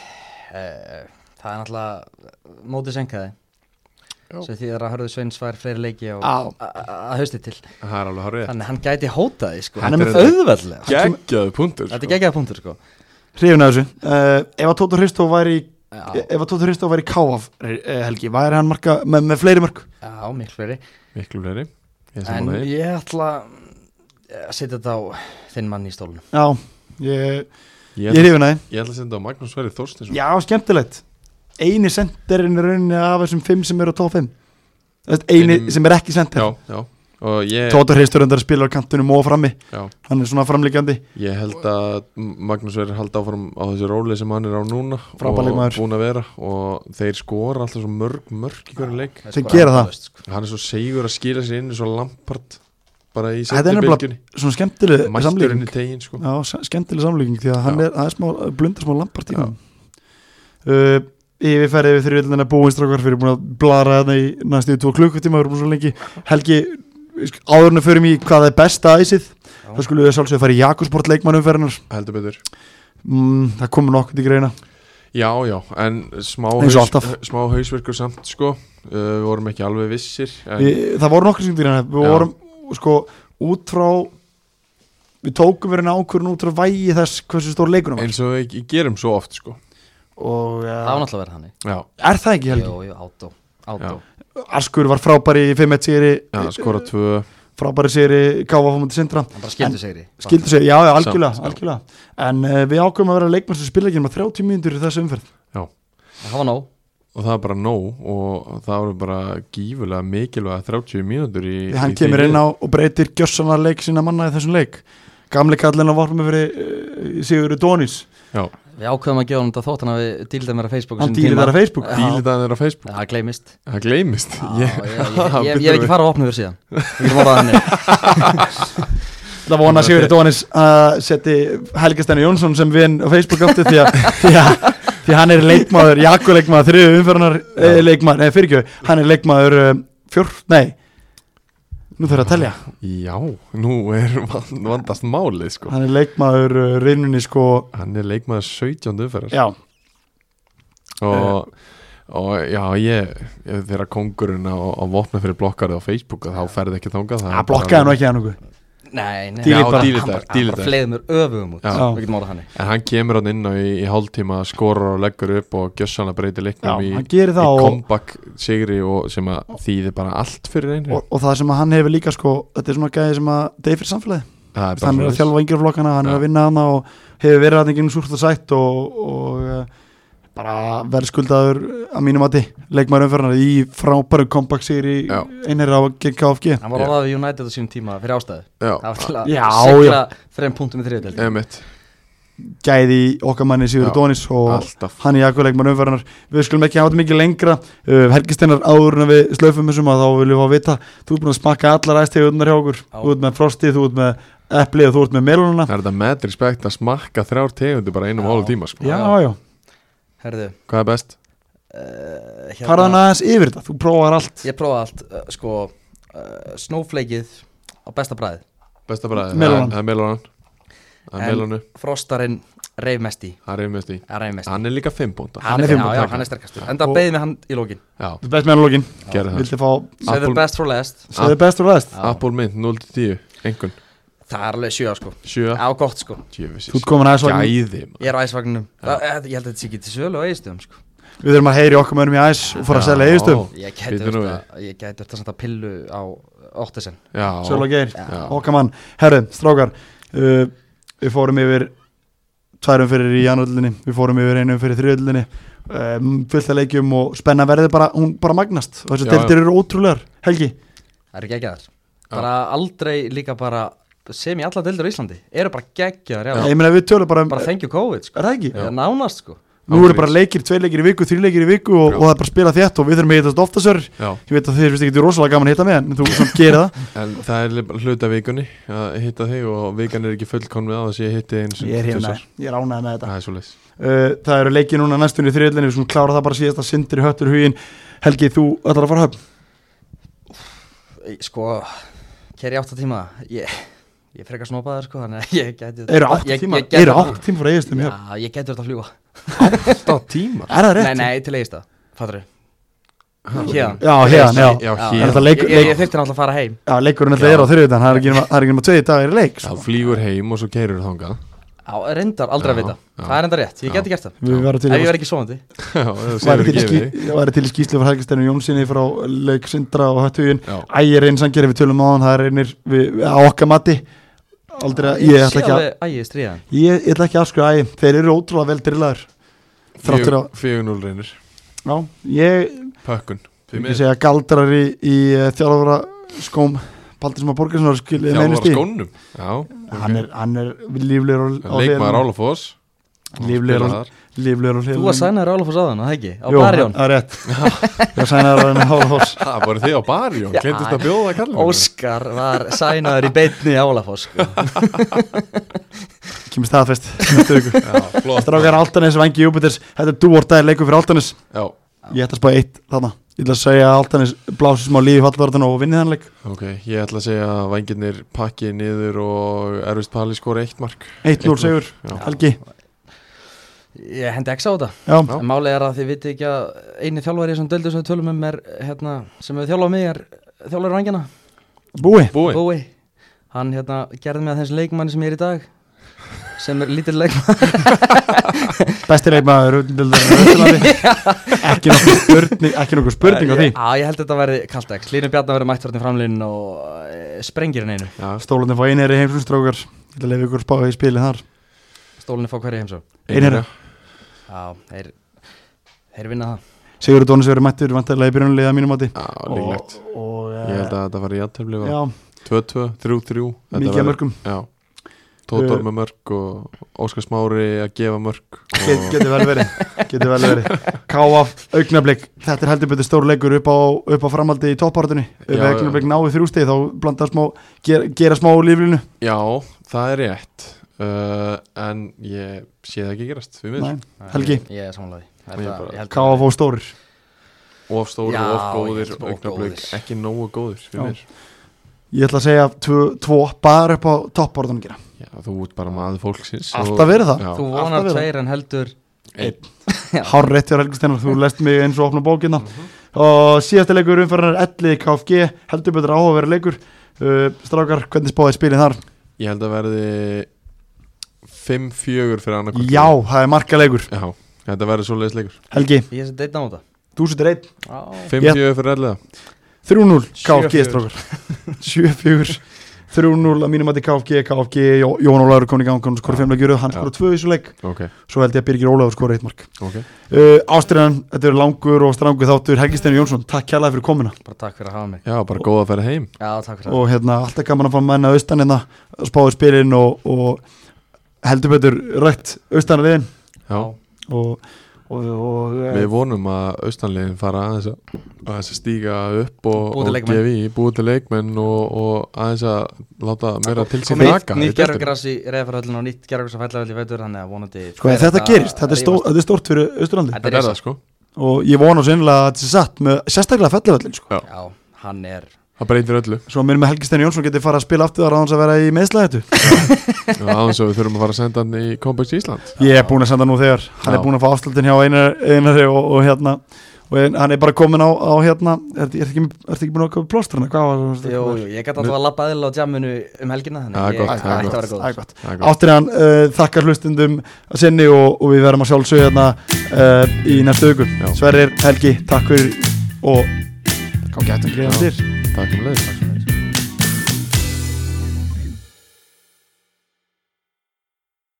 það er náttúrulega eh, mótið senkaði Já. sem því að Hörður Sveins fær fleiri leiki og Já. a- a- að hausti til Það er alveg hárið. þannig hann gæti hóta því sko Hann er með- auðveldlega Geggjaðu punktur þetta er geggjaða punktur sko hrifin af þessu, uh, ef að Tóta Hristó væri í- já, ef að Tóta Hristó væri í káaf Helgi, væri hann marka með, með fleiri mörg já miklu fleiri Miklu fleiri Ég en sammála því. ég ætla að setja þetta á þinn mann í stólunum já, ég, Ég ég er ætla- hrifin af þeim ég ætla að senda á Magnús Sverri Þorstinsson já, skemmtilegt eini senderinn er rauninni af þessum fimm sem eru á top 5 eini Einum- sem er ekki sender já, já. Og ég, Tóta Hristó reyndar spilar á kantunum og frammi já, hann er svona framlíkjandi ég held að Magnús Sverri haldi áfram á þessu róli sem hann er á núna Frábær og leikmaður. búin að vera og þeir skora alltaf svo mörg mörg í hverju leik Þeir gera það. endalaust, sko. hann er svo segur að skila sér inn svo lampart bara í Þetta er setni nefnilega bylgjunni svona skemmtileg mæsturinn samlíking í tegin sko. Já, s- skemmtileg samlíking því að hann Já. er, það er smá, blundar smá lampart í hann uh, Yfirferði við þrjöldina búinstrákar fyrir búin að blara þarna í næstu í tvo klukkutíma við erum búin svo lengi Helgi, áðurinn að förum í hvað er besta æsið Já. þá skulum við sjálfsögðu fara í Jakobsport leikmannumferðinar heldur betur mm, Það komur nokkuð til greina já, já, en smá, Eins og alltaf. smá hausverkur samt sko. uh, við vorum ekki alveg vissir en, við, Það voru nokkuð sem til greina Við Já. vorum, sko, út frá við tókum verið ákvörðin út frá vægi þess hversu stór leikunum var eins og við gerum svo oft sko. og það var uh, náttúrulega verið þannig já, er það ekki Helgi? jú, jú, átó, átó. Já. Askur var frábæri í 5-1 sigri já, skora tvö frábæri sigri gáfa fór mútið sindra hann bara skildu segri skildu sig, já, já, algjörlega, Samt, já. algjörlega. en uh, við ákveðum að vera leikmenn sem spila ekki um 30 mínútur í þessu umferð það var nóg og það er bara nóg og það voru bara gífulega mikilvæga 30 mínútur í, því hann í kemur þeirri- inn á og breytir gjössanar leik sína manna í þessum leik gamli kallin á varfum fyrir uh, Sigurður Dónis, já, Við ákveðum að gefa hann þetta þótt hann að við dýldum þér að Facebook á hann sínum dýlir tíma. þar á Facebook Já. dílið það er á Facebook Það gleymist það gleymist Já, ég, ég, ég, ég, ég hef ekki farað að opna þér síðan Ég hef orðað henni Það vona að Sigurður Dónis að seti Helgastenni Jónsson sem vinn á Facebook aftur því að, því að, því að hann er leikmaður, Jakko leikmaður, þriðu umferðunar eh, leikmaður, nei fyrir ekki, hann er leikmaður eh, fjór, nei nú þarf ég að telja, já, nú er van- vandast málið sko hann er leikmaður eh, rauninni sko, hann er leikmaður 17. umferðar já, og, og já, ég, ég þegar kongurinn á, á vopna fyrir blokkarið á Facebook þá ferði ekki þangað það er að bara blokkaði nú alveg- ekki hann okkur Nei, nei, Dílitar. hann bara- Dílitar, hann bara- hann dílitar. bara fleðið mér öfugum út Já. Við getum orðað þannig En hann kemur hann inn á í, í hálftíma skorur og leggur upp og gjössanlega breytir Já, leiknum í, hann gerir í það og, comeback sigri og sem að þýðir bara allt fyrir einu og, og það sem að hann hefur líka sko, þetta er svona gæði sem að deyja fyrir samfélagi, það er hann er bara að svoleiðis. þjálfa yngjörflokkana, hann er Já. að vinna hana og hefur verið hann ekki súrt og sætt og, og eh, bara verðskuldaður að mínu mati, leikmaður umferðanar í frábæru kompaktsýr í Já. einherra á gegn KFG Hann var Já. orðað við United á sínum tíma fyrir ástæðu Það var Já, til að Já, Eh. sigla þreim punktum í þriðdelt emitt, gæði í okkar manni Sigur Já. Dónis og alltaf hann er jakkuð leikmaður umferðanar við skulum ekki hafa þetta mikið lengra uh, Helgisteinar áður en við slöfum þessum að þá viljum við að vita, þú ert búin að smakka allar æstegjurnar hjá okkur, Já. þú ert með frostið þú ert með eplið og þú ert með melununa Það er þetta með respekt að smakka þrjár tegundu bara einum Já. og hálf tíma sko. Já, Já. já, Herðu, Hvað er best? uh, farðan aðeins yfir þetta, þú prófar allt Ég prófaði allt, uh, sko uh, Snowflakeið á besta bræði Besta bara Melónan. Það er melonan Það er En- melonu, Frostarinn reifmesti það er einmest í Það er reifmesti Hann er líka fimm bónda Hann er já, fimm og já, taka. hann er sterkastur Enda Og- beðið með hann í lókin Já, Þú best með analógin, gerðu það vildi fá Say the Apple- best for last segðu best og ræðst Já. Apple Mint 0-10, einhvern Það er alveg sjö, sko 7, Já, gott, sko Þú jöfisins ert komin aðeins vagn, Gæði maður. Ég er á æsvagninum Það- eh, Ég held að þetta sé ekki til sölu á ægistöðum, sko við þurfum að heyri okkar mönnum í æs og fara að Já. selja eðistum Ég gæti Bíddu nú verið að- ég gæti verið að senda pillu á Óttesen Já, Sjöla Geir, já. okkar mann, herru, strákar uh, við fórum yfir tværum fyrir í janúrlunni, við fórum yfir einum fyrir þriðlunni um, fullt að leikjum og spenna verði bara, hún bara magnast og þessu Já, já. deltir eru ótrúlegar, Helgi Það eru geggjaðar Bara aldrei líka bara sem í alla deildur í Íslandi eru bara geggjaðar já. ég meina við tölum bara, Bara bara thank you COVID sko er það ekki? Eða nánast sko Nú eru bara leikir, tvei leikir í viku, þrjí leikir í viku og, Já. og það er bara að spila þétt og við þurfum að hittast ofta sér Já, ég veit að þið finnst ekki rosalega gaman að hitta með en þú sem gerir það en það er li- bara hluti af vikunni að hitta þig og vikan er ekki fullkomn með á þess að ég hitti eins og Ég er hérna, ég er ánægð með þetta Það er svo leis uh, Það eru leikið núna næstunni í þriðlinni Við skulum klára það bara síðast að sindir í höttur hugin Helgi, þú ætlar að fara höfn Í- Sko Keri átta tíma Ég Ég er frekar snópaður sko Þannig að ég gæti Eru átt ég- tíma, ég gæti- eru átt tíma frá eigistum ja. Já ég gæti verið að fljúa Alltaf tíma Er það Nei rétt? nei til eigist það Fattur Héðan Já, héðan, já, Já, Er hér þetta leik- Ég, ég, leik- ég þurfti náttúrulega að fara heim já Leikurinn ætla er á þriðutan Það er ekki nema- það er ekki nema tveiði dagar í leik Já, sko. flýgur heim og svo keirur þangað Já reyndar aldrei að Já, vita já. Það er enda rétt Já. Ég gæti gert það Við verðum til Ef að ég verð ekki svonandi Já, það séu væri ekki til í gefið ský- væri til í skýslu frá Helgasteinu Jónssoni frá leik Sindra og Höttugin Já, Ægir einn sangeri við tölum á hann Það er einir við, á okkar mati Aldrei að, ég ætla ekki að Ægir stríðan Ég, ég ætla ekki að sko ægir Þeir eru ótrúlega vel drillaður Þráttur á, 4-0 reynir já, ég Pökkun Því Ég miður. segja galdrar í, í uh, þjálfara skóm Baldur sem að Borgarsson skilja Þjálfara meinust í skónum Já, hann er, hann er líflegur á- á hérna. Leikmaður hliðinni. Álafoss Líflegur á- líflegur á hliðinu Þú var sænaður Álafoss á þann, að það ekki? Á Jú, Barjón það er rétt Ég var sænaður á henni Hálafoss Það voru þið á bari og Já. gleyndist að bjóða Mm. kallinu Óskar var sænaður í beitni á Álafoss sko. Kemur staðfest Já, flott Strákar Altanes, Vangi Júpiters Þetta er dúortæði leikur fyrir Altanes Já, Ég ætla að spá eitt þarna Ég ætla að segja að Altanes blási smá lífi fallvartan og vinni þann leik ok, ég ætla að segja að vangirnir pakki niður og erfist pali skora eitt mark 1-0 segur Já, Helgi Ég hendi ekki á þetta Já, Já. En Málið er að þið vitið ekki að eini þjálfari sem döldu sem við tölum um er hérna, sem við þjálfað mig er þjálfari rangina búi búin Bói Hann hérna, gerði mig að þessum leikmanni sem ég er í dag sem er lítill leikmann Besti leikmaður útdeildar í Austurlandi. Ekki nokkuð spurning Ekki nokkuð spurning á því Já, ég held að þetta verði kalltæks Línu Bjarnar verði mætt fyrir framlinn og eh, sprengir hann einu Já, Stólandi fá einherri heimsumstrákar Ég ætla að lefa ykkur að spá í spilið þar Stólinni fá hverja heimsó Einherja. Já, þeir, þeir vinna það Sigurður Dónis verið mættur vantarlega í byrjunlega mínum átti Já, líklegt og Ég held að þetta var í aðtöfli Já, 2-2, 3-3 Þetta mikið verður- að mörgum Já Tóttor Uh, með mörg og Óskar Smári að gefa mörg Get, og Getur vel verið Getur vel verið Káaf, augnablík Þetta er heldur betur stór leikur upp á, upp á framaldi í toppártunni Ef Já, augnablík náu þrjústegi þá blanda smá ger, Gera smá úr líflinu Já, það er rétt uh, En ég sé það ekki gerast Við miður Nei, Helgi. Ég, ég er samanlega því Ég Þetta- bara- ég held að- Káaf og stórir Of stóri, Já, of ég góðir, held of augnablík góðir. Ekki nógu góðir, Já. við miður Ég ætla að segja tvo, tvo bara upp á toppártunum gera Já, þú ert bara maður fólksins Alltaf og- verið það. Já, Þú alltaf vonar verið. tveir en heldur einn. Hár rétt fyrir Helgi Steinar, þú lest mig Mhm. eins og opna bókina og síðasta leikur umferðar er Elli KFG heldur betur áhugaverð leikur uh, Strákar, hvernig spáðið spilin þar? Ég held að verði 5-4 fyrir annarkvæmt Já, það er markalegur Já, þetta verði svo leiðisleikur Helgi, Ég sem deitna á þetta þú setur einn Já, 5-4 fyrir elliða 3-0 KFG 7-4. strókar 7-4 3-0 að mínum að þetta KFG, KFG Jó- Jón Ólafur kom í gang, hann skorði 5 leikjur hann Já. skorði 2 í þessu leik, Ok, svo held ég að Birgir Ólafur skorði 1 mark ok uh, Ástriðan, þetta er langur og strangur þáttur Helgi Steinu Jónsson, takk kjærlega fyrir komuna bara takk fyrir að hafa mig Já, bara góð að færa heim Já, takk fyrir að og hérna, alltaf gaman að fá menna austan hérna, spáði spilin og, og heldur betur rætt austan að liðin Já, og, og, og eh, við vonum að austanliðin fara aðeins að, aðeins að stíga upp og, Búa til og leikmenn. gefi í búið til leikmenn og, og aðeins að láta meira til sín Komið nýtt, taka í nýtt deildinni. gerðugras í reyðarfærhöllin og nýtt gerðugras á fællavelli í veitur þannig að vonandi sko, ef þetta gerist, þetta er, stó, þetta er stórt fyrir austurlandi Þetta Þetta er risa. það sko og ég vona sennilega að þetta sé satt með sérstaklega fellivöllin sko. Já, hann er Það breytir öllu svo að mér með Helgi Steini Jónsson geti fara að spila aftur þar á hans að vera í meðslæðitu og aðeins að við þurfum að fara að senda hann í Kompaks Ísland ég er búin að senda nú þegar hann Já. er búin að fá afslutin hjá einar, einari og, og hérna og ein- hann er bara komin á, á hérna er þetta ekki, er ekki búin að köpa plóstrana? hvað var það? Jú, jú, ég gæti alltaf að labba aðeins á djamunu um helgina þannig Það er gott, það að ég er ætti að vera gott, góð það er gott. Það er gott. Ástriðan uh, þakkar hlustundum að sinni og, og við verðum að sjálfsögja hérna uh, í næstu auku Já. Sverrir, Helgi, takk fyrir og gangi hægt að greiða Já. þér Takk um leið